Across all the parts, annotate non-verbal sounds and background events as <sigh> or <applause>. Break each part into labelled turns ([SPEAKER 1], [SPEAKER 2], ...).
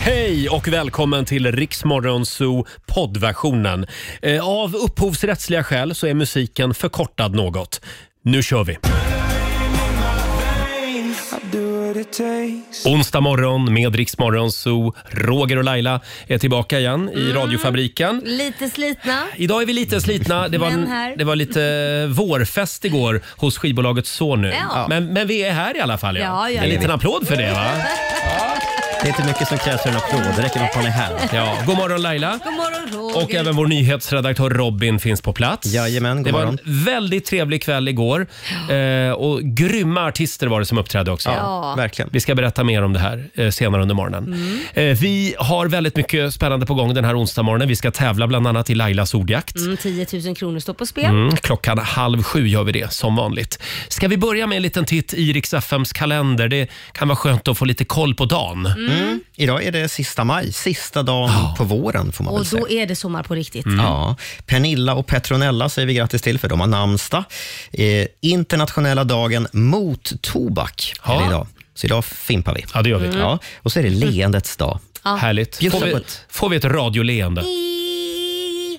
[SPEAKER 1] Hej och välkommen till Riksmorgonzoo poddversionen. Eh, Av upphovsrättsliga skäl så är musiken förkortad något. Nu kör vi! Onsdag morgon med Riksmorgonzoo. Roger och Laila är tillbaka igen
[SPEAKER 2] Mm.
[SPEAKER 1] i radiofabriken.
[SPEAKER 2] Lite slitna.
[SPEAKER 1] Idag är vi lite slitna. Det
[SPEAKER 2] Men
[SPEAKER 1] var,
[SPEAKER 2] här.
[SPEAKER 1] det var lite eh, vårfest igår hos skivbolaget Sony.
[SPEAKER 2] Ja.
[SPEAKER 1] Men, men vi är här i alla fall. Ja.
[SPEAKER 2] Ja, ja,
[SPEAKER 1] en
[SPEAKER 2] ja.
[SPEAKER 1] liten applåd för det
[SPEAKER 2] <laughs>
[SPEAKER 1] va?
[SPEAKER 3] Det är inte mycket som krävs för en applåd. Det räcker med att man är här.
[SPEAKER 1] Ja. God morgon Laila.
[SPEAKER 2] God morgon Roger.
[SPEAKER 1] Och även vår nyhetsredaktör Robin finns på plats.
[SPEAKER 3] Jajamän, god
[SPEAKER 1] det var
[SPEAKER 3] morgon.
[SPEAKER 1] en väldigt trevlig kväll igår. Eh, och grymma artister var det som uppträdde också.
[SPEAKER 2] Ja.
[SPEAKER 3] Verkligen.
[SPEAKER 1] Vi ska berätta mer om det här eh, senare under morgonen. Eh, vi har väldigt mycket spännande på gång den här onsdagsmorgonen. Vi ska tävla bland annat i Lailas ordjakt.
[SPEAKER 2] Mm, 10 000 kronor står på spel.
[SPEAKER 1] Mm, klockan halv sju gör vi det, som vanligt. Ska vi börja med en liten titt i Rix FMs kalender? Det kan vara skönt att få lite koll på dagen.
[SPEAKER 3] Mm. Idag är det sista maj, sista dagen på våren får man
[SPEAKER 2] Och
[SPEAKER 3] väl säga.
[SPEAKER 2] då är det sommar på riktigt.
[SPEAKER 1] Mm.
[SPEAKER 3] Ja. Pernilla och Petronella säger vi grattis till, för de har namnsdag. Eh, internationella dagen mot tobak är
[SPEAKER 1] Ja.
[SPEAKER 3] det idag. Så idag fimpar vi.
[SPEAKER 1] Ja, det gör vi.
[SPEAKER 2] Mm.
[SPEAKER 3] Mm. Ja. Och så är det leendets dag.
[SPEAKER 1] Härligt. Får vi,
[SPEAKER 3] Bjussigt.
[SPEAKER 1] får vi ett radioleende?
[SPEAKER 2] I-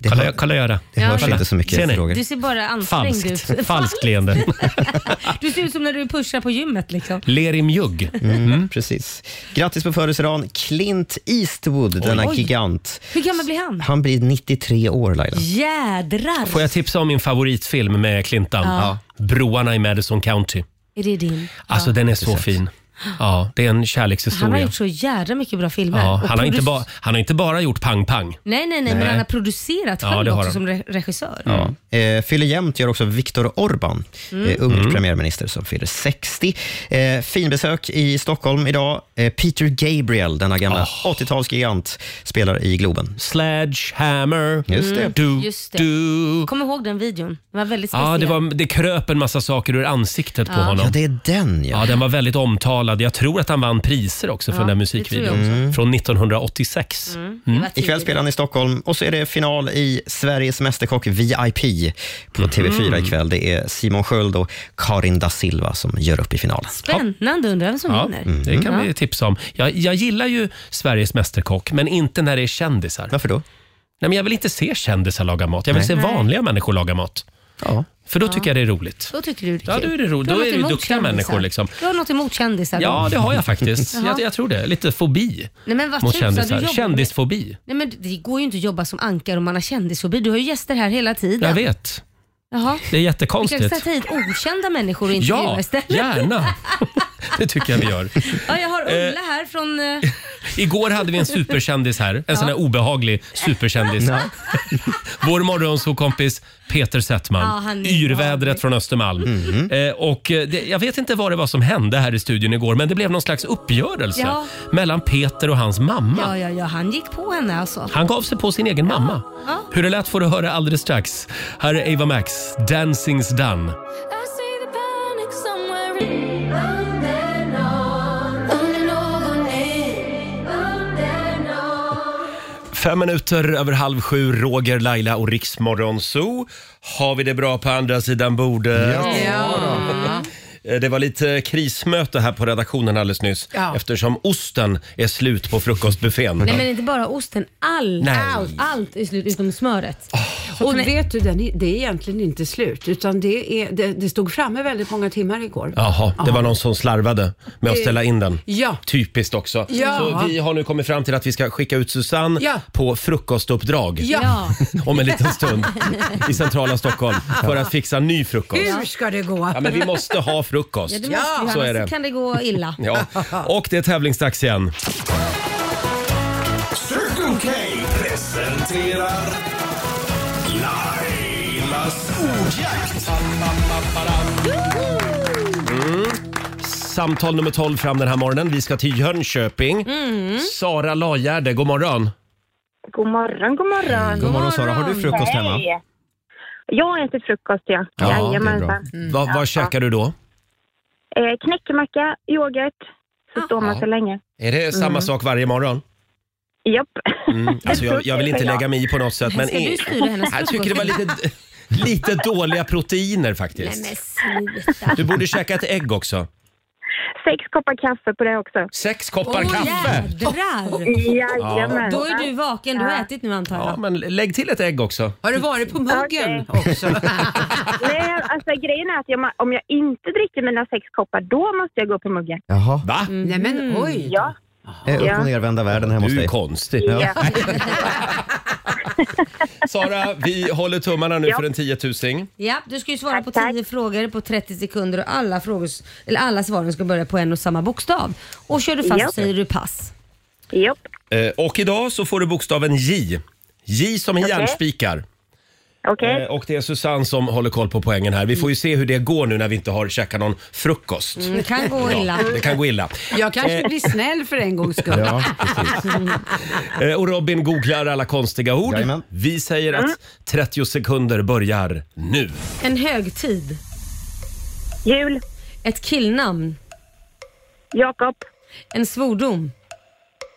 [SPEAKER 3] Det,
[SPEAKER 1] Kolla,
[SPEAKER 3] hör,
[SPEAKER 1] kolla göra.
[SPEAKER 3] det hörs
[SPEAKER 1] Kolla.
[SPEAKER 3] inte så
[SPEAKER 1] Ser
[SPEAKER 3] mycket,
[SPEAKER 1] ni?
[SPEAKER 3] Roger.
[SPEAKER 2] Du ser bara ansträngd
[SPEAKER 1] Falskt. <laughs>
[SPEAKER 2] ut.
[SPEAKER 1] Falskt leende.
[SPEAKER 2] <laughs> Du ser ut som när du pushar på gymmet liksom.
[SPEAKER 1] Ler i mjugg.
[SPEAKER 3] Mm, precis. Grattis på födelsedagen, Clint Eastwood, denna
[SPEAKER 2] Oj.
[SPEAKER 3] gigant.
[SPEAKER 2] Hur gammal blir han?
[SPEAKER 3] Han blir 93 år, Laila.
[SPEAKER 2] Jädrar!
[SPEAKER 1] Får jag tipsa om min favoritfilm med Clintan?
[SPEAKER 2] Ja.
[SPEAKER 1] Broarna i Madison County.
[SPEAKER 2] Är det din?
[SPEAKER 1] Alltså den är så fin. Ja, det är en
[SPEAKER 2] Han har
[SPEAKER 1] kärlekshistoria.
[SPEAKER 2] gjort så jädra mycket bra filmer.
[SPEAKER 1] Ja,
[SPEAKER 2] Och
[SPEAKER 1] han, har inte
[SPEAKER 2] produ-
[SPEAKER 1] ba, han har inte bara gjort Pang Pang.
[SPEAKER 2] Nej, nej, nej, men han har producerat
[SPEAKER 1] Ja,
[SPEAKER 2] själv
[SPEAKER 1] det har
[SPEAKER 2] också
[SPEAKER 1] han.
[SPEAKER 2] som re- regissör.
[SPEAKER 3] Eh, fyller jämnt gör också Viktor Orbán, eh, Ungerns premiärminister som fyller 60. Eh, finbesök i Stockholm idag. Eh, Peter Gabriel, denna gamla 80-talsgigant, spelar i Globen.
[SPEAKER 1] Sledgehammer.
[SPEAKER 3] Just det.
[SPEAKER 1] Du,
[SPEAKER 2] Just det.
[SPEAKER 1] du.
[SPEAKER 2] Kom ihåg den videon. Den var väldigt speciell.
[SPEAKER 1] Ja, det, var, det kröp en massa saker ur ansiktet på
[SPEAKER 3] Ja,
[SPEAKER 1] honom.
[SPEAKER 3] det är den
[SPEAKER 1] Ja,
[SPEAKER 3] ja.
[SPEAKER 1] den var väldigt omtalad. Jag tror att han vann priser också för
[SPEAKER 2] Ja,
[SPEAKER 1] den där
[SPEAKER 2] det
[SPEAKER 1] musikvideon.
[SPEAKER 2] tror jag
[SPEAKER 3] Mm.
[SPEAKER 2] Mm.
[SPEAKER 1] Från 1986.
[SPEAKER 2] Det
[SPEAKER 1] Mm,
[SPEAKER 2] var
[SPEAKER 3] Ikväll
[SPEAKER 2] tidigt.
[SPEAKER 3] spelar han i Stockholm och så är det final i Sveriges Mästerkock VIP på TV4 ikväll. Det är Simon Sköld och Karin da Silva som gör upp i finalen.
[SPEAKER 2] Spännande, undrar vem som
[SPEAKER 1] Ja,
[SPEAKER 2] vinner.
[SPEAKER 1] det kan
[SPEAKER 2] Ja.
[SPEAKER 1] vi tipsa om. Jag, jag gillar ju Sveriges Mästerkock, men inte när det är kändisar.
[SPEAKER 3] Varför då?
[SPEAKER 1] Nej, men jag vill inte se kändisar laga mat. Jag vill
[SPEAKER 3] Nej.
[SPEAKER 1] se vanliga människor laga mat.
[SPEAKER 3] Ja.
[SPEAKER 1] För då tycker jag det är roligt.
[SPEAKER 2] Då tycker du det
[SPEAKER 1] Ja,
[SPEAKER 2] kul.
[SPEAKER 1] då är det roligt.
[SPEAKER 2] Du har
[SPEAKER 1] Då är
[SPEAKER 2] något
[SPEAKER 1] det ju
[SPEAKER 2] emot
[SPEAKER 1] duktiga
[SPEAKER 2] kändisar.
[SPEAKER 1] människor, liksom.
[SPEAKER 2] Du har något emot kändisar? då?
[SPEAKER 1] Ja, det har
[SPEAKER 2] <laughs>
[SPEAKER 1] jag faktiskt.
[SPEAKER 2] Jaha.
[SPEAKER 1] jag, jag tror det. Lite fobi
[SPEAKER 2] Nej, men vad
[SPEAKER 1] mot
[SPEAKER 2] trevligt, så du
[SPEAKER 1] kändisar.
[SPEAKER 2] jobbar Med...
[SPEAKER 1] Kändisfobi.
[SPEAKER 2] Nej, men det går ju inte att jobba som ankar om man har kändisfobi. Du har ju gäster här hela tiden.
[SPEAKER 1] Jag vet.
[SPEAKER 2] Jaha.
[SPEAKER 1] Det är
[SPEAKER 2] Vi kanske ska
[SPEAKER 1] jättekonstigt.
[SPEAKER 2] ta hit okända människor och intervjua
[SPEAKER 1] Ja,
[SPEAKER 2] istället. <laughs>
[SPEAKER 1] gärna. <laughs> Det tycker jag vi gör.
[SPEAKER 2] Ja, jag har Ulla här från... eh,
[SPEAKER 1] Igår hade vi en superkändis här. En sån här obehaglig superkändis. <laughs> Vår morgonsåkompis Peter
[SPEAKER 2] Ja,
[SPEAKER 1] Settman.
[SPEAKER 2] han är
[SPEAKER 1] yrvädret
[SPEAKER 2] obehaglig. Mhm.
[SPEAKER 1] från Östermalm. Eh, och eh, det, jag vet inte vad det var som hände här i studion igår men det blev någon slags uppgörelse
[SPEAKER 2] Ja.
[SPEAKER 1] mellan Peter och hans mamma.
[SPEAKER 2] Ja, ja, ja, han gick på henne alltså.
[SPEAKER 1] Han gav sig på sin egen mamma.
[SPEAKER 2] Ja.
[SPEAKER 1] Hur det lät får du höra alldeles strax. Här är Ava Max, Dancing's done. Fem minuter över halv sju, Roger, Laila och Riksmorgon Zoo. Har vi det bra på andra sidan bordet? Eh, Det var lite krismöte här på redaktionen alldeles nyss
[SPEAKER 2] Ja.
[SPEAKER 1] eftersom osten är slut på frukostbuffén.
[SPEAKER 2] Nej, men inte bara osten. All,
[SPEAKER 1] Nej. Ah,
[SPEAKER 2] allt, allt är slut utom smöret.
[SPEAKER 4] Och vet du, den är, det är egentligen inte slut, utan det, är, det, det stod framme väldigt många timmar igår.
[SPEAKER 1] Jaha, det var någon som slarvade med
[SPEAKER 2] Eh,
[SPEAKER 1] att ställa in den.
[SPEAKER 4] Ja.
[SPEAKER 1] Typiskt också.
[SPEAKER 4] Ja.
[SPEAKER 1] Så vi har nu kommit fram till att vi ska skicka ut Susanne
[SPEAKER 4] Ja.
[SPEAKER 1] på frukostuppdrag
[SPEAKER 4] Ja.
[SPEAKER 2] Ja.
[SPEAKER 1] <laughs> om en liten stund i centrala Stockholm för att fixa ny frukost.
[SPEAKER 4] Hur ska det gå?
[SPEAKER 1] Ja, men vi måste ha frukost.
[SPEAKER 2] Ja, det måste ju,
[SPEAKER 1] så är det.
[SPEAKER 2] annars kan det gå
[SPEAKER 1] <laughs>
[SPEAKER 2] illa.
[SPEAKER 1] Ja. Och det är tävlingsdags igen.
[SPEAKER 5] Circle K presenterar Lailas ordjakt.
[SPEAKER 1] Mm. Samtal nummer 12 fram den här morgonen. Vi ska till Jönköping.
[SPEAKER 2] Mm.
[SPEAKER 1] Sara Lajärde, god morgon.
[SPEAKER 6] God morgon, god morgon.
[SPEAKER 3] God morgon Sara, har du frukost hemma?
[SPEAKER 6] Hej. Jag äter frukost, ja.
[SPEAKER 3] Ja, det är bra.
[SPEAKER 6] Jajamensan.
[SPEAKER 1] Va, vad
[SPEAKER 6] ja.
[SPEAKER 1] käkar du då?
[SPEAKER 6] Eh, knäckemacka, yoghurt, så står man så länge.
[SPEAKER 1] Är det samma sak varje morgon?
[SPEAKER 6] Japp. <laughs>
[SPEAKER 1] Mm. Alltså jag, jag vill inte lägga mig i på något sätt. Men
[SPEAKER 2] Ska du
[SPEAKER 1] i-
[SPEAKER 2] styra hennes
[SPEAKER 1] jag tycker det var
[SPEAKER 2] frukost?
[SPEAKER 1] lite, lite dåliga proteiner faktiskt.
[SPEAKER 2] Nej, men sluta.
[SPEAKER 1] Du borde käka ett ägg också.
[SPEAKER 6] sex koppar kaffe på det också.
[SPEAKER 1] Sex koppar
[SPEAKER 2] Åh,
[SPEAKER 1] kaffe!
[SPEAKER 2] jädrar!
[SPEAKER 6] Jajamän.
[SPEAKER 2] Då är du vaken, du har ätit nu antar
[SPEAKER 1] Ja,
[SPEAKER 2] jag.
[SPEAKER 1] men lägg till ett ägg också.
[SPEAKER 7] Har du varit på muggen också?
[SPEAKER 6] <laughs>
[SPEAKER 7] Mm.
[SPEAKER 6] Nej, alltså grejen är att jag, om jag inte dricker mina sex koppar, då måste jag gå på muggen.
[SPEAKER 3] Jaha,
[SPEAKER 1] Va?
[SPEAKER 7] Nej men oj.
[SPEAKER 6] Ja.
[SPEAKER 3] Eh, upp
[SPEAKER 6] Ja.
[SPEAKER 3] och nervända världen hemma hos
[SPEAKER 1] Du är
[SPEAKER 3] dig.
[SPEAKER 1] konstig.
[SPEAKER 6] Ja.
[SPEAKER 1] Sara, vi håller tummarna nu
[SPEAKER 6] Ja.
[SPEAKER 1] för en tiotusing.
[SPEAKER 2] Ja, du ska ju svara
[SPEAKER 6] Tack,
[SPEAKER 2] på
[SPEAKER 6] tack.
[SPEAKER 2] 10 frågor på 30 sekunder och alla, frågor, eller alla svaren ska börja på en och samma bokstav. Och kör du fast
[SPEAKER 6] Ja.
[SPEAKER 2] säger du pass.
[SPEAKER 6] Japp.
[SPEAKER 1] Eh, Och idag så får du bokstaven J. J som i järnspikar.
[SPEAKER 6] Okej.
[SPEAKER 1] Eh, Och det är Susanne som håller koll på poängen här. Vi får ju se hur det går nu när vi inte har käkat någon frukost.
[SPEAKER 2] Mm, Det kan gå illa.
[SPEAKER 1] Det kan gå illa.
[SPEAKER 7] Jag kanske blir snäll för en gångs skull.
[SPEAKER 3] Ja, precis.
[SPEAKER 1] Eh, Och Robin googlar alla konstiga ord.
[SPEAKER 3] Jajamän.
[SPEAKER 1] Vi säger att
[SPEAKER 6] Mm.
[SPEAKER 1] 30 sekunder börjar nu.
[SPEAKER 2] En högtid.
[SPEAKER 6] Jul.
[SPEAKER 2] Ett killnamn.
[SPEAKER 6] Jakob.
[SPEAKER 2] En svordom.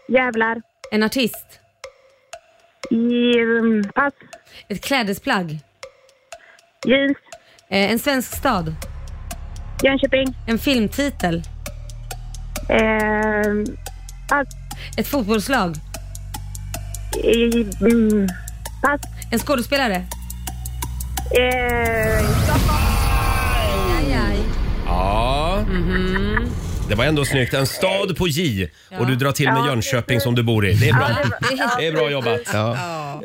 [SPEAKER 6] Jävlar.
[SPEAKER 2] En artist.
[SPEAKER 6] I, um, pass.
[SPEAKER 2] Ett klädesplagg.
[SPEAKER 6] Jeans.
[SPEAKER 2] Eh, En svensk stad.
[SPEAKER 6] Jönköping.
[SPEAKER 2] En filmtitel.
[SPEAKER 6] Eh, pass.
[SPEAKER 2] Ett fotbollslag.
[SPEAKER 6] I, mm, pass.
[SPEAKER 2] En skådespelare.
[SPEAKER 6] Eh,
[SPEAKER 2] Aj, aj.
[SPEAKER 1] Ja. Mm-hmm. Det var ändå snyggt. En stad på J och du drar till med Jönköping som du bor i. Det är bra. Det är bra jobbat.
[SPEAKER 3] Ja.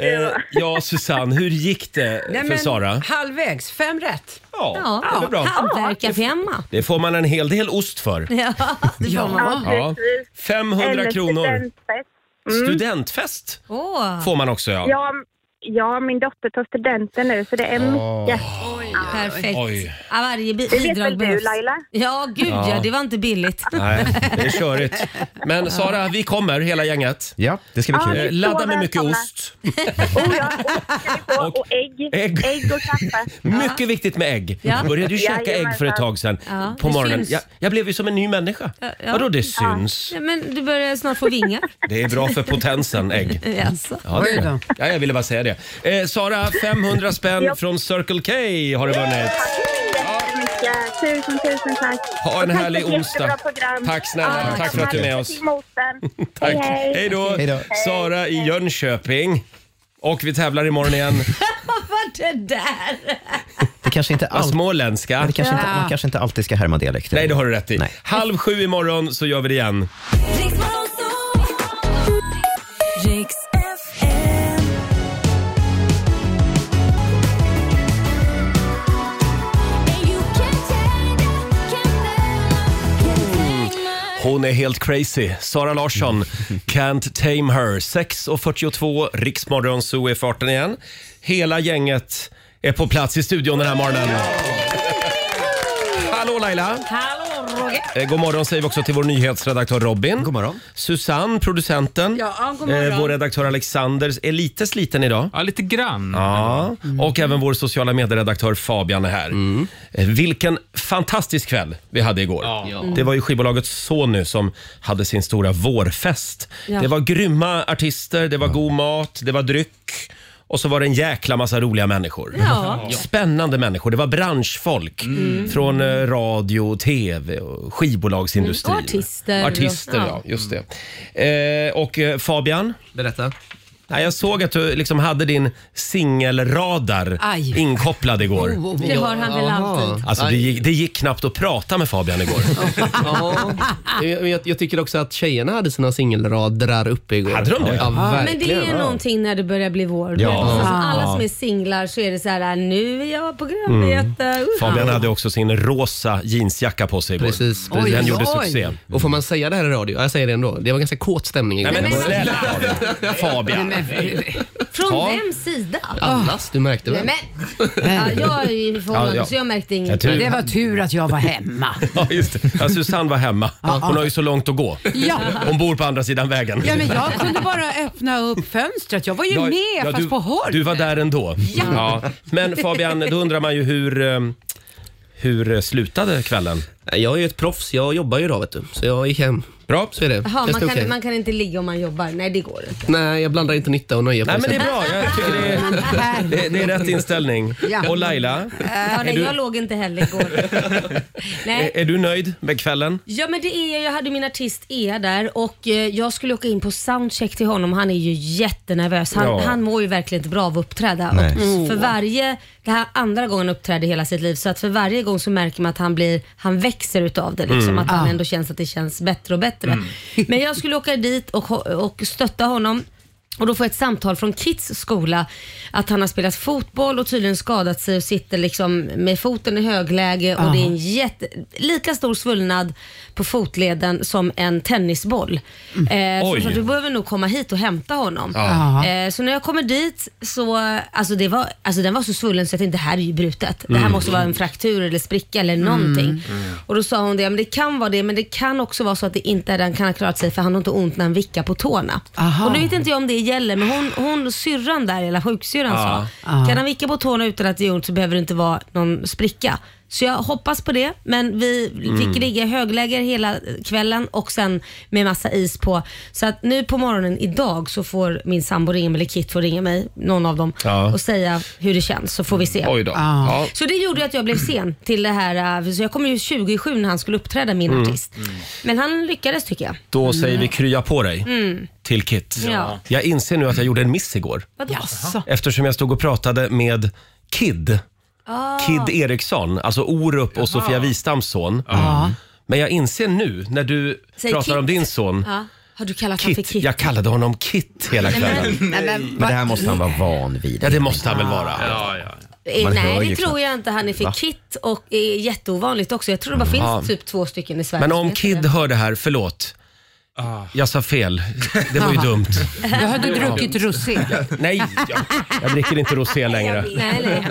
[SPEAKER 1] Eh, ja, Susanne, hur gick det
[SPEAKER 7] Nej,
[SPEAKER 1] för
[SPEAKER 7] men
[SPEAKER 1] Sara?
[SPEAKER 7] Halvvägs, fem rätt.
[SPEAKER 2] Ja,
[SPEAKER 1] det var bra.
[SPEAKER 2] hantverkarfemma.
[SPEAKER 1] Det får man en hel del ost för.
[SPEAKER 2] <laughs> Ja, det får man.
[SPEAKER 1] Ja.
[SPEAKER 6] precis.
[SPEAKER 1] 500
[SPEAKER 6] Eller
[SPEAKER 1] kronor.
[SPEAKER 6] studentfest.
[SPEAKER 1] Studentfest
[SPEAKER 2] Åh,
[SPEAKER 1] får man också ja.
[SPEAKER 6] Ja, m- ja, min dotter tar studenten nu så det är mycket.
[SPEAKER 2] perfekt.
[SPEAKER 1] Oj.
[SPEAKER 2] Ja, varje bi-
[SPEAKER 6] Det vet
[SPEAKER 2] bidrag
[SPEAKER 6] väl du
[SPEAKER 2] behövs.
[SPEAKER 6] Laila?
[SPEAKER 2] Ja, gud ja. det var inte billigt.
[SPEAKER 1] Nej, det är körigt. Men Sara, vi kommer hela gänget.
[SPEAKER 3] ja, det ska bli
[SPEAKER 6] Ja,
[SPEAKER 3] kul.
[SPEAKER 6] det-
[SPEAKER 1] Eh, Ladda med mycket
[SPEAKER 6] Välkomna.
[SPEAKER 1] ost.
[SPEAKER 6] Oh, ja, ost ska vi få,
[SPEAKER 1] Och-
[SPEAKER 6] och ägg.
[SPEAKER 1] ägg.
[SPEAKER 6] Ägg
[SPEAKER 1] <laughs>
[SPEAKER 6] och kaffe.
[SPEAKER 1] Mycket viktigt med ägg.
[SPEAKER 2] Ja.
[SPEAKER 1] Jag började ju käka
[SPEAKER 6] Jajamensan.
[SPEAKER 1] ägg för ett tag sedan
[SPEAKER 2] Ja,
[SPEAKER 1] på
[SPEAKER 2] det
[SPEAKER 1] morgonen.
[SPEAKER 2] syns.
[SPEAKER 1] Jag, jag blev ju som en ny människa.
[SPEAKER 2] ja.
[SPEAKER 1] Vadå det syns?
[SPEAKER 2] Ja, men du börjar snart få vingar.
[SPEAKER 1] Det är bra för potensen, ägg.
[SPEAKER 2] Alltså.
[SPEAKER 1] Ja, det är
[SPEAKER 7] Oj då.
[SPEAKER 1] det. ja, jag ville bara säga det. Eh, Sara, 500 spänn från Circle K har du vunnit.
[SPEAKER 6] Tack så mycket. Tusen, tusen tack.
[SPEAKER 1] Ha en
[SPEAKER 6] Och tack
[SPEAKER 1] härlig
[SPEAKER 6] för ett
[SPEAKER 1] onsdag.
[SPEAKER 6] jättebra program.
[SPEAKER 1] Tack snälla.
[SPEAKER 6] Ja,
[SPEAKER 1] Tack för att du är med oss.
[SPEAKER 6] till motorn.
[SPEAKER 1] <laughs> Tack.
[SPEAKER 6] Hej, hej.
[SPEAKER 1] Hej då.
[SPEAKER 3] Hej då.
[SPEAKER 1] Sara i Jönköping. Och vi tävlar imorgon igen.
[SPEAKER 2] Vad var det där?
[SPEAKER 3] Det kanske inte
[SPEAKER 1] Vad
[SPEAKER 3] allt
[SPEAKER 1] småländska.
[SPEAKER 3] Det kanske inte, man kanske inte alltid ska härma dialekter.
[SPEAKER 1] Nej, det har du rätt i.
[SPEAKER 3] Nej.
[SPEAKER 1] Halv sju imorgon så gör vi det igen.
[SPEAKER 8] Riks FM.
[SPEAKER 1] Hon är helt crazy. Sara
[SPEAKER 3] <laughs>
[SPEAKER 1] Larsson, Can't Tame Her. 6.42, Riksmorgon Zoo är i farten igen. Hela gänget är på plats i studion den här morgonen. Hallå Laila!
[SPEAKER 2] Hallå Roger!
[SPEAKER 1] Eh, God morgon säger vi också till vår nyhetsredaktör Robin.
[SPEAKER 3] God morgon.
[SPEAKER 1] Susanne, producenten. Eh,
[SPEAKER 7] Ja, god morgon.
[SPEAKER 1] vår redaktör Alexander är lite sliten idag.
[SPEAKER 9] Ja, lite grann.
[SPEAKER 1] Ja. Och även vår sociala medieredaktör Fabian är här. Eh, Vilken fantastisk kväll vi hade igår. Det var ju skivbolaget Sony som hade sin stora vårfest.
[SPEAKER 2] Ja.
[SPEAKER 1] Det var grymma artister, det var god mat, det var dryck. Och så var det en jäkla massa roliga människor.
[SPEAKER 2] Ja. Mm.
[SPEAKER 1] Spännande människor. Det var branschfolk från eh, radio, tv och skivbolagsindustrin.
[SPEAKER 2] Mm, och artister.
[SPEAKER 1] Artister, ja. Just det. Eh, och eh, Fabian?
[SPEAKER 10] Berätta.
[SPEAKER 1] Nej, jag såg att du liksom hade din singelradar
[SPEAKER 7] Aj. Oh,
[SPEAKER 1] inkopplad igår.
[SPEAKER 2] Det har han väl alltid.
[SPEAKER 1] Alltså, det, gick, det gick knappt att prata med Fabian
[SPEAKER 7] <laughs>
[SPEAKER 1] igår.
[SPEAKER 10] Ja.
[SPEAKER 2] Ah.
[SPEAKER 10] Jag, jag, jag tycker också att tjejerna hade sina singelradar uppe igår.
[SPEAKER 1] Hade de det?
[SPEAKER 10] Ja,
[SPEAKER 2] Men det
[SPEAKER 10] verkligen.
[SPEAKER 2] är någonting när det börjar bli vår.
[SPEAKER 1] Ja. Mm.
[SPEAKER 2] Alltså, alla som är singlar så är det så här, "Äh, nu är jag programledare. Uh.
[SPEAKER 1] Fabian hade också sin rosa jeansjacka på sig igår.
[SPEAKER 10] Precis,
[SPEAKER 1] Den
[SPEAKER 10] precis.
[SPEAKER 7] Oj,
[SPEAKER 1] gjorde
[SPEAKER 7] oj.
[SPEAKER 1] succé.
[SPEAKER 10] Och får man säga det här i radio? Ja, Jag säger det ändå. Det var ganska kåt stämning igår.
[SPEAKER 1] Nej, men
[SPEAKER 10] Jag bara-
[SPEAKER 7] <laughs>
[SPEAKER 1] snälla Fabian!
[SPEAKER 2] Från
[SPEAKER 1] Ja.
[SPEAKER 2] vems sida?
[SPEAKER 10] Allas, du märkte väl?
[SPEAKER 2] Nej,
[SPEAKER 1] <laughs>
[SPEAKER 2] men, ja, jag är ju förhållande
[SPEAKER 1] Ja, ja.
[SPEAKER 2] så jag märkte
[SPEAKER 1] Jag
[SPEAKER 2] inget.
[SPEAKER 1] tror-
[SPEAKER 7] Det var tur att jag var hemma.
[SPEAKER 1] Ja, just det. Ja, Susanne var hemma. Hon har ju så långt att gå.
[SPEAKER 7] Ja.
[SPEAKER 1] Hon bor på andra sidan vägen.
[SPEAKER 7] Ja, men jag kunde bara öppna upp fönstret. Jag var ju
[SPEAKER 1] Ja,
[SPEAKER 7] med
[SPEAKER 1] ja,
[SPEAKER 7] fast
[SPEAKER 1] du,
[SPEAKER 7] på håll.
[SPEAKER 1] Du var där ändå. Ja. Men Fabian, då undrar man ju hur, eh, hur eh, slutade kvällen?
[SPEAKER 10] Jag är ju ett proffs. Jag jobbar ju idag, vet du. Så jag gick hem.
[SPEAKER 1] Bra.
[SPEAKER 10] Så är det.
[SPEAKER 2] Jaha,
[SPEAKER 10] det
[SPEAKER 2] man,
[SPEAKER 10] är okej.
[SPEAKER 2] kan, man kan inte ligga om man jobbar. Nej, det går inte.
[SPEAKER 10] Nej, jag blandar inte nytta och nöje på
[SPEAKER 1] Nej,
[SPEAKER 10] det
[SPEAKER 1] men det är
[SPEAKER 10] sättet.
[SPEAKER 1] bra. Jag tycker det är, det, det är rätt inställning.
[SPEAKER 7] Ja.
[SPEAKER 1] Och Laila,
[SPEAKER 2] Ja, nej,
[SPEAKER 1] Äh, du-
[SPEAKER 2] Jag låg inte heller
[SPEAKER 1] <laughs>
[SPEAKER 2] igår. nej.
[SPEAKER 1] är, är du nöjd med kvällen?
[SPEAKER 2] Ja men det är jag. Jag hade min artist Ea där och eh, jag skulle åka in på soundcheck till honom. Han är ju jättenervös. Han,
[SPEAKER 1] Ja.
[SPEAKER 2] han mår ju verkligen inte bra av att uppträda.
[SPEAKER 3] Nej.
[SPEAKER 2] Och för varje, det här andra gången han uppträder i hela sitt liv, så att för varje gång så märker man att han blir, han växer utav det liksom. Att han ändå känns att det känns bättre och bättre. <laughs> Men jag skulle åka dit och, ho- och stötta honom. Och då får jag ett samtal från Kits skola att han har spelat fotboll och tydligen skadat sig och sitter liksom med foten i högläge och det är en jätte, lika stor svullnad på fotleden som en tennisboll. Eh,
[SPEAKER 1] Oj.
[SPEAKER 2] så, så du behöver nog komma hit och hämta honom. Eh, så när jag kommer dit så, alltså, det var, alltså den var så svullen så jag tänkte det här är ju brutet. Det här måste vara en fraktur eller spricka eller någonting. Och då sa hon det, men det kan vara det men det kan också vara så att det inte är den kan ha klarat sig för han har inte ont när han vickar på tårna. Och nu vet inte jag om det gäller men hon, hon syrran där, eller sjuksyrran sa, kan han vicka på tårna utan att det gör ont så behöver det inte vara någon spricka. Så jag hoppas på det, men vi
[SPEAKER 1] Mm.
[SPEAKER 2] fick ligga i högläger hela kvällen och sen med massa is på. Så att nu på morgonen idag så får min sambo ringa mig, eller Kit får ringa mig, någon av dem,
[SPEAKER 1] Ja.
[SPEAKER 2] och säga hur det känns så får vi se.
[SPEAKER 1] Oj då. Ja.
[SPEAKER 2] Så det gjorde ju att jag blev sen till det här, eh, så jag kom ju 27 när han skulle uppträda min
[SPEAKER 1] Mm.
[SPEAKER 2] artist. Men han lyckades tycker jag.
[SPEAKER 1] Då säger vi krya på dig till Kit.
[SPEAKER 2] Mm. Ja.
[SPEAKER 1] Jag inser nu att jag gjorde en miss igår
[SPEAKER 2] Vadå?
[SPEAKER 1] eftersom jag stod och pratade med Kid.
[SPEAKER 2] Ah.
[SPEAKER 1] Kid Eriksson, alltså Orup och Sofia Wistams son. Mm. Men jag inser nu när du
[SPEAKER 2] Säg
[SPEAKER 1] pratar om
[SPEAKER 2] Kit.
[SPEAKER 1] din son,
[SPEAKER 2] Ja. Har du kallat honom för
[SPEAKER 1] Kit.
[SPEAKER 2] Kit?
[SPEAKER 1] Jag kallade honom Kit hela kvällen.
[SPEAKER 3] Men det här måste han vara van vid.
[SPEAKER 1] Ja, det måste han väl vara.
[SPEAKER 2] Eh,
[SPEAKER 3] Man hör
[SPEAKER 2] Nej,
[SPEAKER 3] ju
[SPEAKER 2] det tror
[SPEAKER 3] knappt.
[SPEAKER 2] jag inte. Han är för kit och är jätteovanligt också. Jag tror det bara finns typ två stycken i Sverige.
[SPEAKER 1] Men
[SPEAKER 2] som
[SPEAKER 1] om
[SPEAKER 2] heter
[SPEAKER 1] Kid
[SPEAKER 2] det.
[SPEAKER 1] hör det här, förlåt. Jag sa fel. Det var ju dumt.
[SPEAKER 7] Jag hade druckit rosé.
[SPEAKER 1] Nej, jag, jag dricker inte rosé längre.
[SPEAKER 2] Nej, nej.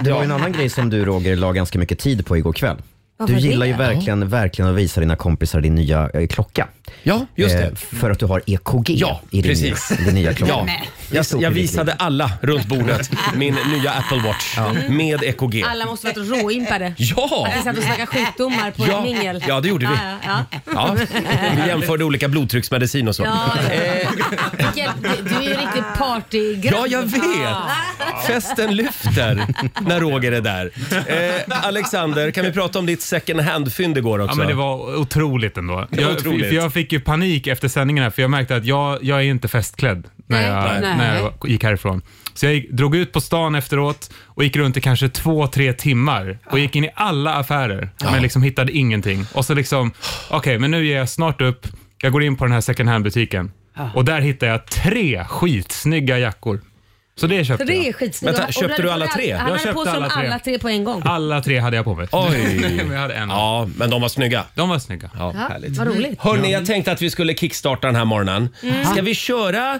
[SPEAKER 3] Det var ju en annan grej som du Roger la ganska mycket tid på igår kväll.
[SPEAKER 2] Varför
[SPEAKER 3] Du gillar ju
[SPEAKER 2] det?
[SPEAKER 3] verkligen, verkligen att visa dina kompisar din nya eh, klocka.
[SPEAKER 1] Ja, just
[SPEAKER 3] Eh,
[SPEAKER 1] det.
[SPEAKER 3] För att du har EKG
[SPEAKER 1] Ja,
[SPEAKER 3] i din,
[SPEAKER 1] precis.
[SPEAKER 3] din nya klocka.
[SPEAKER 1] Ja. Jag, jag visade alla runt bordet min nya Apple Watch med EKG.
[SPEAKER 2] Alla måste varit råimpade.
[SPEAKER 1] Ja!
[SPEAKER 2] Att vi satt och snackade sjukdomar på en
[SPEAKER 1] Ja,
[SPEAKER 2] mingel.
[SPEAKER 1] ja, det gjorde vi.
[SPEAKER 2] Ja, ja, ja.
[SPEAKER 1] Ja, vi jämförde olika blodtrycksmedicin och så.
[SPEAKER 2] Ja, ja. Vilket- Du, du är ju riktigt partygrabb.
[SPEAKER 1] Eh. Ja, jag vet! Festen lyfter när Roger är där. Eh, Alexander, kan vi prata om ditt second hand-fynd igår också?
[SPEAKER 9] Ja, men det var otroligt ändå. Jag,
[SPEAKER 1] otroligt.
[SPEAKER 9] För jag fick ju panik efter sändningen här, för jag märkte att jag, jag är inte festklädd när
[SPEAKER 2] Nej.
[SPEAKER 9] jag,
[SPEAKER 7] Nej.
[SPEAKER 9] när jag gick härifrån. Så jag gick, drog ut på stan efteråt och gick runt i kanske två, tre timmar och gick in i alla affärer, men liksom hittade ingenting. Och så liksom, okej, men nu ger jag snart upp. Jag går in på den här second hand-butiken och där hittar jag tre skitsnygga jackor. Så det köpte
[SPEAKER 2] Så det är
[SPEAKER 9] jag.
[SPEAKER 2] skitsnyggt.
[SPEAKER 1] Vänta,
[SPEAKER 2] Och
[SPEAKER 1] köpte
[SPEAKER 2] hade
[SPEAKER 1] du
[SPEAKER 2] på
[SPEAKER 1] alla
[SPEAKER 2] dig-
[SPEAKER 1] tre?
[SPEAKER 2] Han
[SPEAKER 9] Jag
[SPEAKER 2] hade på sig
[SPEAKER 9] köpte alla
[SPEAKER 2] alla tre.
[SPEAKER 9] tre.
[SPEAKER 2] alla tre på en gång.
[SPEAKER 9] Alla tre hade jag på mig.
[SPEAKER 1] Oj!
[SPEAKER 9] Men jag hade en.
[SPEAKER 1] Ja, men de var snygga.
[SPEAKER 9] De var snygga.
[SPEAKER 1] Ja,
[SPEAKER 2] Ja, Mm.
[SPEAKER 1] härligt.
[SPEAKER 2] vad roligt.
[SPEAKER 1] Hörni, jag tänkte att vi skulle kickstarta den här morgonen. Ska vi köra...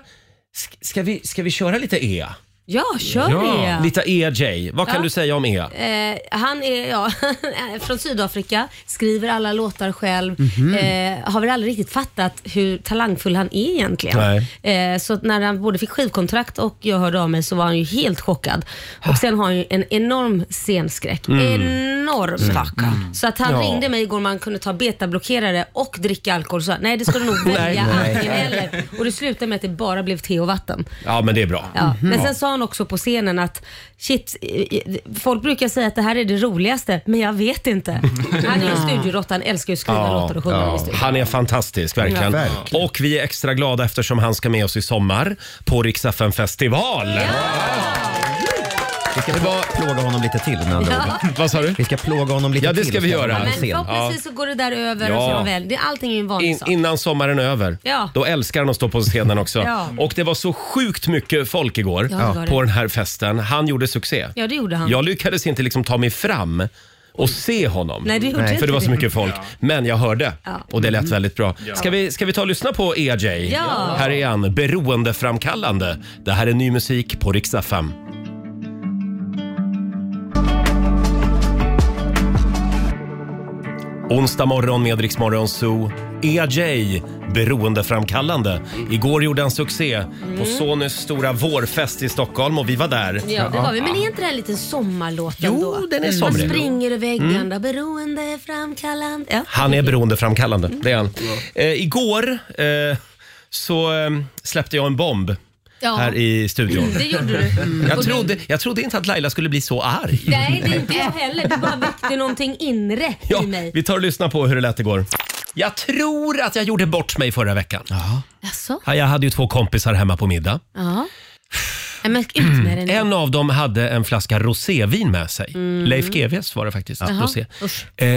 [SPEAKER 1] sk- Ska vi, ska vi köra lite EA?
[SPEAKER 2] Ja, kör
[SPEAKER 9] Ja.
[SPEAKER 2] det.
[SPEAKER 1] Lite EJ. Vad kan
[SPEAKER 2] Ja.
[SPEAKER 1] du säga om E? EA?
[SPEAKER 2] Eh, han är ja, <laughs> från Sydafrika, skriver alla låtar själv. eh, har väl aldrig riktigt fattat hur talangfull han är egentligen. Eh, så att när han både fick skivkontrakt och jag hörde av mig så var han ju helt chockad. Och sen har han ju en enorm scenskräck. Enorm. Så att han
[SPEAKER 1] Ja.
[SPEAKER 2] ringde mig igår om man kunde ta betablockerare och dricka alkohol. Så, nej, det ska du nog välja antingen eller. Och det slutade med att det bara blev te och vatten.
[SPEAKER 1] Ja, men det är bra.
[SPEAKER 2] Ja.
[SPEAKER 1] Mhm.
[SPEAKER 2] Men sen sa han också på scenen att shit, eh, eh, folk brukar säga att det här är det roligaste, men jag vet inte.
[SPEAKER 1] <laughs>
[SPEAKER 2] Han är ju studioråtta, han älskar ju att skriva låtar och sjunga i studion.
[SPEAKER 1] Han är fantastisk, verkligen.
[SPEAKER 3] Ja, verkligen.
[SPEAKER 1] Och vi är extra glada eftersom han ska med oss i sommar på Rix FM festival.
[SPEAKER 3] Vi ska plåga honom lite till med andra ord.
[SPEAKER 1] Vad sa du?
[SPEAKER 3] Vi ska plåga honom lite
[SPEAKER 1] Ja, det
[SPEAKER 3] till,
[SPEAKER 1] ska vi göra.
[SPEAKER 2] Men
[SPEAKER 3] ha honom på scen.
[SPEAKER 2] förhoppningsvis så går det där över
[SPEAKER 1] Ja.
[SPEAKER 2] och så är han väl. Det, allting är ju en vanlig
[SPEAKER 1] In,
[SPEAKER 2] sak.
[SPEAKER 1] innan sommaren är över.
[SPEAKER 2] Ja.
[SPEAKER 1] Då älskar han att stå på scenen också.
[SPEAKER 2] Ja.
[SPEAKER 1] Och det var så sjukt mycket folk igår
[SPEAKER 2] Ja, det var det.
[SPEAKER 1] på den här festen. Han gjorde succé.
[SPEAKER 2] Ja, det gjorde han.
[SPEAKER 1] Jag lyckades inte liksom ta mig fram och se honom.
[SPEAKER 2] Nej, det gjorde inte
[SPEAKER 1] För det var så
[SPEAKER 2] det.
[SPEAKER 1] mycket folk. Men jag hörde
[SPEAKER 2] Ja.
[SPEAKER 1] och det lät väldigt bra. Ska vi, ska vi ta och lyssna på EJ?
[SPEAKER 2] Ja.
[SPEAKER 1] Här är han, beroendeframkallande. Det här är ny musik på Rix FM. Onsdag morgon med Rix Morgon Zoo. EJ, beroendeframkallande. Igår gjorde han succé på
[SPEAKER 2] Mm.
[SPEAKER 1] Sonys stora vårfest i Stockholm och vi var där.
[SPEAKER 2] Ja, det var vi. Men är inte det här en liten sommarlåt
[SPEAKER 1] Jo,
[SPEAKER 2] ändå?
[SPEAKER 1] den är
[SPEAKER 2] Man
[SPEAKER 1] somrig.
[SPEAKER 2] springer över väggarna,
[SPEAKER 1] Mm.
[SPEAKER 2] beroende framkallande. Ja.
[SPEAKER 1] Han är beroendeframkallande, det är han. Eh, igår eh, så eh, släppte jag en bomb
[SPEAKER 2] Ja.
[SPEAKER 1] här i studion.
[SPEAKER 2] Det gjorde du.
[SPEAKER 1] <laughs> Jag
[SPEAKER 2] Och du-
[SPEAKER 1] trodde, jag trodde inte att Laila skulle bli så arg.
[SPEAKER 2] Nej, det är inte jag heller. Du bara väckte någonting inre
[SPEAKER 1] <laughs> Ja,
[SPEAKER 2] i mig.
[SPEAKER 1] vi tar och lyssnar på hur det lät igår. Jag tror att jag gjorde bort mig förra veckan.
[SPEAKER 2] Jaså?
[SPEAKER 1] Ja, Jag hade ju två kompisar hemma på middag.
[SPEAKER 2] Ja. Nej, men ut med den. nu.
[SPEAKER 1] En av dem hade en flaska rosévin med sig.
[SPEAKER 2] Mm.
[SPEAKER 1] Leif GWs var det faktiskt.
[SPEAKER 2] Jaha.
[SPEAKER 1] Rosé.
[SPEAKER 2] Usch.
[SPEAKER 1] Eh,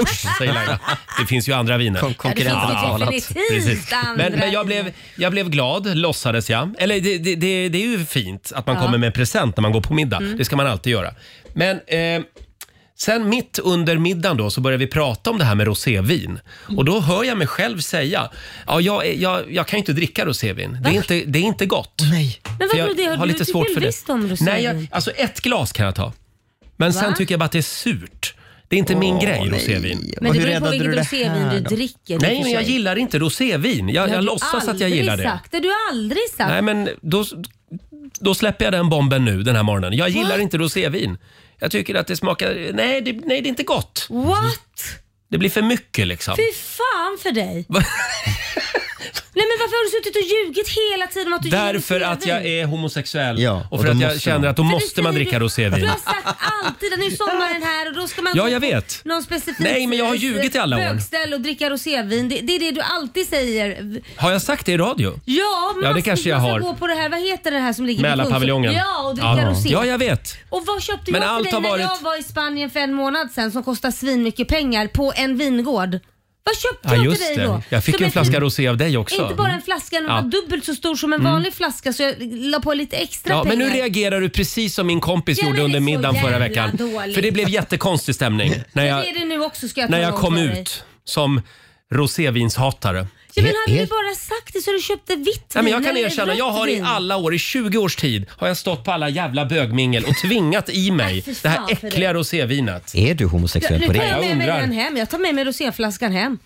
[SPEAKER 1] usch, säger Laila. Det finns ju andra viner. Kon
[SPEAKER 2] konkurrenten Ja, det finns ju definitivt andra
[SPEAKER 1] Men, men jag, blev, jag blev glad, låtsades jag. Eller det, det, det, det är ju fint att man
[SPEAKER 2] Ja.
[SPEAKER 1] kommer med en present när man går på middag.
[SPEAKER 2] Mm.
[SPEAKER 1] Det ska man alltid göra. Men eh, sen mitt under middagen då så börjar vi prata om det här med rosévin. Och då hör jag mig själv säga, ja, jag, är- jag, jag kan ju inte dricka rosévin. Det är inte, det är inte gott. nej.
[SPEAKER 2] Men
[SPEAKER 1] För
[SPEAKER 2] vadå det?
[SPEAKER 1] jag
[SPEAKER 2] Har
[SPEAKER 1] har
[SPEAKER 2] du
[SPEAKER 1] lite
[SPEAKER 2] tycker
[SPEAKER 1] svårt
[SPEAKER 2] väl
[SPEAKER 1] för det.
[SPEAKER 2] visst om rosévin?
[SPEAKER 1] Nej, jag, alltså ett glas kan jag ta. Men
[SPEAKER 2] Va?
[SPEAKER 1] sen tycker jag bara att det är surt. Det är inte min
[SPEAKER 2] Åh,
[SPEAKER 1] grej,
[SPEAKER 2] nej.
[SPEAKER 1] rosévin.
[SPEAKER 2] Men det beror på vilket rosévin du dricker.
[SPEAKER 1] Nej, men jag gillar inte rosévin. Jag, jag låtsas att jag gillar det.
[SPEAKER 2] Sagt. Det har du aldrig sagt.
[SPEAKER 1] Nej, men då, då släpper jag den bomben nu den här morgonen. Jag gillar inte rosévin. Jag tycker att det smakar... Nej det, nej, det är inte gott.
[SPEAKER 2] What?
[SPEAKER 1] Det blir för mycket liksom.
[SPEAKER 2] Fy fan för
[SPEAKER 1] <laughs>
[SPEAKER 2] dig. Nej men varför har du suttit och ljugit hela tiden om att du gillar
[SPEAKER 1] Därför
[SPEAKER 2] rosévin?
[SPEAKER 1] att jag är homosexuell och för
[SPEAKER 3] och då
[SPEAKER 1] att jag
[SPEAKER 3] måste
[SPEAKER 1] känner
[SPEAKER 3] man.
[SPEAKER 1] att då
[SPEAKER 2] För det
[SPEAKER 1] måste man
[SPEAKER 2] säger
[SPEAKER 1] dricka
[SPEAKER 2] du- Du
[SPEAKER 1] rosévin.
[SPEAKER 2] har sagt alltid att nu är sommaren här och då ska man
[SPEAKER 1] Ja,
[SPEAKER 2] gå
[SPEAKER 1] jag
[SPEAKER 2] på
[SPEAKER 1] vet.
[SPEAKER 2] någon specifik
[SPEAKER 1] Nej, men jag har ljugit i alla år.
[SPEAKER 2] bögställe och dricka rosévin. Det, det är det du alltid säger.
[SPEAKER 1] Har jag sagt det i radio?
[SPEAKER 2] Ja, men
[SPEAKER 1] Ja,
[SPEAKER 2] man
[SPEAKER 1] det
[SPEAKER 2] ska-
[SPEAKER 1] kanske jag
[SPEAKER 2] man ska
[SPEAKER 1] har.
[SPEAKER 2] gå på det här, vad heter det här som ligger vid
[SPEAKER 1] Mälarpaviljongen.
[SPEAKER 2] Kungsholmen? Ja, och dricka rosé.
[SPEAKER 1] Ja, jag vet.
[SPEAKER 2] Och vad köpte
[SPEAKER 1] Men
[SPEAKER 2] jag
[SPEAKER 1] allt
[SPEAKER 2] till
[SPEAKER 1] har
[SPEAKER 2] dig när
[SPEAKER 1] varit-
[SPEAKER 2] jag var i Spanien för en månad sedan som kostar svin mycket pengar på en vingård? Vad köpte
[SPEAKER 1] Ja,
[SPEAKER 2] jag
[SPEAKER 1] just
[SPEAKER 2] till dig då?
[SPEAKER 1] det. Jag fick
[SPEAKER 2] Som
[SPEAKER 1] en
[SPEAKER 2] är
[SPEAKER 1] flaska
[SPEAKER 2] typ-
[SPEAKER 1] rosé av dig också.
[SPEAKER 2] Inte bara en flaska, den
[SPEAKER 1] Ja.
[SPEAKER 2] var dubbelt så stor som en
[SPEAKER 1] Mm.
[SPEAKER 2] vanlig flaska så jag la på lite extra
[SPEAKER 1] Ja,
[SPEAKER 2] pengar.
[SPEAKER 1] men nu reagerar du precis som min kompis
[SPEAKER 2] Ja,
[SPEAKER 1] gjorde
[SPEAKER 2] men
[SPEAKER 1] under
[SPEAKER 2] det är så
[SPEAKER 1] middagen förra
[SPEAKER 2] jävla
[SPEAKER 1] veckan.
[SPEAKER 2] dåligt.
[SPEAKER 1] För det blev jättekonstig stämning när jag,
[SPEAKER 2] det är det nu också ska jag
[SPEAKER 1] när
[SPEAKER 2] tala
[SPEAKER 1] jag
[SPEAKER 2] om
[SPEAKER 1] kom
[SPEAKER 2] för dig.
[SPEAKER 1] ut som rosévinshatare.
[SPEAKER 2] Ja, men hade du bara sagt det så hade du köpte vitt vin
[SPEAKER 1] Nej, men jag kan
[SPEAKER 2] eller
[SPEAKER 1] erkänna,
[SPEAKER 2] rött
[SPEAKER 1] jag har i
[SPEAKER 2] vin.
[SPEAKER 1] alla år, i 20 års tid, har jag stått på alla jävla bögmingel och tvingat i mig
[SPEAKER 2] Alltså, fy
[SPEAKER 1] det här
[SPEAKER 2] fan för
[SPEAKER 1] äckliga rosévinet.
[SPEAKER 3] Är du homosexuell
[SPEAKER 2] Nu
[SPEAKER 3] på
[SPEAKER 2] tar
[SPEAKER 3] det?
[SPEAKER 2] jag
[SPEAKER 1] Jag
[SPEAKER 2] med mig
[SPEAKER 1] undrar.
[SPEAKER 2] den hem. Jag tar med mig roséflaskan hem.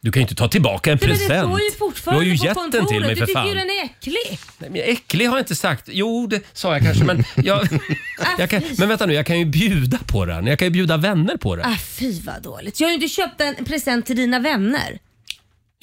[SPEAKER 1] Du kan ju inte ta tillbaka en
[SPEAKER 2] Nej, men det
[SPEAKER 1] present.
[SPEAKER 2] står ju
[SPEAKER 1] Du har
[SPEAKER 2] fortfarande
[SPEAKER 1] ju
[SPEAKER 2] på
[SPEAKER 1] gett den
[SPEAKER 2] kontoret.
[SPEAKER 1] till mig
[SPEAKER 2] du
[SPEAKER 1] för
[SPEAKER 2] tycker
[SPEAKER 1] fan.
[SPEAKER 2] ju den är äcklig.
[SPEAKER 1] Nej, men äcklig har jag inte sagt. Jo, det sa jag kanske,
[SPEAKER 2] <laughs>
[SPEAKER 1] men jag,
[SPEAKER 2] Ah,
[SPEAKER 1] jag kan, Men vänta nu, jag kan ju bjuda på den. Jag kan ju bjuda vänner på den.
[SPEAKER 2] Ah, fy vad dåligt. Jag har ju inte köpt en present till dina vänner.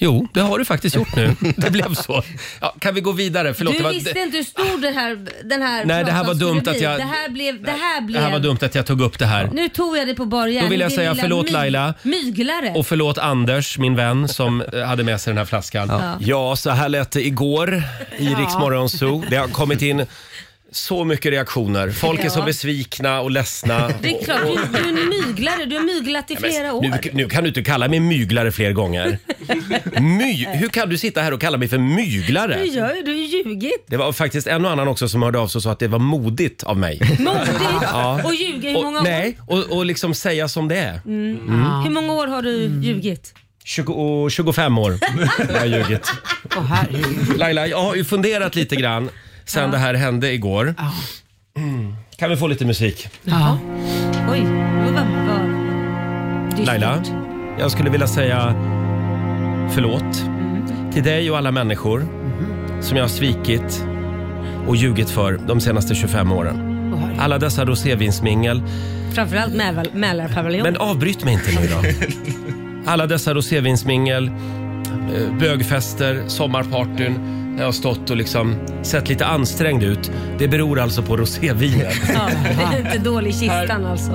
[SPEAKER 1] Jo, det har du faktiskt gjort <laughs> nu. Det blev så. Ja, kan vi gå vidare? Förlåt,
[SPEAKER 2] du
[SPEAKER 1] det var,
[SPEAKER 2] visste
[SPEAKER 1] det, Ah.
[SPEAKER 2] inte hur stor den här, den här
[SPEAKER 1] Nej, det här var
[SPEAKER 2] plasan skulle
[SPEAKER 1] dumt att
[SPEAKER 2] bli.
[SPEAKER 1] jag-
[SPEAKER 2] Det här blev... Det här blev
[SPEAKER 1] det här var dumt att jag tog upp det här.
[SPEAKER 2] Nu tog jag det på bar gärning,
[SPEAKER 1] Då vill jag
[SPEAKER 2] din
[SPEAKER 1] säga
[SPEAKER 2] lilla
[SPEAKER 1] förlåt,
[SPEAKER 2] my-
[SPEAKER 1] Laila.
[SPEAKER 2] Myglare.
[SPEAKER 1] Och förlåt Anders, min vän, som eh, hade med sig den här flaskan.
[SPEAKER 2] Ja.
[SPEAKER 1] Ja, så här lät det igår i
[SPEAKER 2] Ja.
[SPEAKER 1] Rix Morgon Zoo. Det har kommit in så mycket reaktioner. Folk är så
[SPEAKER 2] Ja.
[SPEAKER 1] besvikna och ledsna.
[SPEAKER 2] Det är klart, du, du är en myglare. Du har myglat i flera år.
[SPEAKER 1] Nu, nu kan du inte kalla mig myglare fler gånger. My, hur kan du sitta här och kalla mig för myglare?
[SPEAKER 2] Du gör ju, du har ju ljugit.
[SPEAKER 1] Det var faktiskt en och annan också som hörde av sig och sa att det var modigt av mig.
[SPEAKER 2] Modigt.
[SPEAKER 1] Ja.
[SPEAKER 2] Och ljuga i
[SPEAKER 1] Och-
[SPEAKER 2] många år.
[SPEAKER 1] Nej, och, och liksom säga som det är.
[SPEAKER 2] Mm.
[SPEAKER 1] Mm. Ah.
[SPEAKER 2] Hur många år har du ljugit?
[SPEAKER 1] 20, och 25 år har jag
[SPEAKER 2] <laughs>
[SPEAKER 1] ljugit. Laila, jag har ju funderat lite grann sen det här hände igår. Mm. Kan vi få lite musik?
[SPEAKER 2] Ja. Oj, det var bra. Det är
[SPEAKER 1] Laila,
[SPEAKER 2] stort.
[SPEAKER 1] jag skulle vilja säga förlåt
[SPEAKER 2] Mhm.
[SPEAKER 1] till dig och alla människor som jag har svikit och ljugit för de senaste 25 åren. Alla dessa rosévinsmingel.
[SPEAKER 2] Framförallt Mälar- Mälarpaviljongen.
[SPEAKER 1] Men avbryt mig inte nu då. Alla dessa rosévinsmingel, eh, bögfester, sommarpartyn. När jag har stått och liksom sett lite ansträngd ut. Det beror alltså på
[SPEAKER 2] <laughs>
[SPEAKER 1] rosévinet.
[SPEAKER 2] Ja, det är inte dålig kistan alltså.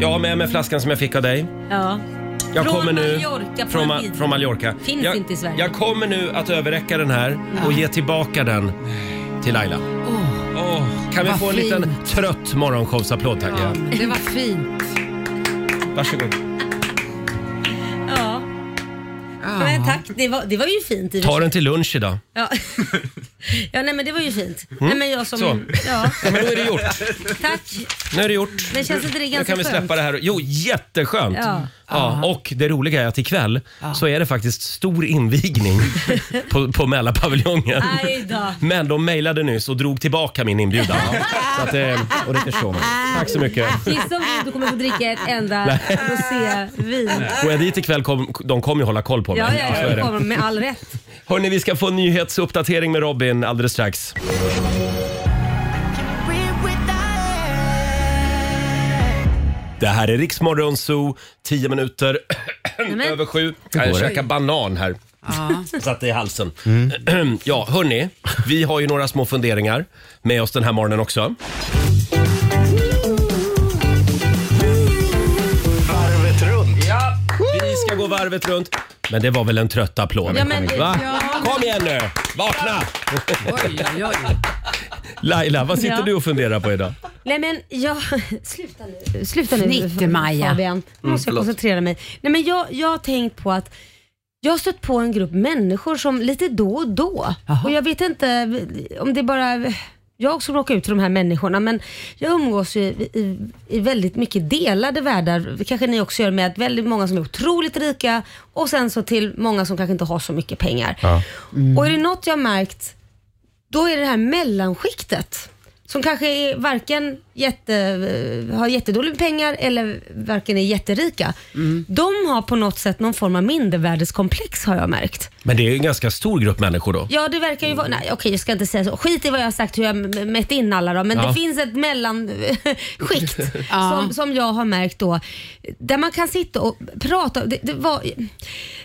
[SPEAKER 1] Jag har med mig flaskan som jag fick av dig.
[SPEAKER 2] Ja.
[SPEAKER 1] Jag
[SPEAKER 2] Från
[SPEAKER 1] kommer nu
[SPEAKER 2] Mallorca på
[SPEAKER 1] från,
[SPEAKER 2] en
[SPEAKER 1] Ma-
[SPEAKER 2] bil.
[SPEAKER 1] från Mallorca.
[SPEAKER 2] Finns
[SPEAKER 1] jag,
[SPEAKER 2] inte i Sverige.
[SPEAKER 1] Jag kommer nu att överräcka den här och ge tillbaka den till Laila. Åh, kan vi
[SPEAKER 7] vad
[SPEAKER 1] få en liten
[SPEAKER 7] fint.
[SPEAKER 1] trött morgonshowsapplåd tack? Ja.
[SPEAKER 7] Det var fint.
[SPEAKER 1] Varsågod.
[SPEAKER 2] Ja.
[SPEAKER 1] Ah.
[SPEAKER 2] Men tack, det var, det var ju fint i och för
[SPEAKER 1] Ta den till lunch idag.
[SPEAKER 2] Ja. <laughs> ja, nej men det var ju fint.
[SPEAKER 1] Mm.
[SPEAKER 2] Nej, men jag som...
[SPEAKER 1] Så.
[SPEAKER 2] Ja.
[SPEAKER 1] Ja, men då är det gjort.
[SPEAKER 2] Tack.
[SPEAKER 1] Nu är det gjort.
[SPEAKER 2] Men känns inte det
[SPEAKER 1] nu
[SPEAKER 2] ganska
[SPEAKER 1] kan vi släppa
[SPEAKER 2] skönt?
[SPEAKER 1] det här. Jo, jätteskönt!
[SPEAKER 2] Ja.
[SPEAKER 1] Ja, och det roliga är att ikväll
[SPEAKER 2] Ja.
[SPEAKER 1] så är det faktiskt stor
[SPEAKER 2] <laughs>
[SPEAKER 1] invigning på, på Mälarpaviljongen.
[SPEAKER 2] Aj då.
[SPEAKER 1] Men de mejlade nyss och drog tillbaka min inbjudan. Så att, eh, och det förstår man. Tack så mycket.
[SPEAKER 2] Gissa om du kommer få dricka ett enda
[SPEAKER 1] Nej.
[SPEAKER 2] rosévin.
[SPEAKER 1] Går jag dit ikväll kom, de kommer ju hålla koll på
[SPEAKER 2] Ja,
[SPEAKER 1] mig.
[SPEAKER 2] ja,
[SPEAKER 1] Så
[SPEAKER 2] ja,
[SPEAKER 1] är
[SPEAKER 2] det
[SPEAKER 1] det.
[SPEAKER 2] kommer med all rätt.
[SPEAKER 1] Hörni, vi ska få en nyhetsuppdatering med Robin alldeles strax. Det här är Riksmorgon Zoo, 10 minuter över sju.
[SPEAKER 5] Hur går
[SPEAKER 1] Jag
[SPEAKER 5] det?
[SPEAKER 1] käkar banan här. Satt det i halsen. <clears throat> ja, hörni. Vi har ju några små funderingar med oss den här morgonen också.
[SPEAKER 5] Varvet runt.
[SPEAKER 1] Ja. Vi ska gå varvet runt. Men det var väl en trött applåd?
[SPEAKER 5] Ja, men-
[SPEAKER 1] Va?
[SPEAKER 5] ja.
[SPEAKER 1] Kom igen nu! Vakna! Laila, vad sitter
[SPEAKER 2] Ja.
[SPEAKER 1] du och funderar på idag?
[SPEAKER 2] Nej men jag... <laughs> Sluta nu. Sluta nu
[SPEAKER 7] Fnittermaja.
[SPEAKER 2] Fabian. Nu
[SPEAKER 1] Mm,
[SPEAKER 2] måste jag
[SPEAKER 1] förlåt.
[SPEAKER 2] koncentrera mig. Nej men jag, jag har tänkt på att jag har stött på en grupp människor som lite då och då. Och jag vet inte om det är bara jag som råkar ut för de här människorna men jag umgås ju i, i, i väldigt mycket delade världar, kanske ni också gör med att väldigt många som är otroligt rika och sen så till många som kanske inte har så mycket pengar. Och är det något jag har märkt, då är det det här mellanskiktet som kanske är varken jätte, eh, har jättedåligt med pengar eller varken är jätterika. De har på något sätt någon form av mindervärdeskomplex har jag märkt.
[SPEAKER 1] Men det är ju en ganska stor grupp människor då. Mm.
[SPEAKER 2] Ja, det verkar ju vara... Nej, okej, jag ska inte säga så. Skit i vad jag har sagt hur jag m- mätt in alla då, men
[SPEAKER 1] Ja.
[SPEAKER 2] det finns ett <laughs> mellanskikt
[SPEAKER 1] <laughs>
[SPEAKER 2] som, som jag har märkt då, där man kan sitta och prata. Det, det var,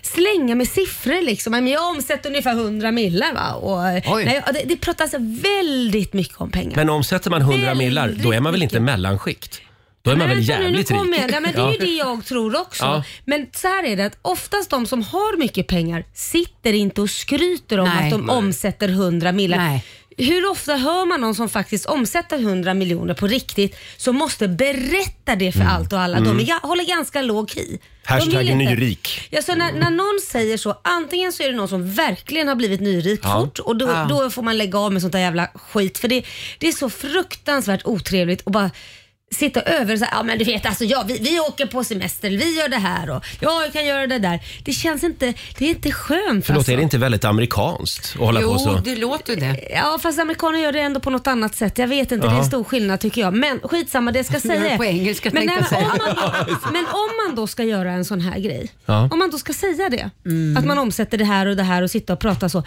[SPEAKER 2] slänga med siffror liksom. Men Jag omsätter ungefär 100 millar va? Och,
[SPEAKER 1] Oj.
[SPEAKER 2] nej, det, det pratas väldigt mycket om pengar.
[SPEAKER 1] Men omsätter man 100 millar, då är man väl inte mellanskikt? Då är man
[SPEAKER 2] Men
[SPEAKER 1] väl
[SPEAKER 2] vänta nu,
[SPEAKER 1] jävligt
[SPEAKER 2] nu
[SPEAKER 1] rik?
[SPEAKER 2] kommer jag. Nej, men det är ju
[SPEAKER 1] Ja.
[SPEAKER 2] det jag tror också.
[SPEAKER 1] Ja.
[SPEAKER 2] Men så här är det att oftast de som har mycket pengar sitter inte och skryter om
[SPEAKER 7] Nej.
[SPEAKER 2] att de
[SPEAKER 7] Nej.
[SPEAKER 2] omsätter 100 miljoner.
[SPEAKER 7] Nej.
[SPEAKER 2] Hur ofta hör man någon som faktiskt omsätter 100 miljoner på riktigt som måste berätta det för
[SPEAKER 1] Mm.
[SPEAKER 2] allt och alla? De
[SPEAKER 1] Mm.
[SPEAKER 2] är, ga- håller ganska låg key. De vill
[SPEAKER 1] Hashtag
[SPEAKER 2] inte-
[SPEAKER 1] nyrik.
[SPEAKER 2] Ja, så när, när någon säger så, antingen så är det någon som verkligen har blivit nyrik
[SPEAKER 1] Ja.
[SPEAKER 2] fort och då,
[SPEAKER 1] Ja.
[SPEAKER 2] då får man lägga av med sånt där jävla skit för det, det är så fruktansvärt otrevligt och bara sitta över och säga, ja men du vet alltså ja, vi, vi åker på semester, vi gör det här och ja, jag kan göra det där. Det känns inte, det är inte skönt
[SPEAKER 1] Förlåt,
[SPEAKER 2] alltså.
[SPEAKER 1] är det inte väldigt amerikanskt att hålla på så?
[SPEAKER 2] låter det. Ja, fast amerikaner gör det ändå på något annat sätt. Jag vet inte, det är
[SPEAKER 1] Jaha.
[SPEAKER 2] en stor skillnad tycker jag. Men skitsamma, det ska jag
[SPEAKER 7] <laughs> Det
[SPEAKER 2] säga.
[SPEAKER 7] är på engelska,
[SPEAKER 2] men,
[SPEAKER 7] tänkte
[SPEAKER 2] nej,
[SPEAKER 7] jag
[SPEAKER 2] men,
[SPEAKER 7] säga.
[SPEAKER 2] om
[SPEAKER 7] <laughs>
[SPEAKER 2] man, men om man då ska göra en sån här grej,
[SPEAKER 7] Ja.
[SPEAKER 2] om man då ska säga det,
[SPEAKER 7] Mm.
[SPEAKER 2] att man omsätter det här och det här och sitta och prata så.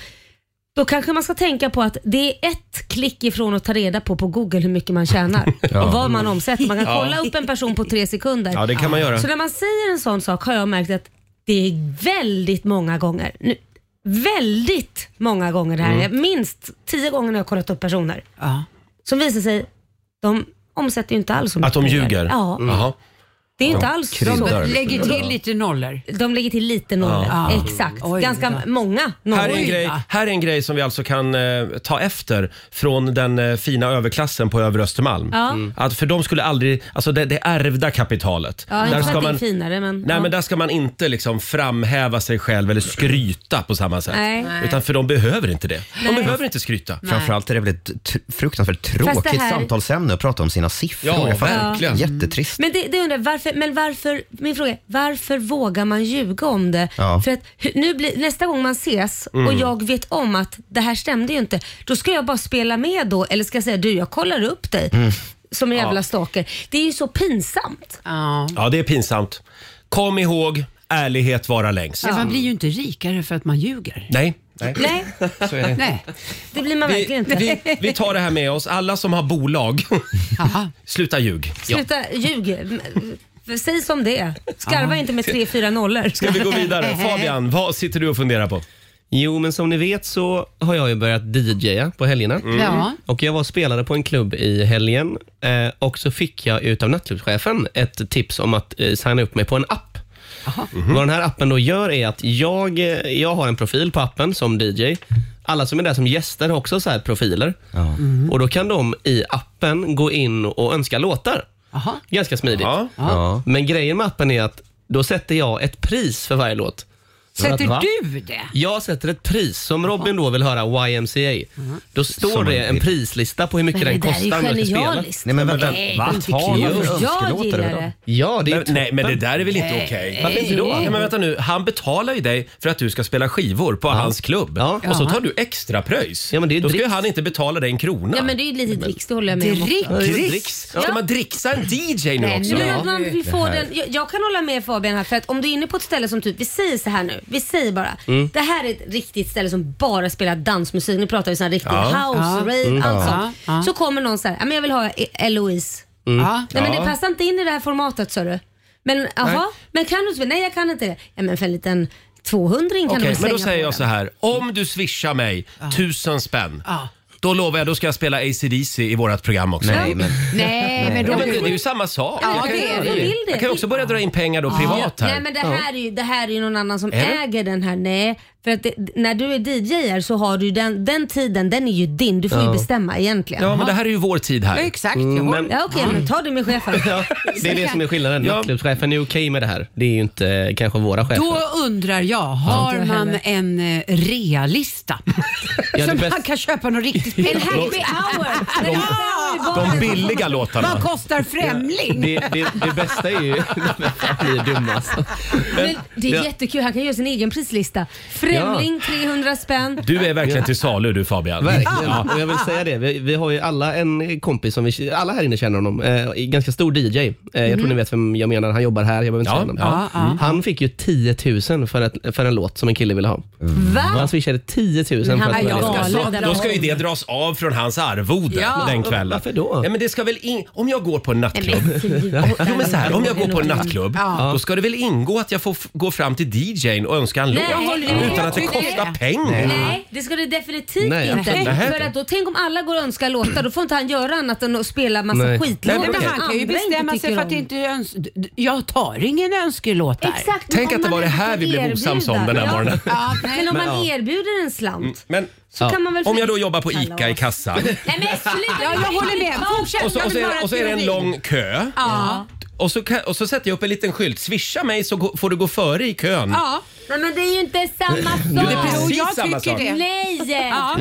[SPEAKER 2] Då kanske man ska tänka på att det är ett klick ifrån att ta reda på på Google hur mycket man
[SPEAKER 7] <laughs>
[SPEAKER 2] tjänar
[SPEAKER 1] Ja.
[SPEAKER 2] och vad man omsätter. Man kan
[SPEAKER 1] Ja.
[SPEAKER 2] kolla upp en person på tre sekunder.
[SPEAKER 1] Ja, det kan man göra.
[SPEAKER 2] Så när man säger en sån sak har jag märkt att det är väldigt många gånger, nu, väldigt många gånger det här,
[SPEAKER 7] Mm.
[SPEAKER 2] minst tio gånger när jag har kollat upp personer
[SPEAKER 7] Ja.
[SPEAKER 2] som visar sig, de omsätter ju inte alls så
[SPEAKER 1] Att de
[SPEAKER 2] mycket pengar.
[SPEAKER 1] ljuger? Mm.
[SPEAKER 2] Ja.
[SPEAKER 1] Jaha.
[SPEAKER 2] Det är inte
[SPEAKER 1] De
[SPEAKER 2] alls
[SPEAKER 1] kryddar
[SPEAKER 2] så.
[SPEAKER 1] lite. Lägger till
[SPEAKER 2] lite nollor. De lägger till lite nollor,
[SPEAKER 1] Ja.
[SPEAKER 2] exakt. Ganska många nollor.
[SPEAKER 1] Här är, en grej, här är en grej som vi alltså kan eh, ta efter från den eh, fina överklassen på Övre Östermalm.
[SPEAKER 2] Ja. Mm.
[SPEAKER 1] Att för de skulle aldrig, alltså det, det ärvda kapitalet.
[SPEAKER 2] Ja, inte för att det är
[SPEAKER 1] man,
[SPEAKER 2] finare men...
[SPEAKER 1] nej,
[SPEAKER 2] ja.
[SPEAKER 1] men där ska man inte liksom framhäva sig själv eller skryta på samma sätt.
[SPEAKER 2] Nej. Nej.
[SPEAKER 1] Utan för de behöver inte det. De
[SPEAKER 2] Nej.
[SPEAKER 1] behöver inte skryta.
[SPEAKER 2] Nej.
[SPEAKER 3] Framförallt är det väl ett t- fruktansvärt
[SPEAKER 2] Fast det
[SPEAKER 3] tråkigt
[SPEAKER 2] här-
[SPEAKER 3] samtalsämne att prata om sina siffror.
[SPEAKER 1] Ja,
[SPEAKER 3] Jag fattar-
[SPEAKER 2] verkligen.
[SPEAKER 3] Jättetrist.
[SPEAKER 2] Men det, det undrar jag, varför, men varför, min fråga är, varför vågar man ljuga om det?
[SPEAKER 3] Ja.
[SPEAKER 2] För att hu- nu blir, nästa gång man ses och
[SPEAKER 3] Mm.
[SPEAKER 2] jag vet om att det här stämde ju inte, då ska jag bara spela med då eller ska jag säga du jag kollar upp dig som en jävla
[SPEAKER 1] Ja.
[SPEAKER 2] stalker. Det är ju så pinsamt.
[SPEAKER 1] Ja, det är pinsamt. Kom ihåg, ärlighet vara längst.
[SPEAKER 7] Men man blir ju inte rikare för att man ljuger.
[SPEAKER 1] Nej. Nej.
[SPEAKER 7] Nej.
[SPEAKER 1] Så är det.
[SPEAKER 7] Nej.
[SPEAKER 2] Det blir man verkligen inte.
[SPEAKER 1] Vi, vi tar det här med oss. Alla som har bolag, <laughs> sluta ljug.
[SPEAKER 2] Sluta ljug. M- Säg som det är. Skarva inte med tre fyra nollor.
[SPEAKER 1] Ska vi gå vidare?
[SPEAKER 2] <laughs>
[SPEAKER 1] Fabian, vad sitter du och funderar på?
[SPEAKER 10] Jo, men som ni vet så har jag ju börjat DJa på helgerna.
[SPEAKER 7] Ja.
[SPEAKER 10] Och Jag var och spelade på en klubb i helgen eh, och så fick jag utav nattklubbschefen ett tips om att eh, signa upp mig på en app. Mm-hmm. Vad den här appen då gör är att jag, eh, jag har en profil på appen som DJ. Alla som är där som gäster har också så här profiler. Och Då kan de i appen gå in och önska låtar. Ganska smidigt. Men grejen med appen är att då sätter jag ett pris för varje låt. För att- va?
[SPEAKER 7] Sätter du det?
[SPEAKER 10] Jag sätter ett pris. Som Robin då vill höra YMCA, då står
[SPEAKER 3] Som
[SPEAKER 10] det
[SPEAKER 3] man
[SPEAKER 10] en
[SPEAKER 3] vill.
[SPEAKER 10] prislista på hur mycket den
[SPEAKER 2] Men det där är
[SPEAKER 10] kostar. om jag ska spela.
[SPEAKER 2] genialiskt.
[SPEAKER 3] Nej, men vänta.
[SPEAKER 2] Nej,
[SPEAKER 3] Va?
[SPEAKER 2] det är inte
[SPEAKER 3] Har
[SPEAKER 2] kul.
[SPEAKER 3] man för
[SPEAKER 2] Jag
[SPEAKER 3] önskelåtar
[SPEAKER 2] gillar
[SPEAKER 3] över dem?
[SPEAKER 2] det.
[SPEAKER 10] Ja, det är
[SPEAKER 1] Men,
[SPEAKER 10] ju
[SPEAKER 1] nej, men det där är väl inte
[SPEAKER 2] Nej.
[SPEAKER 1] okej?
[SPEAKER 2] Varför inte då?
[SPEAKER 1] Nej, men vänta nu, han betalar ju dig för att du ska spela skivor på hans klubb.
[SPEAKER 10] Ja.
[SPEAKER 1] Och så tar du extra pröjs.
[SPEAKER 10] Ja, men det är
[SPEAKER 1] då ska ju
[SPEAKER 10] dricks.
[SPEAKER 1] han inte betala dig en krona.
[SPEAKER 2] Ja men det är ju lite dricks, det håller jag med om. också.
[SPEAKER 7] Drick?
[SPEAKER 1] Dricks? Ska man dricksa en DJ nu också?
[SPEAKER 2] Nej, men att man vill få den, jag, jag kan hålla med Fabian här för att om du är inne på ett ställe som typ, vi säger så här nu, vi säger bara,
[SPEAKER 1] Mm.
[SPEAKER 2] det här är ett riktigt ställe som bara spelar dansmusik, nu pratar vi sån här riktig house, rave,
[SPEAKER 1] Mm.
[SPEAKER 2] allt sånt.
[SPEAKER 7] Ja.
[SPEAKER 2] Så kommer någon så här, "Ja, men jag vill ha E- Eloise.
[SPEAKER 7] Ja.
[SPEAKER 2] Nej men det passar inte in i det här formatet sa du. Men jaha, men kan du inte? Nej jag kan inte det. Ja men för en liten 200 kan du
[SPEAKER 1] Okej,
[SPEAKER 2] väl
[SPEAKER 1] men då
[SPEAKER 2] slänga
[SPEAKER 1] säger
[SPEAKER 2] på
[SPEAKER 1] jag
[SPEAKER 2] den.
[SPEAKER 1] så här. Om du swishar mig tusen spänn, då lovar jag då ska jag spela ACDC i vårt program också.
[SPEAKER 3] Nej, men
[SPEAKER 7] Nej, Eh, men
[SPEAKER 1] Ja, men
[SPEAKER 7] Roger.
[SPEAKER 1] det, det är ju samma sak.
[SPEAKER 2] Ja,
[SPEAKER 1] Jag kan-
[SPEAKER 2] det är det. Vill det.
[SPEAKER 1] Jag kan också börja dra in pengar då privat här.
[SPEAKER 2] Nej men det här, är ju, det här är ju någon annan som
[SPEAKER 1] Är det?
[SPEAKER 2] äger den här. Nej, för att det, när du är DJ här så har du ju den, den tiden, den är ju din. Du får ju bestämma egentligen.
[SPEAKER 1] Ja, men det här är ju vår tid
[SPEAKER 7] Ja,
[SPEAKER 1] här.
[SPEAKER 7] Exakt, jag håller
[SPEAKER 10] men-
[SPEAKER 2] Ja, okej, men ta det
[SPEAKER 1] <laughs>
[SPEAKER 2] med chefen.
[SPEAKER 10] Ja, det är det som är skillnaden.
[SPEAKER 1] Ja.
[SPEAKER 10] Nattklubbschefen är okej med det här. Det är ju inte eh, kanske våra chefer.
[SPEAKER 7] Då undrar jag, har
[SPEAKER 2] Inte jag
[SPEAKER 7] man
[SPEAKER 2] heller.
[SPEAKER 7] en eh, realista?
[SPEAKER 10] det
[SPEAKER 7] som
[SPEAKER 10] bäst-
[SPEAKER 7] man kan köpa något riktigt
[SPEAKER 2] En
[SPEAKER 7] billigt?
[SPEAKER 2] happy hour! Men det här är ju bara-
[SPEAKER 1] De billiga
[SPEAKER 7] Vad
[SPEAKER 1] låtarna.
[SPEAKER 7] kostar Främling?
[SPEAKER 10] Det, det, det bästa är ju... <laughs> Fan, ni är dumma alltså.
[SPEAKER 2] Men det
[SPEAKER 10] Ja.
[SPEAKER 2] är jättekul, han kan göra sin egen prislista. Främling 300 spänn.
[SPEAKER 1] Du är verkligen till salu du Fabian.
[SPEAKER 10] Verkligen. Och jag vill säga det, vi, vi har ju alla en kompis som vi, alla här inne känner honom. Eh, ganska stor DJ. Eh,
[SPEAKER 2] Mhm.
[SPEAKER 10] jag tror ni vet vem jag menar, han jobbar här, jag behöver inte
[SPEAKER 1] Ja,
[SPEAKER 10] säga honom.
[SPEAKER 1] ja.
[SPEAKER 10] Mm. Han fick ju 10 000 för, ett, för en låt som en kille ville ha.
[SPEAKER 1] Mm.
[SPEAKER 2] Va?
[SPEAKER 10] Han swishade 10 000 för att
[SPEAKER 2] Ah. Han
[SPEAKER 10] få
[SPEAKER 2] var
[SPEAKER 10] den
[SPEAKER 2] ju
[SPEAKER 10] låten.
[SPEAKER 2] galen.
[SPEAKER 1] Så,
[SPEAKER 2] där
[SPEAKER 1] då
[SPEAKER 2] de-
[SPEAKER 1] ska ju det dras av från hans arvode
[SPEAKER 7] Ja.
[SPEAKER 1] den kvällen.
[SPEAKER 10] Varför då?
[SPEAKER 1] Ja, men det ska väl in... Om jag går på en nattklubb.
[SPEAKER 2] Nej, men sluta.
[SPEAKER 1] Jo men så här, om jag går på en
[SPEAKER 2] Ja.
[SPEAKER 1] nattklubb,
[SPEAKER 7] Ja.
[SPEAKER 1] då ska det väl ingå att jag får f- gå fram till DJn och önska en låt
[SPEAKER 2] Nej, jag håller med.
[SPEAKER 1] utan att det
[SPEAKER 7] Nej.
[SPEAKER 1] kostar pengar.
[SPEAKER 2] Nej, det ska det definitivt
[SPEAKER 10] Nej,
[SPEAKER 2] inte.
[SPEAKER 1] absolut inte.
[SPEAKER 2] För att då, tänk om alla går och önskar låtar, då får inte han göra annat än att spela massa
[SPEAKER 10] Nej.
[SPEAKER 2] skitlåtar
[SPEAKER 1] Nej,
[SPEAKER 7] Men
[SPEAKER 2] som
[SPEAKER 7] han kan ju
[SPEAKER 2] andra inte
[SPEAKER 7] bestämma sig
[SPEAKER 2] tycker
[SPEAKER 7] för att
[SPEAKER 2] om.
[SPEAKER 7] inte öns- d- d- Jag tar ingen önskelåt där.
[SPEAKER 2] Exakt, men
[SPEAKER 1] Tänk
[SPEAKER 2] om
[SPEAKER 1] att det
[SPEAKER 2] man
[SPEAKER 1] var det
[SPEAKER 2] hade
[SPEAKER 1] här
[SPEAKER 2] fått
[SPEAKER 1] vi blev
[SPEAKER 2] erbjuda.
[SPEAKER 1] osams om den här
[SPEAKER 2] Ja.
[SPEAKER 1] morgonen.
[SPEAKER 7] Ja, nej.
[SPEAKER 2] Men om man erbjuder en slant
[SPEAKER 1] Men
[SPEAKER 2] så
[SPEAKER 10] Ja.
[SPEAKER 2] kan man väl...
[SPEAKER 1] om
[SPEAKER 2] få-
[SPEAKER 1] jag då jobbar på
[SPEAKER 2] Kalas.
[SPEAKER 1] ICA i kassan
[SPEAKER 2] Nej <laughs> men sluta!
[SPEAKER 7] Ja, jag håller med. Fortsätt.
[SPEAKER 1] och så, och så, är, och så är det en lång kö.
[SPEAKER 7] Ja.
[SPEAKER 1] Och så, kan- och så sätter jag upp en liten skylt. Swisha mig så gå- får du gå före i kön.
[SPEAKER 7] Ja.
[SPEAKER 2] Men, men det är ju inte samma sak!
[SPEAKER 1] Mm. det är
[SPEAKER 7] Jo,
[SPEAKER 1] precis
[SPEAKER 7] jag
[SPEAKER 1] samma
[SPEAKER 7] tycker
[SPEAKER 1] sak.
[SPEAKER 7] det.
[SPEAKER 2] Nej!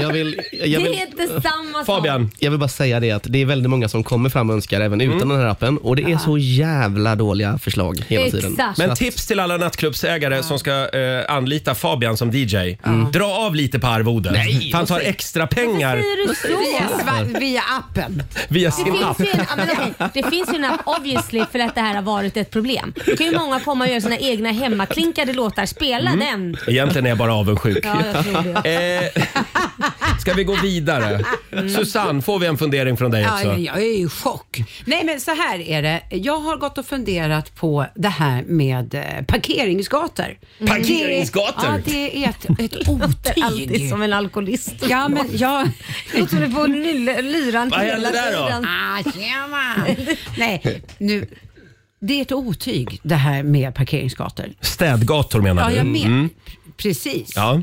[SPEAKER 10] Jag vill, jag
[SPEAKER 2] Det
[SPEAKER 10] vill,
[SPEAKER 2] är inte samma sak.
[SPEAKER 1] Fabian,
[SPEAKER 10] jag vill bara säga det att det är väldigt många som kommer fram och önskar även
[SPEAKER 5] Mm.
[SPEAKER 10] utan den här appen och det är så jävla dåliga förslag hela tiden.
[SPEAKER 2] Ah. Exakt.
[SPEAKER 1] men tips till alla nattklubbsägare som ska eh, anlita Fabian som DJ. Dra av lite på arvoden. För han tar extra pengar
[SPEAKER 2] Säger du
[SPEAKER 7] Via,
[SPEAKER 2] så?
[SPEAKER 7] sva- via appen.
[SPEAKER 1] via
[SPEAKER 2] Det
[SPEAKER 1] sin app.
[SPEAKER 2] finns, ju en, ja, men okej, det finns ju en app obviously för att det här har varit ett problem. Då kan ju många komma och göra sina egna hemmaklinkade låtar. Spela
[SPEAKER 1] Mm.
[SPEAKER 2] den!
[SPEAKER 1] Egentligen är jag bara avundsjuk.
[SPEAKER 2] Ja, jag tror det.
[SPEAKER 1] <laughs> Eh, ska vi gå vidare? Susanne, får vi en fundering från dig
[SPEAKER 7] Mm. Ja,
[SPEAKER 1] också?
[SPEAKER 7] jag, jag är i chock. Nej, men så här är det. Jag har gått och funderat på det här med eh, parkeringsgator.
[SPEAKER 1] Mm. Parkeringsgator?
[SPEAKER 7] Det, ja, det är
[SPEAKER 1] <laughs>
[SPEAKER 7] ett, ett
[SPEAKER 2] Låter alltid
[SPEAKER 7] otyg.
[SPEAKER 2] som en alkoholist.
[SPEAKER 7] Ja, men jag...
[SPEAKER 2] Låter som du får nyl- lyran
[SPEAKER 1] Vad hände där då?
[SPEAKER 7] Ah, tjena! <laughs> Nej, nu... Det är ett otyg det här med parkeringsgator.
[SPEAKER 1] Städgator menar
[SPEAKER 7] Ja,
[SPEAKER 1] du?
[SPEAKER 7] jag menar
[SPEAKER 1] Mm.
[SPEAKER 7] precis. Ja.
[SPEAKER 1] Ja.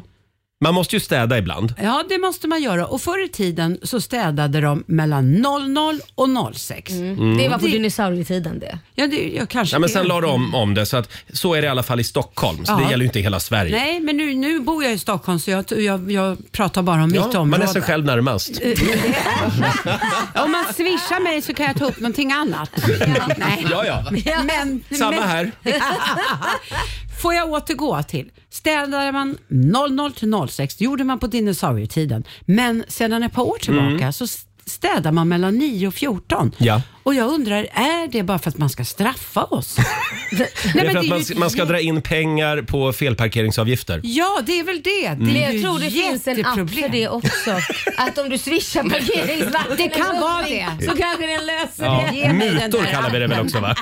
[SPEAKER 1] Man måste ju städa ibland.
[SPEAKER 7] det måste man göra. Och förr i tiden så städade de mellan 00 och 06.
[SPEAKER 2] Det var på dinosaurietiden det.
[SPEAKER 7] Ja, det, jag kanske
[SPEAKER 1] Mm. Ja, men
[SPEAKER 7] är-
[SPEAKER 1] sen la de om, om det, så att så är det i alla fall i Stockholm. Så det
[SPEAKER 7] Mm. Ja.
[SPEAKER 1] gäller ju inte i hela Sverige.
[SPEAKER 7] Nej, men nu, nu bor jag i Stockholm så jag, jag, jag pratar bara om mitt
[SPEAKER 1] ja, man
[SPEAKER 7] område.
[SPEAKER 1] är sig själv närmast.
[SPEAKER 7] Om man swishar mig så kan jag ta upp någonting annat. Nej.
[SPEAKER 1] <laughs> Ja, ja.
[SPEAKER 7] Men,
[SPEAKER 1] Samma
[SPEAKER 7] men,
[SPEAKER 1] här.
[SPEAKER 7] Får jag återgå till, städade man 00 till 06, det gjorde man på dinosaurietiden, men sedan ett par år tillbaka så städar man mellan 9 och 14.
[SPEAKER 1] Mm. Ja.
[SPEAKER 7] Och jag undrar, är det bara för att man ska
[SPEAKER 1] <laughs>
[SPEAKER 7] straffa oss? Nej,
[SPEAKER 1] Det är
[SPEAKER 7] men
[SPEAKER 1] för
[SPEAKER 7] ju
[SPEAKER 1] att man,
[SPEAKER 7] ett
[SPEAKER 1] man ska
[SPEAKER 7] jä-
[SPEAKER 1] dra in pengar på felparkeringsavgifter.
[SPEAKER 7] Ja, det är väl det.
[SPEAKER 1] Mm.
[SPEAKER 7] Det
[SPEAKER 2] Men
[SPEAKER 7] är
[SPEAKER 2] jag
[SPEAKER 7] ju
[SPEAKER 2] tror det finns en app
[SPEAKER 7] jätteproblem.
[SPEAKER 2] för det också. Att om du swishar parkeringsvakten
[SPEAKER 7] Det kan
[SPEAKER 2] en
[SPEAKER 7] vara
[SPEAKER 2] hundring
[SPEAKER 7] det.
[SPEAKER 2] Så kanske den löser
[SPEAKER 1] Ja.
[SPEAKER 2] det.
[SPEAKER 1] Mutor kallar vi det väl också va?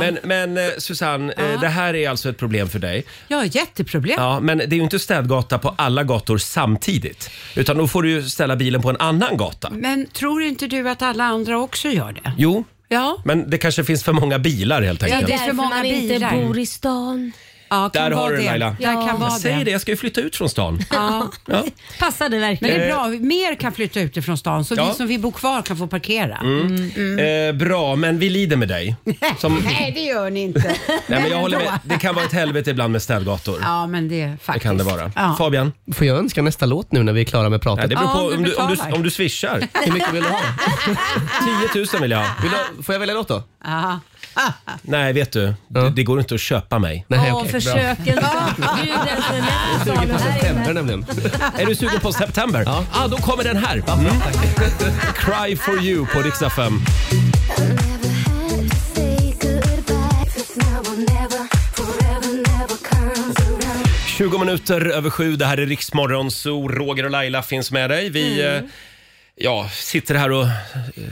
[SPEAKER 1] Men, men eh, Susanne, eh, det här är alltså ett problem för dig.
[SPEAKER 7] Ja, jätteproblem.
[SPEAKER 1] Ja, men det är ju inte städgata på alla gator samtidigt. Utan då får du ju ställa bilen på en annan gata.
[SPEAKER 7] Men tror inte du att alla andra också gör det?
[SPEAKER 1] Jo,
[SPEAKER 7] Ja.
[SPEAKER 1] men det kanske finns för många bilar helt
[SPEAKER 2] Det är
[SPEAKER 1] enkelt.
[SPEAKER 7] det är för
[SPEAKER 2] därför
[SPEAKER 7] många
[SPEAKER 2] man inte
[SPEAKER 7] bilar.
[SPEAKER 2] bor i stan.
[SPEAKER 7] Ja, kan
[SPEAKER 1] Där
[SPEAKER 7] vara
[SPEAKER 1] har du
[SPEAKER 7] det.
[SPEAKER 1] den Laila.
[SPEAKER 7] Ja, kan vara
[SPEAKER 1] jag säger
[SPEAKER 7] det.
[SPEAKER 1] det, jag ska ju flytta ut från stan.
[SPEAKER 7] Ja.
[SPEAKER 1] Ja.
[SPEAKER 2] Passar det
[SPEAKER 7] Men
[SPEAKER 2] verkligen?
[SPEAKER 7] det är bra, mer kan flytta utifrån stan så
[SPEAKER 1] Eh. Ja.
[SPEAKER 7] vi som vill bo kvar kan få parkera.
[SPEAKER 1] Mm. Eh, bra, men vi lider med dig. Som,
[SPEAKER 7] <laughs> Nej, det gör ni inte.
[SPEAKER 1] <laughs> nej, men jag håller
[SPEAKER 7] ändå.
[SPEAKER 1] med. Det kan vara ett helvete ibland med städgator.
[SPEAKER 7] Ja, men det faktiskt.
[SPEAKER 1] Det kan det vara.
[SPEAKER 7] Ja.
[SPEAKER 1] Fabian?
[SPEAKER 10] Får jag önska nästa låt nu när vi är klara med pratet?
[SPEAKER 1] Nej, det beror
[SPEAKER 10] Ja,
[SPEAKER 1] på
[SPEAKER 10] om du
[SPEAKER 1] om, du, om, du,
[SPEAKER 10] betalar.
[SPEAKER 1] om du <laughs> swishar.
[SPEAKER 10] Hur mycket vill du ha?
[SPEAKER 1] 10 000 vill jag ha.
[SPEAKER 10] Får jag välja låt då?
[SPEAKER 7] Ja.
[SPEAKER 1] Nej, vet du. Det, det går inte att köpa mig.
[SPEAKER 10] Nej,
[SPEAKER 2] Åh, försöken. Gud, den som är
[SPEAKER 10] Jag
[SPEAKER 2] mest
[SPEAKER 10] är sugen på
[SPEAKER 2] salig här inne.
[SPEAKER 10] september nämligen.
[SPEAKER 1] Är du sugen på September? Ja. Ah, då kommer den här. Mm. Cry for you på riksdag 5.
[SPEAKER 8] Forever,
[SPEAKER 1] 20 minuter över sju. Det här är Riksmorgon, så Roger och Laila finns med dig. Vi
[SPEAKER 2] Mm.
[SPEAKER 1] eh, ja, sitter här och eh,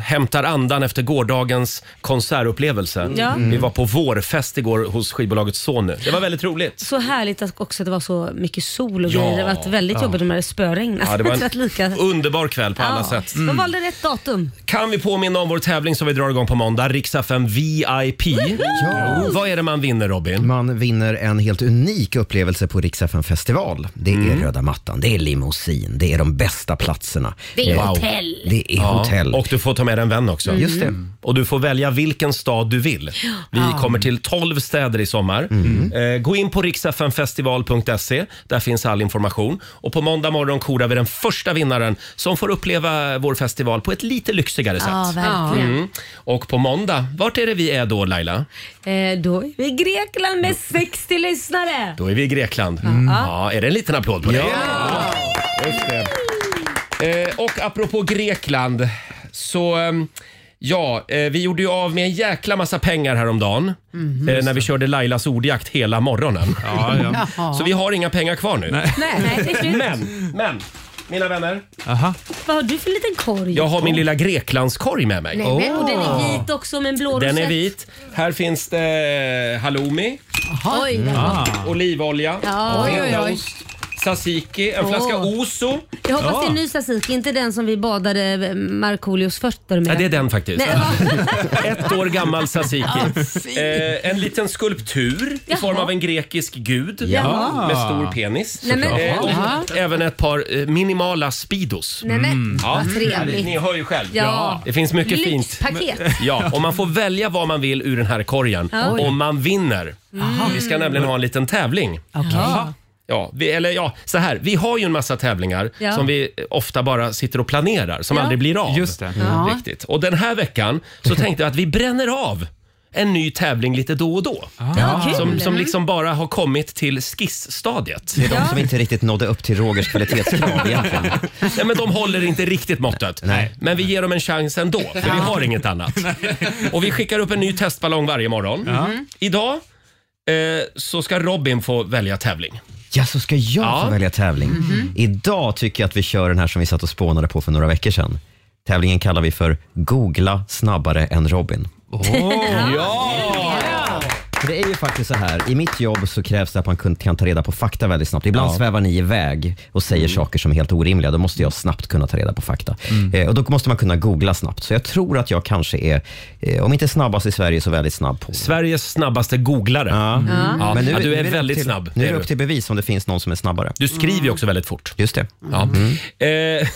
[SPEAKER 1] hämtar andan efter gårdagens konsertupplevelse.
[SPEAKER 2] Ja.
[SPEAKER 1] Vi var på vårfest igår hos skivbolaget Sony. Det var väldigt roligt.
[SPEAKER 2] Så härligt att också att det var så mycket sol och
[SPEAKER 1] Ja.
[SPEAKER 2] grejer. Det har varit väldigt
[SPEAKER 1] Ja.
[SPEAKER 2] jobbigt med <laughs> det spöregnet.
[SPEAKER 1] Ja, det var en-
[SPEAKER 2] att lika...
[SPEAKER 1] Underbar kväll på alla
[SPEAKER 2] Ja.
[SPEAKER 1] sätt.
[SPEAKER 2] De valde rätt datum.
[SPEAKER 1] Kan vi påminna om vår tävling som vi drar igång på måndag, Riks-FM VIP? Ja. Vad är det man vinner Robin?
[SPEAKER 3] Man vinner en helt unik upplevelse på Riksdagen festival. Det är
[SPEAKER 1] Mm.
[SPEAKER 3] röda mattan, det är limousin, det är de bästa platserna.
[SPEAKER 2] Det är
[SPEAKER 3] Eh,
[SPEAKER 2] hotell.
[SPEAKER 3] Det är
[SPEAKER 1] Ja,
[SPEAKER 3] hotell. Mm.
[SPEAKER 1] Och du får ta med dig en vän också. Mm.
[SPEAKER 3] Just det.
[SPEAKER 1] Och du får välja vilken stad du vill. Vi
[SPEAKER 2] Ja.
[SPEAKER 1] kommer till 12 städer i sommar.
[SPEAKER 3] Mm.
[SPEAKER 1] Eh, gå in på riksfmfestival.se. Där finns all information. Och på måndag morgon korar vi den första vinnaren som får uppleva vår festival på ett lite lyxigare sätt.
[SPEAKER 2] Ja, verkligen.
[SPEAKER 1] Mm. Och på måndag, vart är det vi är då Laila?
[SPEAKER 2] Eh, då är vi i Grekland med 60 lyssnare.
[SPEAKER 1] Då är vi i Grekland.
[SPEAKER 2] Mm.
[SPEAKER 1] Ja, är det en liten applåd på dig? Just det. Eh, och apropå Grekland så eh, Ja, eh, vi gjorde ju av med en jäkla massa pengar häromdagen
[SPEAKER 2] Mm,
[SPEAKER 1] eh, när vi körde Lailas ordjakt hela morgonen.
[SPEAKER 9] Ja,
[SPEAKER 1] <laughs>
[SPEAKER 9] ja.
[SPEAKER 7] Jaha.
[SPEAKER 1] Så vi har inga pengar kvar nu.
[SPEAKER 2] Nej, nej, det är slut.
[SPEAKER 1] Men, men, mina vänner.
[SPEAKER 9] Aha.
[SPEAKER 2] Vad har du för liten korg?
[SPEAKER 1] Jag har min lilla Greklandskorg med mig.
[SPEAKER 2] Nej, men, och den är vit också med en blå
[SPEAKER 1] Den är
[SPEAKER 2] rosett.
[SPEAKER 1] vit. Här finns det eh, halloumi,
[SPEAKER 2] Oj,
[SPEAKER 1] Mm. olivolja,
[SPEAKER 2] Ja, oj, oj, oj.
[SPEAKER 1] ost, tzatziki, en flaska
[SPEAKER 2] Åh.
[SPEAKER 1] ouzo.
[SPEAKER 2] Jag hoppas det är en ny tzatziki, inte den som vi badade eh, Markoolios fötter med.
[SPEAKER 1] Ja, det är den faktiskt.
[SPEAKER 2] Nej, va?
[SPEAKER 1] Ett år gammal tzatziki. eh, en liten skulptur i
[SPEAKER 2] Jaha.
[SPEAKER 1] form av en grekisk gud
[SPEAKER 2] Jaha.
[SPEAKER 1] med stor penis.
[SPEAKER 2] Nej, men-
[SPEAKER 1] eh, och även ett par eh, minimala Speedos.
[SPEAKER 2] Nej, men,
[SPEAKER 1] Mm. Ja.
[SPEAKER 2] vad trevligt.
[SPEAKER 1] Ni hör ju själv.
[SPEAKER 2] Ja.
[SPEAKER 1] Det finns mycket fint.
[SPEAKER 2] Lyxpaket.
[SPEAKER 1] Ja, och man får välja vad man vill ur den här korgen
[SPEAKER 2] Ja. Mm.
[SPEAKER 1] om man vinner. Vi ska nämligen ha en liten tävling.
[SPEAKER 7] Okej.
[SPEAKER 1] Ja, vi, eller ja, så här. Vi har ju en massa tävlingar
[SPEAKER 2] Ja.
[SPEAKER 1] som vi ofta bara sitter och planerar, som
[SPEAKER 2] Ja.
[SPEAKER 1] aldrig blir av.
[SPEAKER 9] Just det.
[SPEAKER 7] Ja.
[SPEAKER 1] Riktigt. Och den här veckan
[SPEAKER 3] <laughs>
[SPEAKER 1] så tänkte jag att vi bränner av en ny tävling lite då och då.
[SPEAKER 3] Ah,
[SPEAKER 2] kul.
[SPEAKER 1] Som, som liksom bara har kommit till
[SPEAKER 3] <laughs>
[SPEAKER 1] skissstadiet.
[SPEAKER 3] Det är de som inte riktigt nådde upp till Rogers
[SPEAKER 2] <laughs>
[SPEAKER 3] kvalitetskrav egentligen.
[SPEAKER 1] Nej, men de håller inte riktigt måttet.
[SPEAKER 3] Nej.
[SPEAKER 1] Men vi ger dem en chans ändå, för vi har inget
[SPEAKER 3] <laughs>
[SPEAKER 1] annat. Och vi skickar upp en ny testballong varje morgon. Mm-hmm. Idag eh, så ska Robin få välja tävling.
[SPEAKER 3] Ja, så ska jag
[SPEAKER 1] Ja. Mhm.
[SPEAKER 3] få välja tävling. Mm-hmm. Idag tycker jag att vi kör den här som vi satt och spånade på för några veckor sedan. Tävlingen kallar vi för Googla snabbare
[SPEAKER 1] <laughs>
[SPEAKER 3] än Robin. För Det är ju faktiskt så här, i mitt jobb så krävs det att man kun- kan ta reda på fakta väldigt snabbt. Ibland svävar ni iväg och säger
[SPEAKER 1] Mm.
[SPEAKER 3] saker som är helt orimliga. Då måste jag snabbt kunna ta reda på fakta. Eh, och då måste man kunna googla snabbt. Så jag tror att jag kanske är, eh, om inte snabbast i Sverige, så väldigt snabb på
[SPEAKER 1] Sveriges snabbaste googlare.
[SPEAKER 3] Mm. Ja.
[SPEAKER 1] Ja,
[SPEAKER 3] Men nu,
[SPEAKER 1] ja, du
[SPEAKER 3] nu
[SPEAKER 1] är
[SPEAKER 3] det upp
[SPEAKER 1] väldigt
[SPEAKER 3] till,
[SPEAKER 1] snabb.
[SPEAKER 3] Nu
[SPEAKER 1] Det
[SPEAKER 3] är
[SPEAKER 1] är
[SPEAKER 3] det
[SPEAKER 1] du.
[SPEAKER 3] upp till bevis om det finns någon som är snabbare.
[SPEAKER 1] Du skriver ju också väldigt fort.
[SPEAKER 3] Just det.
[SPEAKER 1] Ja. Eh, <laughs>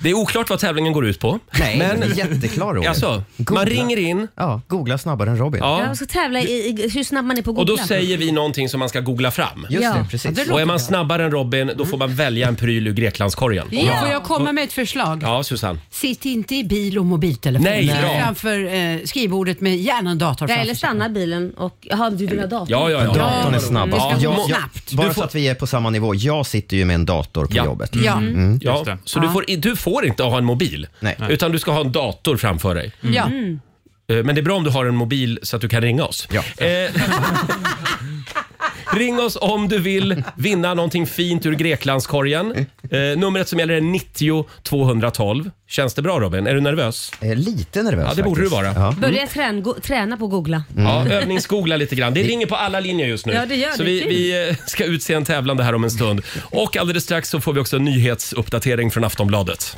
[SPEAKER 1] det är oklart vad tävlingen går ut på.
[SPEAKER 3] Nej, men jätteklar Roger.
[SPEAKER 1] Alltså, man ringer in.
[SPEAKER 3] Ja, googla snabbare än Robin.
[SPEAKER 1] Ja.
[SPEAKER 2] Jag ska tävla i, i hur snabb man är på att
[SPEAKER 1] Och då
[SPEAKER 2] googla.
[SPEAKER 1] säger vi någonting som man ska googla fram.
[SPEAKER 3] Just
[SPEAKER 2] Ja.
[SPEAKER 3] det, Mm. precis.
[SPEAKER 1] Och är man snabbare än Robin, då får man välja en pryl ur Greklandskorgen.
[SPEAKER 7] Ja. Får jag komma med ett förslag?
[SPEAKER 1] Ja, Susanne.
[SPEAKER 7] Sitt inte i bil och mobiltelefon.
[SPEAKER 1] Nej, bra.
[SPEAKER 7] framför eh, skrivbordet med gärna en dator
[SPEAKER 2] Ja,
[SPEAKER 7] framför
[SPEAKER 2] eller
[SPEAKER 7] sig.
[SPEAKER 2] stanna bilen och... Jaha, du vill ha datorn?
[SPEAKER 1] Ja, ja, ja.
[SPEAKER 3] Datorn är snabbast.
[SPEAKER 1] Ja,
[SPEAKER 3] Jag-
[SPEAKER 1] må-
[SPEAKER 3] jag-
[SPEAKER 7] snabbt.
[SPEAKER 3] Bara
[SPEAKER 1] Du får-
[SPEAKER 3] så att vi är på samma nivå. Jag sitter ju med en dator på
[SPEAKER 1] Ja.
[SPEAKER 3] jobbet.
[SPEAKER 7] Ja.
[SPEAKER 1] Ja,
[SPEAKER 9] Just det.
[SPEAKER 1] så du får, du får inte ha en mobil,
[SPEAKER 3] Nej.
[SPEAKER 1] utan du ska ha en dator framför dig.
[SPEAKER 7] Ja.
[SPEAKER 1] Eh, Men det är bra om du har en mobil så att du kan ringa oss.
[SPEAKER 3] Ja.
[SPEAKER 1] Eh, Ring oss om du vill vinna någonting fint ur Greklandskorgen. Eh, numret som gäller är 90 212. Känns det bra Robin? Är du nervös?
[SPEAKER 3] Eh, Lite nervös
[SPEAKER 1] Ja, det borde
[SPEAKER 3] faktiskt.
[SPEAKER 1] du vara.
[SPEAKER 3] Ja.
[SPEAKER 2] Börja träna, go- träna på att googla.
[SPEAKER 1] Ja, övningsgoogla lite grann. Det ringer på alla linjer just nu.
[SPEAKER 2] Ja, det gör
[SPEAKER 1] så
[SPEAKER 2] det.
[SPEAKER 1] vi,
[SPEAKER 2] Kul.
[SPEAKER 1] vi eh, ska utse en tävlande här om en stund. Och alldeles strax så får vi också en nyhetsuppdatering från Aftonbladet.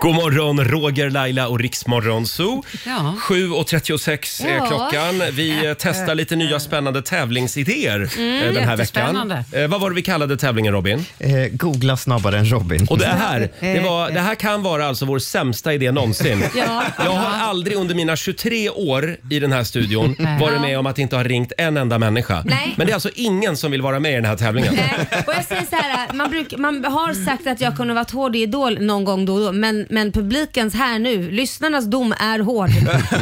[SPEAKER 1] God morgon, Roger, Laila och Riksmorgon Zoo.
[SPEAKER 7] Ja.
[SPEAKER 1] 7.36 är
[SPEAKER 7] Ja.
[SPEAKER 1] eh, klockan. Vi eh, testar lite nya spännande tävlingsidéer
[SPEAKER 7] Mm,
[SPEAKER 1] eh, den här veckan.
[SPEAKER 7] jättespännande.
[SPEAKER 1] Eh, Vad var det vi kallade tävlingen, Robin?
[SPEAKER 3] Eh, googla snabbare än Robin.
[SPEAKER 1] Och det
[SPEAKER 2] Mm.
[SPEAKER 1] här, det, var, det här kan vara alltså vår sämsta idé
[SPEAKER 2] <laughs>
[SPEAKER 1] någonsin.
[SPEAKER 8] Ja.
[SPEAKER 1] Jag har aldrig under mina 23 år i den här studion
[SPEAKER 2] Nej.
[SPEAKER 1] varit med om att inte ha ringt en enda människa.
[SPEAKER 2] Nej.
[SPEAKER 1] Men det är alltså ingen som vill vara med i den här tävlingen.
[SPEAKER 2] Eh, Och jag säger så här, man, bruk, man har sagt att jag kunde varit hård i Idol någon gång då och då, men, men publikens här nu, lyssnarnas dom
[SPEAKER 1] <laughs>
[SPEAKER 2] är hård.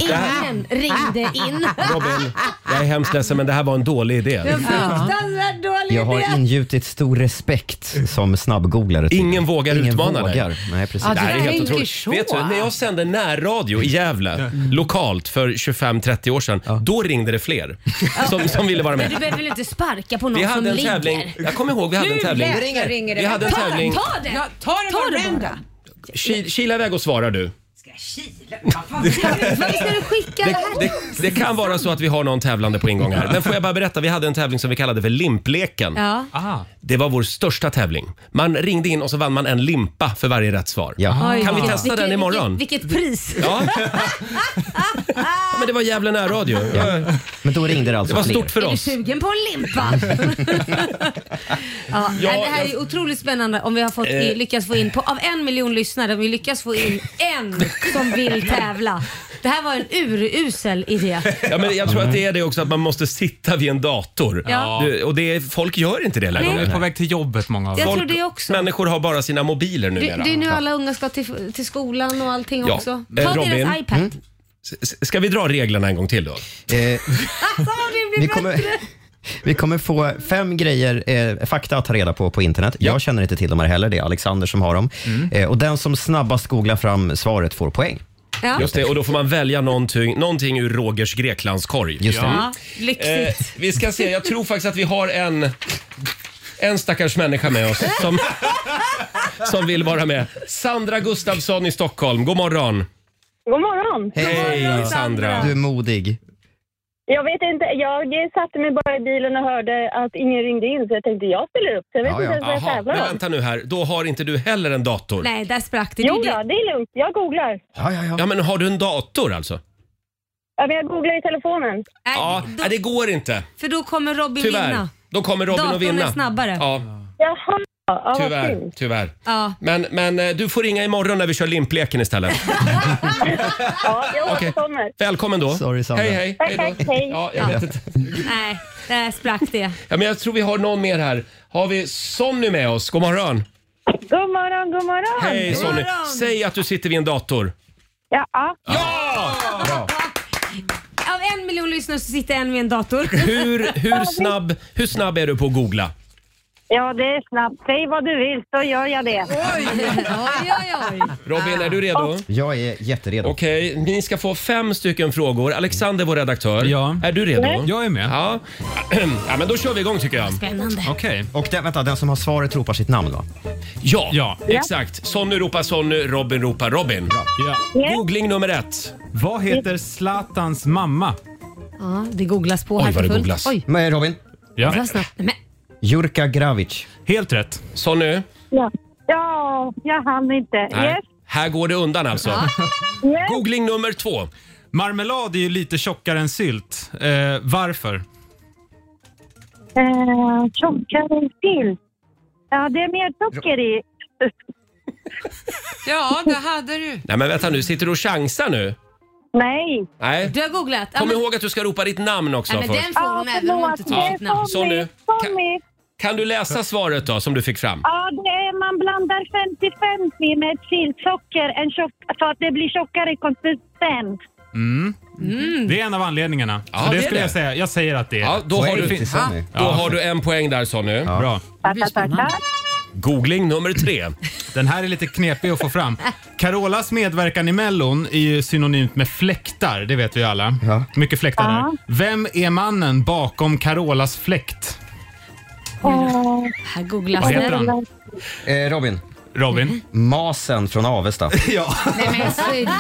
[SPEAKER 2] Ingen ringde in.
[SPEAKER 1] Robin, jag är hemskt ledsen men det här var en dålig idé.
[SPEAKER 2] Det var en fruktansvärt dålig
[SPEAKER 3] Jag har
[SPEAKER 2] idé.
[SPEAKER 3] ingjutit stor respekt som snabbgooglare. tidigare.
[SPEAKER 1] Ingen vågar
[SPEAKER 3] Ingen
[SPEAKER 1] utmana
[SPEAKER 3] vågar.
[SPEAKER 1] dig.
[SPEAKER 3] Nej, precis.
[SPEAKER 1] det här är helt otroligt. Vet du, när jag sände närradio i Gävle, Mm. lokalt, för 25-30 år sedan, då ringde det fler som, som ville vara
[SPEAKER 2] Men du
[SPEAKER 1] med.
[SPEAKER 2] behöver väl inte sparka på någon
[SPEAKER 1] Vi
[SPEAKER 2] som
[SPEAKER 1] hade en
[SPEAKER 2] ligger?
[SPEAKER 1] tävling, jag kommer ihåg vi hade en
[SPEAKER 2] Nu
[SPEAKER 1] tävling.
[SPEAKER 2] jäklar ringer det.
[SPEAKER 1] Vi hade en
[SPEAKER 2] ta,
[SPEAKER 1] tävling.
[SPEAKER 2] Ta det!
[SPEAKER 1] Mm.
[SPEAKER 7] ta det
[SPEAKER 2] ta
[SPEAKER 7] bara.
[SPEAKER 1] Ki- Kila iväg och svara du. <laughs>
[SPEAKER 2] Varför ska du skicka det
[SPEAKER 1] Det,
[SPEAKER 2] här?
[SPEAKER 1] det, det kan vara så att vi har någon tävlande på ingång här. Men får jag bara berätta, vi hade en tävling som vi kallade för Limpleken.
[SPEAKER 2] Ja.
[SPEAKER 9] Ah.
[SPEAKER 1] Det var vår största tävling. Man ringde in och så vann man en limpa för varje rätt svar.
[SPEAKER 2] Oj,
[SPEAKER 1] Kan vi
[SPEAKER 2] vilket-
[SPEAKER 1] testa den
[SPEAKER 2] vilket-
[SPEAKER 1] imorgon?
[SPEAKER 2] Vilket, vilket pris!
[SPEAKER 1] Ja. Men det var jävla närradio.
[SPEAKER 3] Men då ringde det alltså
[SPEAKER 1] Det var
[SPEAKER 3] fler.
[SPEAKER 1] stort för
[SPEAKER 2] är du
[SPEAKER 1] oss.
[SPEAKER 2] sugen på
[SPEAKER 1] <laughs>
[SPEAKER 2] en limpa? ja, nej, det här är ju otroligt spännande om vi har fått,
[SPEAKER 1] Eh.
[SPEAKER 2] lyckats få in, på, av en miljon lyssnare, om vi lyckas få in en som vill tävla. Det här var en urusel idé.
[SPEAKER 1] Ja, men jag tror att det är det också att man måste sitta vid en dator.
[SPEAKER 2] Ja.
[SPEAKER 1] Du, och det är, folk gör inte det längre.
[SPEAKER 2] Nej. De är på
[SPEAKER 1] väg till jobbet många
[SPEAKER 2] av Jag dem. tror det också.
[SPEAKER 1] Människor har bara sina mobiler
[SPEAKER 2] Det,
[SPEAKER 1] numera.
[SPEAKER 2] det är nu alla unga ska till, till skolan och allting
[SPEAKER 1] Ja.
[SPEAKER 2] också. Ta
[SPEAKER 1] Eh,
[SPEAKER 2] deras
[SPEAKER 1] Robin?
[SPEAKER 2] iPad.
[SPEAKER 1] Mm. S- Ska vi dra reglerna en gång till då?
[SPEAKER 2] Alltså, det
[SPEAKER 3] Eh, Vi
[SPEAKER 2] blir
[SPEAKER 3] kommer-
[SPEAKER 2] bättre!
[SPEAKER 3] Vi kommer få fem grejer, eh, fakta att ta reda på på internet. Jag känner inte till dem här heller, det är Alexander som har dem.
[SPEAKER 1] Mm.
[SPEAKER 3] Eh, och den som snabbast googlar fram svaret får poäng.
[SPEAKER 2] Ja.
[SPEAKER 1] Just det, och då får man välja någonting, någonting ur Rogers Greklandskorg.
[SPEAKER 3] Just det.
[SPEAKER 2] Ja, lyxigt.
[SPEAKER 1] Eh, vi ska se, jag tror faktiskt att vi har en, en stackars människa med oss som, som vill vara med. Sandra Gustafsson i Stockholm, god morgon.
[SPEAKER 6] God morgon!
[SPEAKER 1] Hej Sandra.
[SPEAKER 3] Du är modig.
[SPEAKER 6] Jag vet inte, jag satte mig bara i bilen och hörde att ingen ringde in så jag tänkte jag ställer upp. Så jag vet inte ens vad jag
[SPEAKER 1] Jaha, men
[SPEAKER 6] tävlar om.
[SPEAKER 1] vänta nu här, då har inte du heller en dator?
[SPEAKER 2] Nej, där sprack det. Det är
[SPEAKER 6] Jo,
[SPEAKER 2] det-
[SPEAKER 6] då, det är lugnt. Jag googlar.
[SPEAKER 3] Ja, ja, ja.
[SPEAKER 1] Ja, men har du en dator alltså?
[SPEAKER 6] Ja, men jag googlar i telefonen.
[SPEAKER 2] Nej,
[SPEAKER 1] Ja,
[SPEAKER 2] då,
[SPEAKER 1] nej, det går inte.
[SPEAKER 2] för då kommer Robin
[SPEAKER 1] Tyvärr.
[SPEAKER 2] vinna.
[SPEAKER 1] Då kommer Robin
[SPEAKER 2] Datorn
[SPEAKER 1] att vinna.
[SPEAKER 2] är snabbare.
[SPEAKER 1] Ja,
[SPEAKER 6] Jaha, ja, vad
[SPEAKER 1] tyvärr.
[SPEAKER 6] synd.
[SPEAKER 1] tyvärr.
[SPEAKER 2] Ja.
[SPEAKER 1] Men, men eh, du får ringa imorgon när vi kör limpleken istället.
[SPEAKER 6] Ja, jag
[SPEAKER 1] Okej.
[SPEAKER 6] återkommer.
[SPEAKER 1] Välkommen då.
[SPEAKER 3] Sorry, Sandra.
[SPEAKER 1] Hej, hej.
[SPEAKER 6] Tack,
[SPEAKER 1] då.
[SPEAKER 6] tack, hej.
[SPEAKER 1] Ja, jag vet inte.
[SPEAKER 2] Nej, där sprack det.
[SPEAKER 1] Ja, men jag tror vi har någon mer här. Har vi Sonny med oss? God morgon.
[SPEAKER 6] God morgon, god morgon!
[SPEAKER 1] Hej
[SPEAKER 2] God
[SPEAKER 1] Sonny.
[SPEAKER 2] morgon.
[SPEAKER 1] Säg att du sitter vid en dator.
[SPEAKER 6] Ja, ja.
[SPEAKER 1] Ja!
[SPEAKER 2] Av en miljon lyssnare så sitter en vid
[SPEAKER 1] <laughs>
[SPEAKER 2] en dator.
[SPEAKER 1] Hur, hur, snabb, hur snabb är du på att googla?
[SPEAKER 6] ja, det är snabbt. Säg vad du vill så gör jag det.
[SPEAKER 2] oj, oj, oj.
[SPEAKER 1] Robin, är du redo?
[SPEAKER 3] Jag är jätteredo.
[SPEAKER 1] Okej, ni ska få fem stycken frågor. Alexander, vår redaktör.
[SPEAKER 9] Ja.
[SPEAKER 1] Är du redo?
[SPEAKER 9] Jag är med.
[SPEAKER 1] Ja. <clears throat> ja, men då kör vi igång tycker jag.
[SPEAKER 2] Spännande.
[SPEAKER 9] Okej.
[SPEAKER 3] Och den, vänta, den som har svaret ropar sitt namn va?
[SPEAKER 1] Ja,
[SPEAKER 9] Ja.
[SPEAKER 1] exakt. Sonny ropar Sonny, Robin ropar Robin.
[SPEAKER 9] Ja.
[SPEAKER 1] Googling nummer ett.
[SPEAKER 9] Vad heter Zlatans mamma?
[SPEAKER 2] Ja, det googlas på.
[SPEAKER 1] Oj,
[SPEAKER 2] här för
[SPEAKER 1] vad det
[SPEAKER 2] fullt.
[SPEAKER 1] googlas.
[SPEAKER 2] Oj,
[SPEAKER 3] Men eh, Robin?
[SPEAKER 9] Ja.
[SPEAKER 2] vad snabbt. Men,
[SPEAKER 3] Jurka Gravic.
[SPEAKER 9] Helt rätt.
[SPEAKER 1] Sonny,
[SPEAKER 6] Ja, ja jag hann inte.
[SPEAKER 1] nej.
[SPEAKER 6] Yes,
[SPEAKER 1] här går det undan alltså.
[SPEAKER 6] yes.
[SPEAKER 1] Googling nummer två.
[SPEAKER 9] Marmelad är ju lite tjockare än sylt. Eh, varför?
[SPEAKER 2] Hmm.
[SPEAKER 6] Eh, Tjockare till. Ja, det är mer socker i.
[SPEAKER 7] Ja, det hade du.
[SPEAKER 1] Nej men vänta nu, sitter du och chansar nu?
[SPEAKER 6] Nej.
[SPEAKER 1] Nej.
[SPEAKER 2] du har googlat. Ja,
[SPEAKER 1] Kom
[SPEAKER 2] men,
[SPEAKER 1] ihåg att du ska ropa ditt namn också
[SPEAKER 2] nej, men
[SPEAKER 1] först.
[SPEAKER 2] den får hon även om hon inte tar sitt namn.
[SPEAKER 1] Så nu.
[SPEAKER 6] Tommy, Tommy.
[SPEAKER 1] Kan du läsa svaret då som du fick fram?
[SPEAKER 6] Ja, det är, man blandar 50-50 med ett sillsocker en tjock, så att det blir tjockare konsistens.
[SPEAKER 9] Det är en av anledningarna.
[SPEAKER 1] Ja,
[SPEAKER 9] Så det,
[SPEAKER 1] det är
[SPEAKER 9] skulle
[SPEAKER 1] det.
[SPEAKER 9] jag säga. Jag säger att det är
[SPEAKER 1] Ja, då har
[SPEAKER 3] Poäng
[SPEAKER 1] du,
[SPEAKER 3] till Sonny.
[SPEAKER 1] då har du en poäng där Sonny.
[SPEAKER 9] Bra.
[SPEAKER 6] Tack, tack, tack.
[SPEAKER 1] Googling nummer tre.
[SPEAKER 9] Den här är lite knepig att få fram. Carolas medverkan i Mellon är ju synonymt med fläktar, det vet vi ju alla.
[SPEAKER 3] Ja.
[SPEAKER 9] Mycket fläktar där. Vem är mannen bakom Carolas fläkt?
[SPEAKER 6] Eh,
[SPEAKER 2] Här googlas
[SPEAKER 9] Vad heter
[SPEAKER 2] det.
[SPEAKER 9] han?
[SPEAKER 3] Eh, Robin.
[SPEAKER 2] Mm.
[SPEAKER 9] Robin?
[SPEAKER 3] Masen från Avesta.
[SPEAKER 1] ja.
[SPEAKER 11] Nej men
[SPEAKER 1] Ja,
[SPEAKER 11] sluta.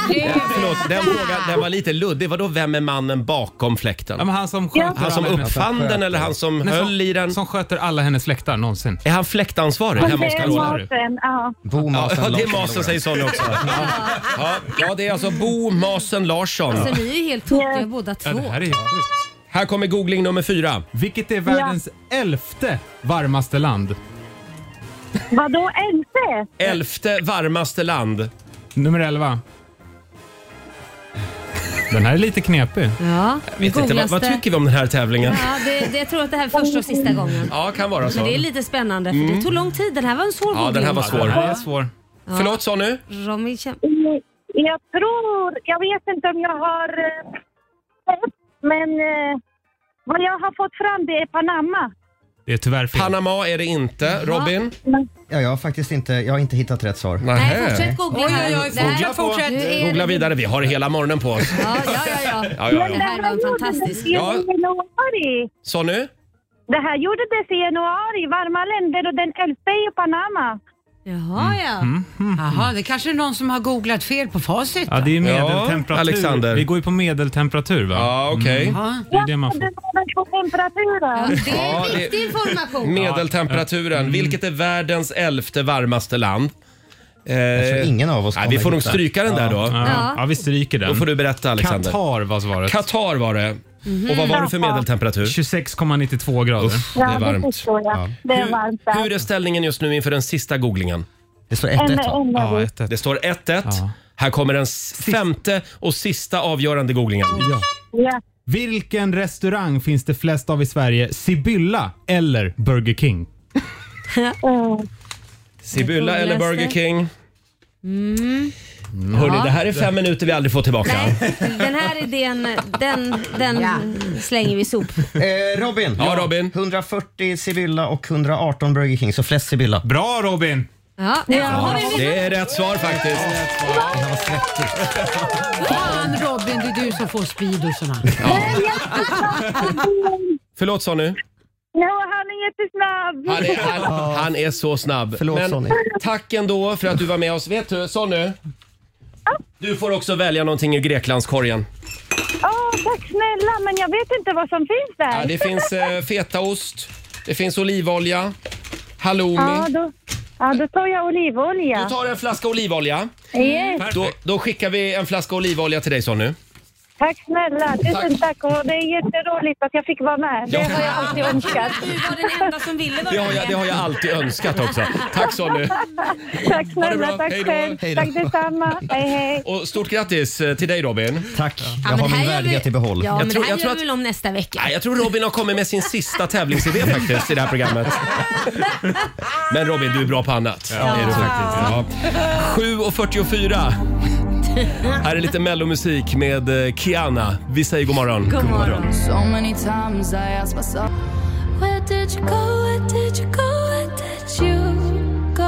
[SPEAKER 1] Förlåt, den frågan den var lite luddig. Vadå, vem är mannen bakom fläkten?
[SPEAKER 9] han som
[SPEAKER 1] sköter Han som alla hennes- uppfann den eller han som höll
[SPEAKER 9] i den? Som sköter alla hennes läktar någonsin.
[SPEAKER 1] Är han fläktansvarig
[SPEAKER 9] hemma hos
[SPEAKER 6] Det är maten, ja.
[SPEAKER 1] Ja,
[SPEAKER 9] Masen
[SPEAKER 1] det är
[SPEAKER 9] Larsson,
[SPEAKER 1] Masen säger Sonja också. Ja. Ja. ja, det är alltså Bo Masen Larsson.
[SPEAKER 2] Alltså ni är ju helt tokiga båda två.
[SPEAKER 1] Här kommer googling nummer fyra.
[SPEAKER 9] Vilket är världens elfte varmaste land?
[SPEAKER 6] Vadå elfte?
[SPEAKER 1] Elfte varmaste land.
[SPEAKER 9] Nummer elva. Den här är lite knepig.
[SPEAKER 2] Ja,
[SPEAKER 1] Jag vet inte, vad, vad
[SPEAKER 2] googlas det?
[SPEAKER 1] tycker vi om den här tävlingen?
[SPEAKER 2] Ja, det, det, jag tror att det här är första och sista gången.
[SPEAKER 1] Ja, kan vara så.
[SPEAKER 2] Men det är lite spännande för
[SPEAKER 1] Mm.
[SPEAKER 2] det tog lång tid. Den här var en svår
[SPEAKER 1] Ja, den här var svår.
[SPEAKER 9] svår.
[SPEAKER 2] Ja.
[SPEAKER 1] Förlåt, sa nu?
[SPEAKER 2] Romy käm-
[SPEAKER 6] Jag tror, jag vet inte om jag har eh, sett, men eh, vad jag har fått fram det är Panama.
[SPEAKER 9] Det är tyvärr fel.
[SPEAKER 1] Panama är det inte. Robin?
[SPEAKER 3] Ja, jag har faktiskt inte, jag har inte hittat rätt svar.
[SPEAKER 1] Nej,
[SPEAKER 2] fortsätt googla
[SPEAKER 7] Oj,
[SPEAKER 2] här.
[SPEAKER 7] oj, oj,
[SPEAKER 2] Det här-
[SPEAKER 7] fortsätt, fortsätt.
[SPEAKER 2] Nu är
[SPEAKER 1] Googla
[SPEAKER 2] det-
[SPEAKER 1] vidare, vi har hela morgonen på oss.
[SPEAKER 2] Ja, ja, ja. ja.
[SPEAKER 1] Ja, ja,
[SPEAKER 2] Det
[SPEAKER 1] ja.
[SPEAKER 2] här var en fantastisk...
[SPEAKER 6] Det
[SPEAKER 1] Ja.
[SPEAKER 6] är i januari.
[SPEAKER 1] Sa nu?
[SPEAKER 6] Det här gjordes i januari, varma länder och den elfte är ju Panama.
[SPEAKER 2] Jaha,
[SPEAKER 1] Mm.
[SPEAKER 2] ja.
[SPEAKER 7] Jaha, det kanske är någon som har googlat fel på facit.
[SPEAKER 9] Ja, det är medeltemperatur.
[SPEAKER 1] Ja, Alexander.
[SPEAKER 9] Vi går ju på medeltemperatur va? Mm.
[SPEAKER 1] Ja, okej.
[SPEAKER 7] Ja.
[SPEAKER 9] Det är det man får.
[SPEAKER 6] Det var väl på temperaturen.
[SPEAKER 2] Det
[SPEAKER 1] Ja,
[SPEAKER 2] är
[SPEAKER 1] det-
[SPEAKER 2] viktig information.
[SPEAKER 1] Medeltemperaturen, vilket är världens elfte varmarste land? Eh,
[SPEAKER 3] tror ingen av oss
[SPEAKER 1] nej, vi
[SPEAKER 3] kommer
[SPEAKER 1] får nog
[SPEAKER 3] hitta.
[SPEAKER 1] stryka den där då.
[SPEAKER 9] Ja. ja, vi stryker den.
[SPEAKER 1] Då får du berätta Alexander.
[SPEAKER 9] Qatar var svaret.
[SPEAKER 1] Qatar var det. Och vad var det för medeltemperatur?
[SPEAKER 9] 26,92 grader.
[SPEAKER 1] Uff, det
[SPEAKER 6] Ja,
[SPEAKER 1] är
[SPEAKER 6] det
[SPEAKER 1] varmt.
[SPEAKER 6] förstår jag. Det är varmt där.
[SPEAKER 1] Hur, hur är ställningen just nu inför den sista googlingen?
[SPEAKER 3] Det står
[SPEAKER 6] En-
[SPEAKER 3] 1-1 va?
[SPEAKER 6] en-
[SPEAKER 9] Ja, ett, ett.
[SPEAKER 1] Det står 1-1. Här kommer den s- femte och sista avgörande googlingen.
[SPEAKER 9] Ja.
[SPEAKER 6] Ja.
[SPEAKER 9] Vilken restaurang finns det flest av i Sverige? Sibylla eller Burger King?
[SPEAKER 6] Mm.
[SPEAKER 1] Sibylla
[SPEAKER 2] Jag
[SPEAKER 1] eller
[SPEAKER 2] googlas
[SPEAKER 1] Burger
[SPEAKER 2] det.
[SPEAKER 1] King?
[SPEAKER 3] Mm.
[SPEAKER 1] Hörrni,
[SPEAKER 2] Ja.
[SPEAKER 1] det här är fem minuter vi aldrig får tillbaka.
[SPEAKER 2] Nej, den här idén, den, den slänger vi i sop.
[SPEAKER 3] Eh, Robin.
[SPEAKER 1] Ja, Robin.
[SPEAKER 3] 140 Sibylla och 118 Burger King, så flest Sibylla.
[SPEAKER 9] Bra Robin!
[SPEAKER 2] Ja, ja. Har vi en
[SPEAKER 1] Det är rätt svar faktiskt.
[SPEAKER 7] Fan Robin, det är du som får speedosarna.
[SPEAKER 1] Förlåt sa nu.
[SPEAKER 6] Nej, han är jättesnabb.
[SPEAKER 1] Han är, han, han är så snabb.
[SPEAKER 3] Förlåt, Sonny.
[SPEAKER 1] tack ändå för att du var med oss. Vet du, Sonny? Du får också välja någonting ur Greklandskorgen.
[SPEAKER 6] Åh, tack snälla, men jag vet inte vad som finns där.
[SPEAKER 1] Ja, det finns eh, fetaost, det finns olivolja, halloumi.
[SPEAKER 6] Ja, då, ja, då tar jag olivolja.
[SPEAKER 1] Du Mm. tar en flaska olivolja.
[SPEAKER 6] Yes.
[SPEAKER 1] Då, då skickar vi en flaska olivolja till dig Sonny.
[SPEAKER 6] Tack snälla, tusen tack. Och det är jätteroligt att jag fick vara med. Det har jag alltid önskat.
[SPEAKER 2] Du var den enda som ville vara
[SPEAKER 1] Det har jag, det har jag alltid önskat också. Tack Sonny.
[SPEAKER 6] Tack
[SPEAKER 1] Ha det bra.
[SPEAKER 6] snälla, tack
[SPEAKER 1] Hej då.
[SPEAKER 6] själv.
[SPEAKER 3] Hej då.
[SPEAKER 6] Tack detsamma. Hej, hej.
[SPEAKER 1] Och stort grattis eh, till dig Robin.
[SPEAKER 3] Tack,
[SPEAKER 2] Ja,
[SPEAKER 3] jag
[SPEAKER 2] men
[SPEAKER 3] har
[SPEAKER 2] här
[SPEAKER 3] min
[SPEAKER 2] gör
[SPEAKER 3] värdighet
[SPEAKER 2] vi-
[SPEAKER 3] i behåll.
[SPEAKER 2] Ja, men
[SPEAKER 1] tror-
[SPEAKER 2] det
[SPEAKER 1] jag
[SPEAKER 2] här
[SPEAKER 1] tror att-
[SPEAKER 2] gör vi väl om nästa vecka.
[SPEAKER 1] Nej, jag tror Robin har kommit med sin sista tävlingsidé faktiskt i det här programmet. Men Robin, du är bra på annat. Ja. Är du faktiskt. Ja. 7.44. Här är lite mellomusik med eh, Kiana. Vi säger god morgon.
[SPEAKER 2] God morgon.
[SPEAKER 11] So many times I ask myself Where did you go, where did you go, where did you go?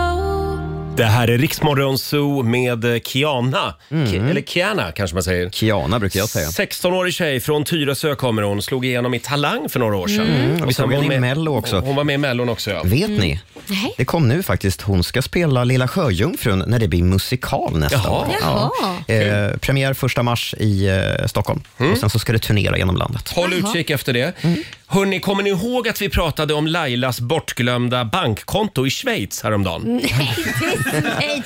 [SPEAKER 1] Det här är Riksmorgon Zoo med eh, Kiana. Ki- Eller Kiana kanske man säger.
[SPEAKER 3] Kiana brukar jag säga.
[SPEAKER 1] 16-årig tjej från Tyresö kommer hon. Slog igenom i Talang för några år sedan.
[SPEAKER 3] Mm. och
[SPEAKER 1] sen
[SPEAKER 3] vi såg
[SPEAKER 1] var hon
[SPEAKER 3] henne i
[SPEAKER 1] med-
[SPEAKER 3] Mello också.
[SPEAKER 1] Hon var med i Mellon också ja.
[SPEAKER 3] Vet ni?
[SPEAKER 2] Mm. Nej.
[SPEAKER 3] Det kom nu faktiskt. Hon ska spela Lilla Sjöjungfrun när det blir musikal nästa
[SPEAKER 1] Jaha.
[SPEAKER 3] år.
[SPEAKER 2] Jaha.
[SPEAKER 3] Eh, premiär första mars i eh, Stockholm.
[SPEAKER 1] Mm.
[SPEAKER 3] Och sen så ska det turnera genom landet.
[SPEAKER 1] Håll utkik efter det.
[SPEAKER 3] Mm.
[SPEAKER 1] Hörrni, kommer ni ihåg att vi pratade om Lailas bortglömda bankkonto i Schweiz häromdagen?
[SPEAKER 2] Nej, det är- nej,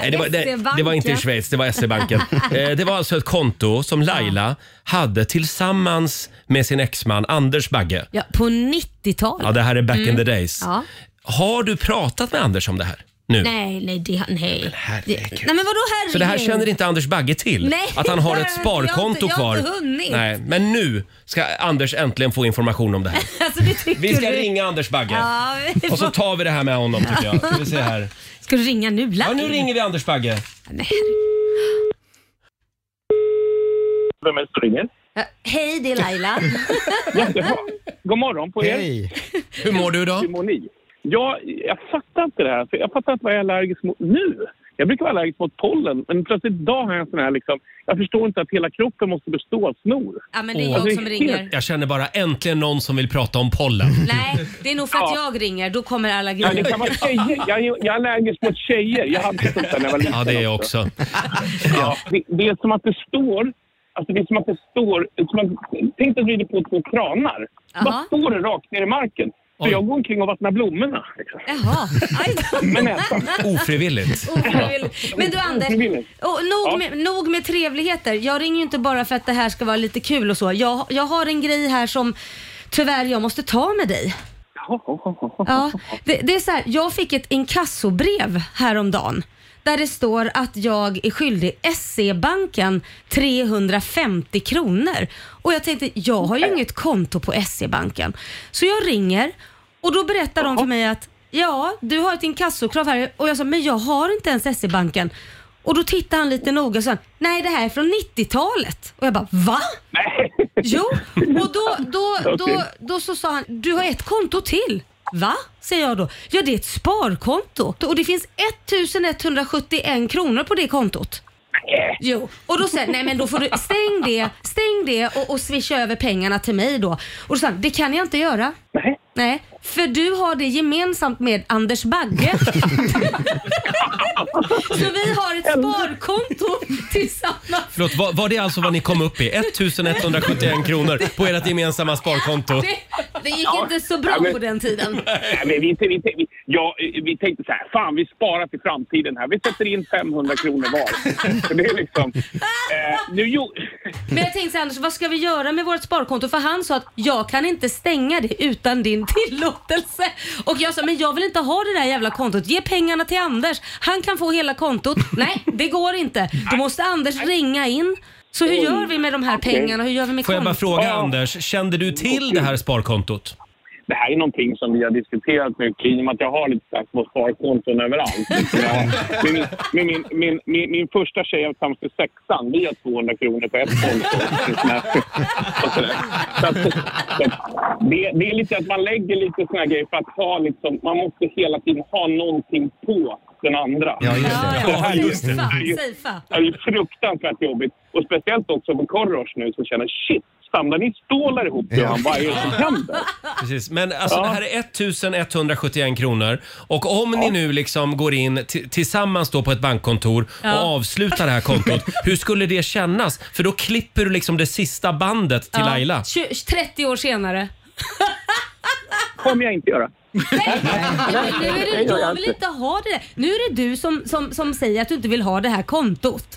[SPEAKER 1] nej, det, var, det, det var inte i
[SPEAKER 2] SE-banken.
[SPEAKER 1] Schweiz, det var SE-banken. eh, det var alltså ett konto som Laila hade tillsammans med sin exman Anders Bagge.
[SPEAKER 2] Ja, på
[SPEAKER 1] Ja,
[SPEAKER 2] 90-talet.
[SPEAKER 1] det här är back in the days.
[SPEAKER 2] Ja.
[SPEAKER 1] Har du pratat med Anders om det här nu?
[SPEAKER 2] Nej, nej, det, nej.
[SPEAKER 1] herregud.
[SPEAKER 2] Det- nej men vadå herregud?
[SPEAKER 1] Så det här känner inte Anders Bagge till?
[SPEAKER 2] Nej,
[SPEAKER 1] att han har
[SPEAKER 2] <laughs> jag-
[SPEAKER 1] ett sparkonto
[SPEAKER 2] jag
[SPEAKER 1] kvar?
[SPEAKER 2] har inte- jag har inte hunnit.
[SPEAKER 1] Nej, men nu ska Anders äntligen få information om det här.
[SPEAKER 2] <laughs> Alltså, det tycker
[SPEAKER 1] Vi ska
[SPEAKER 2] du.
[SPEAKER 1] ringa Anders Bagge.
[SPEAKER 2] Ja, vi
[SPEAKER 1] Och så
[SPEAKER 2] får-
[SPEAKER 1] tar vi det här med honom tycker
[SPEAKER 2] <laughs>
[SPEAKER 1] jag. Ska vi se här.
[SPEAKER 2] Ska du ringa nu live?
[SPEAKER 1] Ja, nu ringer vi Anders Bagge.
[SPEAKER 2] Nej.
[SPEAKER 5] Vem är det som ringer?
[SPEAKER 2] Ja, Hej, det är Laila.
[SPEAKER 5] Jaha. <laughs> God morgon på er.
[SPEAKER 3] Hej!
[SPEAKER 1] Hur mår du idag?
[SPEAKER 5] Hur mår ni? Jag, jag fattar inte det här. för Jag fattar inte vad jag är allergisk mot nu. Jag brukar vara allergisk mot pollen, men plötsligt idag har jag en sån här liksom... Jag förstår inte att hela kroppen måste bestå av snor.
[SPEAKER 2] Ja, men det är jag som ringer.
[SPEAKER 1] Jag känner bara äntligen någon som vill prata om pollen.
[SPEAKER 2] Nej, det är nog för att jag ringer. Då kommer allergin.
[SPEAKER 5] Ja, det kan vara tjejer. <laughs> Jag, är- jag är allergisk mot tjejer. Jag hade sånt där när jag var liten
[SPEAKER 1] Ja, det är jag också.
[SPEAKER 2] <laughs>
[SPEAKER 5] Ja, det, det är som att det står... Alltså det är som att det står... Som att, tänk dig att du vrider på två kranar. Bara står det rakt ner i marken. Så jag går omkring och vattnar blommorna. Liksom.
[SPEAKER 2] Jaha. Aj då.
[SPEAKER 5] Med näsan.
[SPEAKER 1] Ofrivilligt.
[SPEAKER 2] <laughs> Ofrivilligt. Men du Anders, och nog, med, nog med trevligheter. Jag ringer ju inte bara för att det här ska vara lite kul och så. Jag, jag har en grej här som tyvärr jag måste ta med dig. Ja, det, det är så här, jag fick ett inkassobrev häromdagen där det står att jag är skyldig SE-banken 350 kronor. Och jag tänkte, jag har ju inget konto på SE-banken. Så jag ringer och då berättar de för mig att ja, du har ett inkassokrav här. Och jag sa, men jag har inte ens SE-banken. Och då tittar han lite noga och sa, nej det här är från 90-talet. Och jag bara, va? Jo, och då, då, då,
[SPEAKER 8] Okej.
[SPEAKER 2] då så sa han, du har ett konto till. Va? Säger jag då. Ja, det är ett sparkonto och det finns 1171 kronor på det kontot. Jo, och då säger han, nej men då får du stäng det, stäng det och, och swisha över pengarna till mig då. Och då sa han, det kan jag inte göra. Nej. Nej, för du har det gemensamt med Anders Bagge. Så vi har ett sparkonto tillsammans.
[SPEAKER 1] Förlåt, var, var det alltså vad ni kom upp i? 1171 kronor på ert gemensamma sparkonto.
[SPEAKER 2] Det, det gick inte så bra
[SPEAKER 5] Ja, men-
[SPEAKER 2] på den tiden.
[SPEAKER 5] Nej, men vi, vi, vi, ja, vi tänkte så här, fan vi sparar till framtiden här. Vi sätter in 500 kronor var. Så Det är liksom, eh, nu, jo,
[SPEAKER 2] Men jag tänkte så här, Anders, vad ska vi göra med vårt sparkonto? För han sa att jag kan inte stänga det utan din <laughs> tillåtelse. Och jag sa, men jag vill inte ha det där jävla kontot. Ge pengarna till Anders. Han kan få hela
[SPEAKER 5] <laughs>
[SPEAKER 2] kontot. Nej, det går inte. Då måste Anders ringa in. Så hur
[SPEAKER 1] Oj.
[SPEAKER 2] gör vi med de här pengarna? Hur gör vi med
[SPEAKER 1] Får jag bara
[SPEAKER 2] kontot?
[SPEAKER 1] fråga Anders, kände du till det här sparkontot?
[SPEAKER 5] det här är någonting som vi har diskuterat mycket i och med att jag har lite så här små sparkonton överallt. Ja, Min, min, min, min, min, min första tjej jag var tillsammans med sexan, vi har 200 kronor på ett konto. Och sådär. Så att- så att det, det är lite att man lägger lite såna här grejer för att ha liksom, man måste hela tiden ha någonting på den andra. Ja,
[SPEAKER 1] just
[SPEAKER 5] det. här är ju- det här är ju-
[SPEAKER 2] Safea.
[SPEAKER 5] det är ju fruktansvärt jobbigt. Och speciellt också på Korosh nu som känner shit, samlar ni stålar ihop?
[SPEAKER 1] Ja.
[SPEAKER 5] Ja. Vad är det som händer?
[SPEAKER 1] Precis. Men alltså,
[SPEAKER 5] Ja.
[SPEAKER 1] det här är 1171 kronor. Och om ni nu liksom går in t- tillsammans då på ett bankkontor
[SPEAKER 2] Ja.
[SPEAKER 1] och avslutar det här kontot, hur skulle det kännas? För då klipper du liksom det sista bandet till
[SPEAKER 2] Ja,
[SPEAKER 1] Laila.
[SPEAKER 2] tju- 30 år senare.
[SPEAKER 5] kommer jag inte göra.
[SPEAKER 2] Nej, nu är det,
[SPEAKER 5] Det gör jag
[SPEAKER 2] jag vill
[SPEAKER 5] inte.
[SPEAKER 2] inte ha det. Nu är det du som, som, som säger att du inte vill ha det här kontot.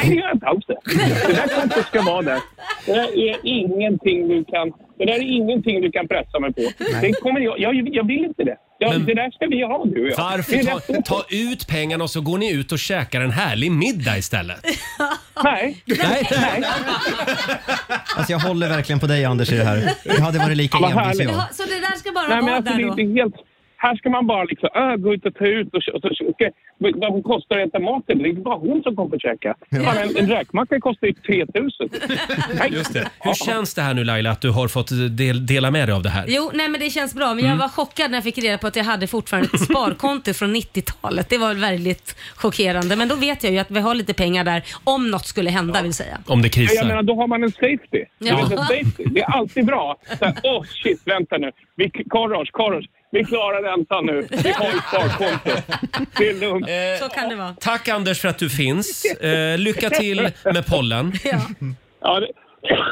[SPEAKER 5] Nej, det gör jag inte alls det. Det där kontot ska vara där. Det där är ingenting du kan, det där är ingenting du kan pressa mig på. Det kommer jag, jag, jag vill inte det. Jag, det där ska vi ha du och jag.
[SPEAKER 1] Varför
[SPEAKER 5] Det är
[SPEAKER 1] ta,
[SPEAKER 5] rätt.
[SPEAKER 1] ta ut pengarna och så går ni ut och käkar en härlig middag istället?
[SPEAKER 5] Nej.
[SPEAKER 1] Nej.
[SPEAKER 5] Nej.
[SPEAKER 3] Alltså jag håller verkligen på dig Anders i det här. Jag hade varit lika
[SPEAKER 5] Vad
[SPEAKER 3] envis
[SPEAKER 5] härligt.
[SPEAKER 3] jag.
[SPEAKER 2] Så det där ska bara
[SPEAKER 5] Nej, men
[SPEAKER 2] vara
[SPEAKER 5] alltså,
[SPEAKER 2] där
[SPEAKER 5] det,
[SPEAKER 2] då?
[SPEAKER 5] det är helt, här ska man bara liksom, äh, gå ut och ta ut och, och, och, och vad hon kostar att äta maten. Det är bara hon som kommer käka. Fan, en, en räkmacka kostar ju 3000. Nej.
[SPEAKER 1] Just det. Hur känns det här nu Laila att du har fått del, dela med dig av det här?
[SPEAKER 2] Jo, nej men det känns bra. Men jag
[SPEAKER 1] Mm.
[SPEAKER 2] var chockad när jag fick reda på att jag hade fortfarande ett sparkonto från 90-talet. Det var väldigt chockerande. Men då vet jag ju att vi har lite pengar där om något skulle hända vill säga.
[SPEAKER 1] Om det krisar.
[SPEAKER 5] Jag menar, då har man en safety.
[SPEAKER 2] Ja.
[SPEAKER 5] Det, är en safety. det är alltid bra. Så här, Åh, shit, vänta nu. Vi, Korosh, Korosh, vi klarar räntan nu. Vi har ett sparkonto. Det är lugnt.
[SPEAKER 2] Så kan det vara.
[SPEAKER 1] Tack Anders för att du finns. Eh, lycka till med pollen.
[SPEAKER 2] Ja.
[SPEAKER 5] Ja, det,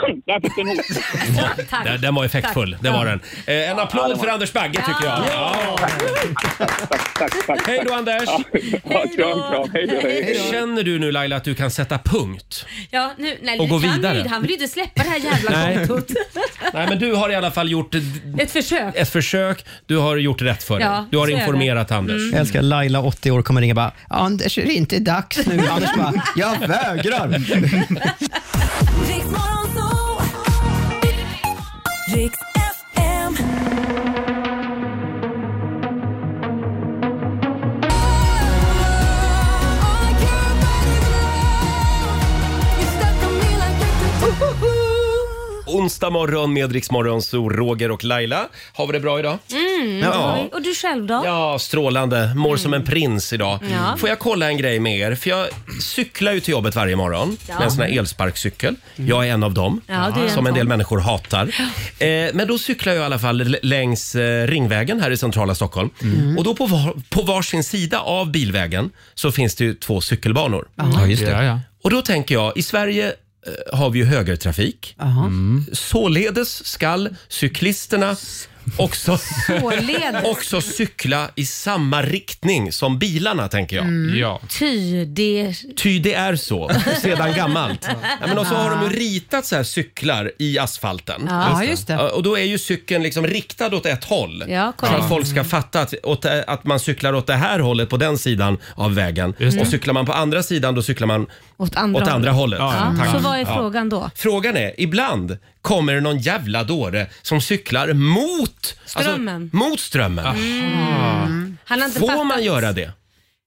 [SPEAKER 5] <clears throat> där fick du en hot.
[SPEAKER 1] Den, den var effektfull,
[SPEAKER 5] Tack.
[SPEAKER 1] det var
[SPEAKER 5] Ja.
[SPEAKER 1] den. Eh, en applåd för Anders Bagge tycker jag. Ja.
[SPEAKER 5] Tack, tack.
[SPEAKER 1] Hej då Anders!
[SPEAKER 5] Ja, kram, kram. Hej då. Hej då.
[SPEAKER 1] Känner du nu Laila att du kan sätta punkt?
[SPEAKER 2] Ja, nu, nej,
[SPEAKER 1] Och
[SPEAKER 2] det
[SPEAKER 1] gå
[SPEAKER 2] kan
[SPEAKER 1] vidare.
[SPEAKER 2] ju inte. Han vill ju inte släppa det här jävla
[SPEAKER 1] Nej.
[SPEAKER 2] kontot.
[SPEAKER 1] Nej men du har i alla fall gjort ett,
[SPEAKER 2] Ett försök.
[SPEAKER 1] ett försök. Du har gjort rätt för dig.
[SPEAKER 2] Ja,
[SPEAKER 1] du har
[SPEAKER 2] så är det.
[SPEAKER 1] informerat Anders.
[SPEAKER 5] Mm.
[SPEAKER 3] Jag älskar Laila, 80 år, kommer ringa och bara “Anders, är det inte dags nu?” Anders bara “Jag
[SPEAKER 1] <laughs>
[SPEAKER 3] vägrar!”
[SPEAKER 11] oh
[SPEAKER 8] Riks FM.
[SPEAKER 1] Onsdag morgon med Rix Morgon, så Roger och Laila. Har vi det bra idag?
[SPEAKER 2] Mm,
[SPEAKER 1] Ja.
[SPEAKER 2] ja. Och du själv då?
[SPEAKER 1] Ja, strålande. Mår som en prins idag.
[SPEAKER 2] Ja. Mm.
[SPEAKER 1] Får jag kolla en grej med er? För jag cyklar ju till jobbet varje morgon
[SPEAKER 2] Ja. Mm.
[SPEAKER 1] med en sån här elsparkcykel. Jag är en av dem
[SPEAKER 2] Ja, du är en
[SPEAKER 1] som en
[SPEAKER 2] sån.
[SPEAKER 1] del människor hatar. Eh, men då cyklar jag i alla fall l- längs eh, Ringvägen här i centrala Stockholm.
[SPEAKER 2] Mm.
[SPEAKER 1] Och då på, var, på varsin sida av bilvägen så finns det ju två cykelbanor.
[SPEAKER 10] Ja, just det. Ja, ja.
[SPEAKER 1] Och då tänker jag, i Sverige eh, har vi ju högertrafik. Mm. Således skall cyklisterna
[SPEAKER 2] <laughs>
[SPEAKER 1] också,
[SPEAKER 2] Således.
[SPEAKER 1] också cykla i samma riktning som bilarna, tänker jag.
[SPEAKER 2] Mm. Ty, det...
[SPEAKER 1] Ty det är så,
[SPEAKER 2] <laughs>
[SPEAKER 1] sedan gammalt. Ja, men också har de ju ritat så här cyklar i asfalten.
[SPEAKER 7] Ja, Just det. just det.
[SPEAKER 1] Ja, Och då är ju cykeln liksom riktad åt ett håll.
[SPEAKER 7] Ja,
[SPEAKER 1] så att
[SPEAKER 7] korrekt.
[SPEAKER 1] folk
[SPEAKER 2] Mm.
[SPEAKER 1] ska fatta att, åt, att man cyklar åt det här hållet på den sidan av vägen.
[SPEAKER 2] det.
[SPEAKER 1] Och cyklar man på andra sidan då cyklar man
[SPEAKER 2] Åt andra,
[SPEAKER 1] åt andra hållet.
[SPEAKER 2] Ja.
[SPEAKER 1] Tack.
[SPEAKER 2] Så vad är
[SPEAKER 1] Ja.
[SPEAKER 2] frågan då?
[SPEAKER 1] Frågan är, ibland kommer det någon jävla dåre som cyklar mot
[SPEAKER 2] Strömmen.
[SPEAKER 1] Alltså, mot strömmen.
[SPEAKER 2] Han har inte
[SPEAKER 1] Får
[SPEAKER 2] fattat.
[SPEAKER 1] man göra det?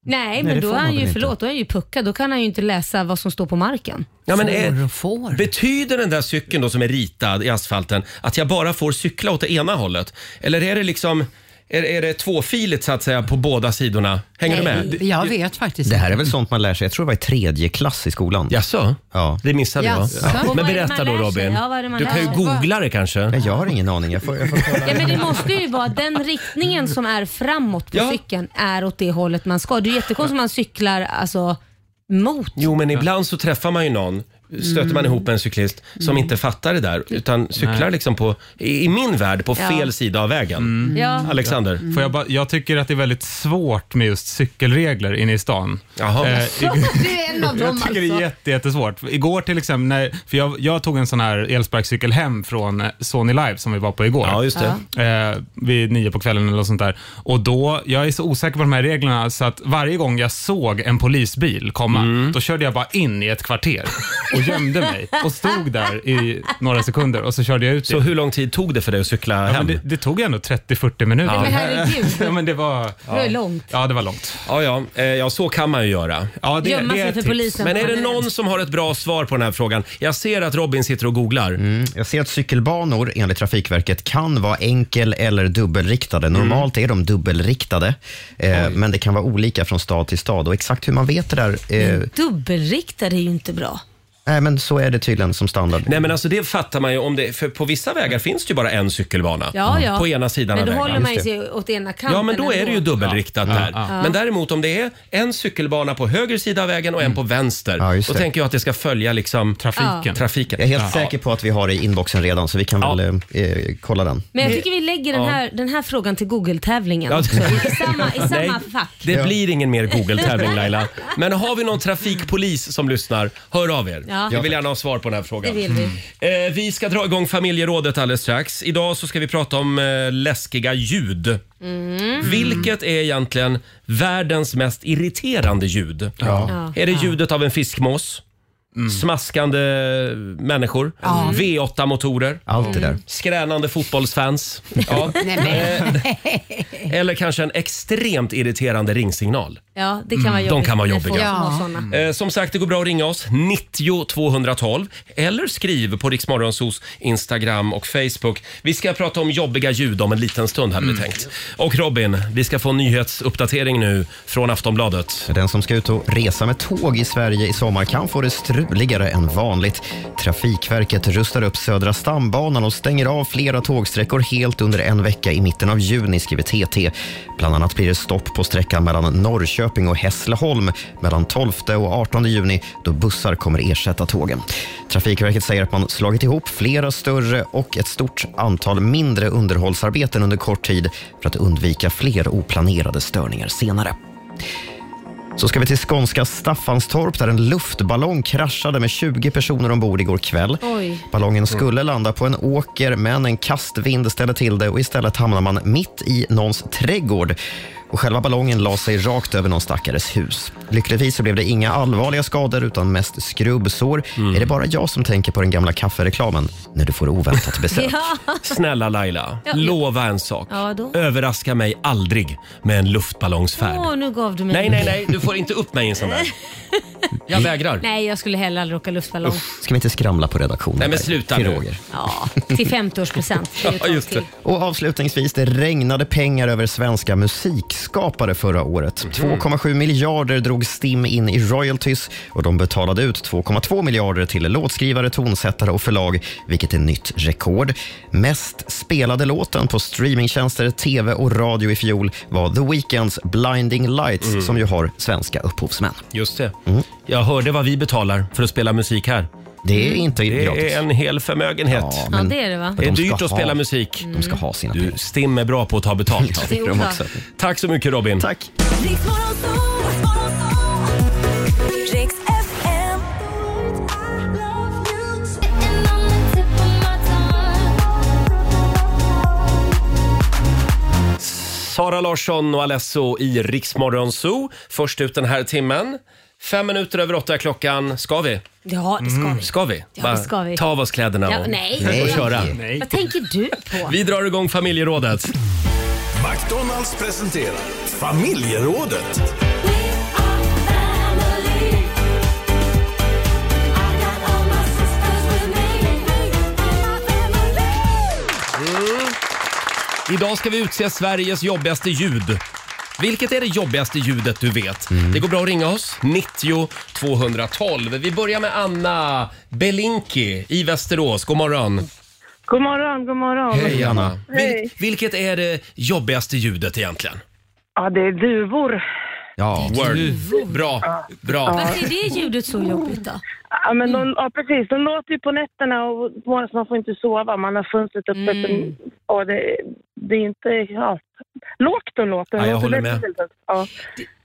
[SPEAKER 2] Nej,
[SPEAKER 1] Nej,
[SPEAKER 2] men
[SPEAKER 1] det
[SPEAKER 2] då
[SPEAKER 1] får
[SPEAKER 2] är
[SPEAKER 1] man
[SPEAKER 2] han
[SPEAKER 1] väl
[SPEAKER 2] ju,
[SPEAKER 1] inte.
[SPEAKER 2] förlåt, då är han ju puckad. Då kan han ju inte läsa vad som står på marken.
[SPEAKER 1] Ja, men är,
[SPEAKER 7] får.
[SPEAKER 1] Betyder den där cykeln då som är ritad i asfalten att jag bara får cykla åt det ena hållet? Eller är det liksom är, är det tvåfiligt så att säga på båda sidorna? Hänger du med?
[SPEAKER 7] Jag vet faktiskt
[SPEAKER 3] Det här
[SPEAKER 7] inte.
[SPEAKER 3] är väl sånt man lär sig. Jag tror det var i tredje klass i skolan.
[SPEAKER 1] Jaså?
[SPEAKER 3] Ja.
[SPEAKER 1] Det missade
[SPEAKER 7] jag. Jaså? Ja.
[SPEAKER 2] Och vad är det man lär sig? Ja, vad är det man lär sig?
[SPEAKER 1] det kanske.
[SPEAKER 3] Nej, jag har ingen aning. Jag får, jag får
[SPEAKER 2] Ja, men det måste ju vara att den riktningen som är framåt på
[SPEAKER 1] Ja.
[SPEAKER 2] cykeln är åt det hållet man ska. Det är ju jättekonstigt om man cyklar alltså, mot.
[SPEAKER 1] Jo, men ibland så träffar man ju någon stöter man
[SPEAKER 2] Mm.
[SPEAKER 1] ihop med en cyklist som
[SPEAKER 2] Mm.
[SPEAKER 1] inte fattar det där utan cyklar
[SPEAKER 9] Nej.
[SPEAKER 1] liksom på, i i min värld på
[SPEAKER 9] Ja.
[SPEAKER 1] fel sida av vägen.
[SPEAKER 9] Ja.
[SPEAKER 1] Alexander?
[SPEAKER 9] Mm. Får jag, bara, jag tycker att det är väldigt svårt med just cykelregler inne i stan. Eh,
[SPEAKER 1] Jaha.
[SPEAKER 12] Det är en av dem
[SPEAKER 9] <laughs> jag tycker det är
[SPEAKER 12] alltså.
[SPEAKER 9] jätte, jättesvårt. Igår till exempel, när, för jag, jag tog en sån här elsparkcykel hem från eh, Sony Live som vi var på igår.
[SPEAKER 1] Ja, just
[SPEAKER 9] det. Eh, vid nio på kvällen eller något sånt där. Och då, jag är så osäker på de här reglerna så att varje gång jag såg en polisbil komma,
[SPEAKER 1] Mm.
[SPEAKER 9] då körde jag bara in i ett kvarter och gömde mig och stod där i några sekunder och så körde jag ut
[SPEAKER 1] Så hur lång tid tog det för dig att cykla
[SPEAKER 9] hem? Det, det tog ändå 30-40 minuter.
[SPEAKER 2] Men herregud.
[SPEAKER 9] ja, men det var...
[SPEAKER 2] Det var ju långt.
[SPEAKER 9] Ja, det var långt.
[SPEAKER 1] Ja, ja. Eh, ja så kan man ju göra.
[SPEAKER 9] Ja,
[SPEAKER 2] det- Gömma det sig är för ett tips. polisen.
[SPEAKER 1] Men är det någon som har ett bra svar på den här frågan? Jag ser att Robin sitter och googlar.
[SPEAKER 3] <laughs> Mm. Jag ser att cykelbanor enligt Trafikverket kan vara enkel eller dubbelriktade. Normalt är de dubbelriktade, eh, men det kan vara olika från stad till stad. Och exakt hur man vet det där... Eh,
[SPEAKER 2] Dubbelriktad är ju inte bra.
[SPEAKER 3] nej, men så är det tydligen som standard.
[SPEAKER 1] Nej men alltså det fattar man ju om det, för på vissa vägar finns det ju bara en cykelbana.
[SPEAKER 2] Ja, ja.
[SPEAKER 1] På ena sidan
[SPEAKER 2] Men då
[SPEAKER 1] av
[SPEAKER 2] håller
[SPEAKER 1] vägen.
[SPEAKER 2] man ju sig åt ena kanten.
[SPEAKER 1] Ja men då är det ju
[SPEAKER 2] ändå.
[SPEAKER 1] dubbelriktat där.
[SPEAKER 2] Ja, ja.
[SPEAKER 1] Men däremot om det är en cykelbana på höger sida av vägen
[SPEAKER 2] Mm.
[SPEAKER 1] och en på vänster. då
[SPEAKER 3] det.
[SPEAKER 1] tänker jag att det ska följa liksom
[SPEAKER 2] Trafiken.
[SPEAKER 1] trafiken.
[SPEAKER 3] Jag är helt
[SPEAKER 1] Ja.
[SPEAKER 3] säker på att vi har det i inboxen redan, så vi kan väl eh, eh, kolla den.
[SPEAKER 2] Men jag tycker vi lägger den
[SPEAKER 3] Ja.
[SPEAKER 2] här, den här frågan till Google-tävlingen.
[SPEAKER 1] Ja.
[SPEAKER 2] också. I
[SPEAKER 1] <laughs>
[SPEAKER 2] samma, i samma
[SPEAKER 1] Nej.
[SPEAKER 2] fack.
[SPEAKER 1] Det blir ingen mer
[SPEAKER 2] <laughs>
[SPEAKER 1] Google-tävling Laila. Men har vi någon trafikpolis som lyssnar, hör av er.
[SPEAKER 2] Ja.
[SPEAKER 1] Vi vill gärna ha svar på den här frågan.
[SPEAKER 2] Det vill vi.
[SPEAKER 1] Eh, vi ska dra igång familjerådet alldeles strax. Idag så ska vi prata om eh, läskiga ljud.
[SPEAKER 2] Mm.
[SPEAKER 1] Vilket är egentligen världens mest irriterande ljud?
[SPEAKER 2] Ja. Mm.
[SPEAKER 1] Är det ljudet av en fiskmås? Smaskande människor? Mm. V8-motorer?
[SPEAKER 3] Allt
[SPEAKER 2] det där.
[SPEAKER 1] Skränande fotbollsfans? Ja.
[SPEAKER 2] <laughs> Nej, men.
[SPEAKER 1] Eller kanske en extremt irriterande ringsignal?
[SPEAKER 2] ja, det kan vara
[SPEAKER 1] Mm.
[SPEAKER 2] jobbigt.
[SPEAKER 1] De kan vara
[SPEAKER 2] Det får
[SPEAKER 1] jobbiga.
[SPEAKER 2] man ha såna.
[SPEAKER 1] Eh, som sagt, det går bra att ringa oss. 90 212 eller skriv på Riksmorgonsos Instagram och Facebook. Vi ska prata om jobbiga ljud om en liten stund hade
[SPEAKER 2] Mm.
[SPEAKER 1] vi tänkt. Och Robin, vi ska få en nyhetsuppdatering nu från Aftonbladet.
[SPEAKER 3] Den som ska ut och resa med tåg i Sverige i sommar kan få det struligare än vanligt. Trafikverket rustar upp Södra stambanan och stänger av flera tågsträckor helt under en vecka i mitten av juni, skriver TT. Bland annat blir det stopp på sträckan mellan Norrköping och Hässleholm mellan 12 och 18 juni då bussar kommer ersätta tågen. Trafikverket säger att man slagit ihop flera större och ett stort antal mindre underhållsarbeten under kort tid för att undvika fler oplanerade störningar senare. Så ska vi till skånska Staffanstorp där en luftballong kraschade med 20 personer ombord igår kväll.
[SPEAKER 2] Oj.
[SPEAKER 1] Mm.
[SPEAKER 3] Ballongen skulle landa på en åker, men en kastvind ställde till det och istället hamnade man mitt i någons trädgård. Och själva ballongen la sig rakt över någon stackares hus. Lyckligtvis så blev det inga allvarliga skador utan mest skrubbsår.
[SPEAKER 1] Mm.
[SPEAKER 3] Är det bara jag som tänker på den gamla kaffereklamen när du
[SPEAKER 2] <laughs>
[SPEAKER 3] får oväntat besök?
[SPEAKER 2] Ja.
[SPEAKER 1] Snälla Laila,
[SPEAKER 2] <laughs> Ja.
[SPEAKER 1] lova en sak.
[SPEAKER 2] Ja, då.
[SPEAKER 1] Överraska mig aldrig med en luftballongsfärd.
[SPEAKER 2] Åh, nu gav du mig <laughs>
[SPEAKER 1] Nej, nej, nej, du får inte upp mig i en sån där. Jag vägrar.
[SPEAKER 2] Nej, jag skulle hellre aldrig åka luftballong.
[SPEAKER 3] Ska vi inte skramla på redaktionen?
[SPEAKER 1] Nej, men
[SPEAKER 3] där?
[SPEAKER 1] sluta
[SPEAKER 3] Till
[SPEAKER 1] nu.
[SPEAKER 3] Roger.
[SPEAKER 2] Ja, till 50-årspresent. Det är ju ett tag till.
[SPEAKER 3] Och avslutningsvis, det regnade pengar över svenska musikskapare förra året.
[SPEAKER 1] Mhm.
[SPEAKER 3] 2,7 miljarder drog STIM in i royalties och de betalade ut 2,2 miljarder till låtskrivare, tonsättare och förlag, vilket är nytt rekord. Mest spelade låten på streamingtjänster, tv och radio i fjol var The Weeknds Blinding Lights
[SPEAKER 1] Mm.
[SPEAKER 3] som ju har svenska upphovsmän.
[SPEAKER 1] Just det. Jag hörde vad vi betalar för att spela musik här.
[SPEAKER 3] Det är inte
[SPEAKER 1] Mm. Det
[SPEAKER 3] gratis.
[SPEAKER 1] är en hel förmögenhet. Ja,
[SPEAKER 2] men- Ja, det är det, va?
[SPEAKER 1] Det är
[SPEAKER 2] Men de ska
[SPEAKER 1] dyrt att
[SPEAKER 2] ha-
[SPEAKER 1] spela musik. Mm.
[SPEAKER 2] de ska
[SPEAKER 3] ha sina
[SPEAKER 1] pengar. Stim är bra på att ta betalt.
[SPEAKER 2] Ja, det är de också.
[SPEAKER 1] Tack så mycket Robin.
[SPEAKER 3] Tack.
[SPEAKER 8] Riks FM.
[SPEAKER 1] Sara Larsson och Alesso i Riksmorgon Zoo. Först ut den här timmen. Fem minuter över åtta är klockan. Ska vi?
[SPEAKER 2] Ja, det ska vi.
[SPEAKER 1] Ska vi?
[SPEAKER 2] Ja,
[SPEAKER 1] Bara
[SPEAKER 2] det ska vi.
[SPEAKER 1] Ta av oss kläderna
[SPEAKER 2] Ja,
[SPEAKER 1] och,
[SPEAKER 2] nej.
[SPEAKER 1] och köra.
[SPEAKER 2] Vad tänker du på?
[SPEAKER 1] Vi drar igång familjerådet.
[SPEAKER 13] McDonalds presenterar familjerådet.
[SPEAKER 1] Mm. Idag ska vi utse Sveriges jobbigaste ljud. Vilket är det jobbigaste ljudet du vet?
[SPEAKER 2] Mm.
[SPEAKER 1] Det går bra att ringa oss. 90 212. Vi börjar med Anna Belinki i Västerås. God morgon.
[SPEAKER 6] God morgon, god morgon.
[SPEAKER 1] Hej Anna.
[SPEAKER 6] Hej.
[SPEAKER 1] Vilket är det jobbigaste ljudet egentligen?
[SPEAKER 6] Ja, det är duvor.
[SPEAKER 1] Ja, Mm. Word. Bra, bra.
[SPEAKER 2] Varför är det ljudet så jobbigt då?
[SPEAKER 6] Ja, men de, ja, precis. De låter ju på nätterna och på morgonen så man får inte sova. Man har fönstret öppet.
[SPEAKER 2] Mm.
[SPEAKER 6] Och det, det är inte... Ja. Lågt de låter.
[SPEAKER 1] Ja, jag
[SPEAKER 6] Låter
[SPEAKER 1] håller
[SPEAKER 6] väldigt,
[SPEAKER 1] med.
[SPEAKER 6] väldigt, Ja.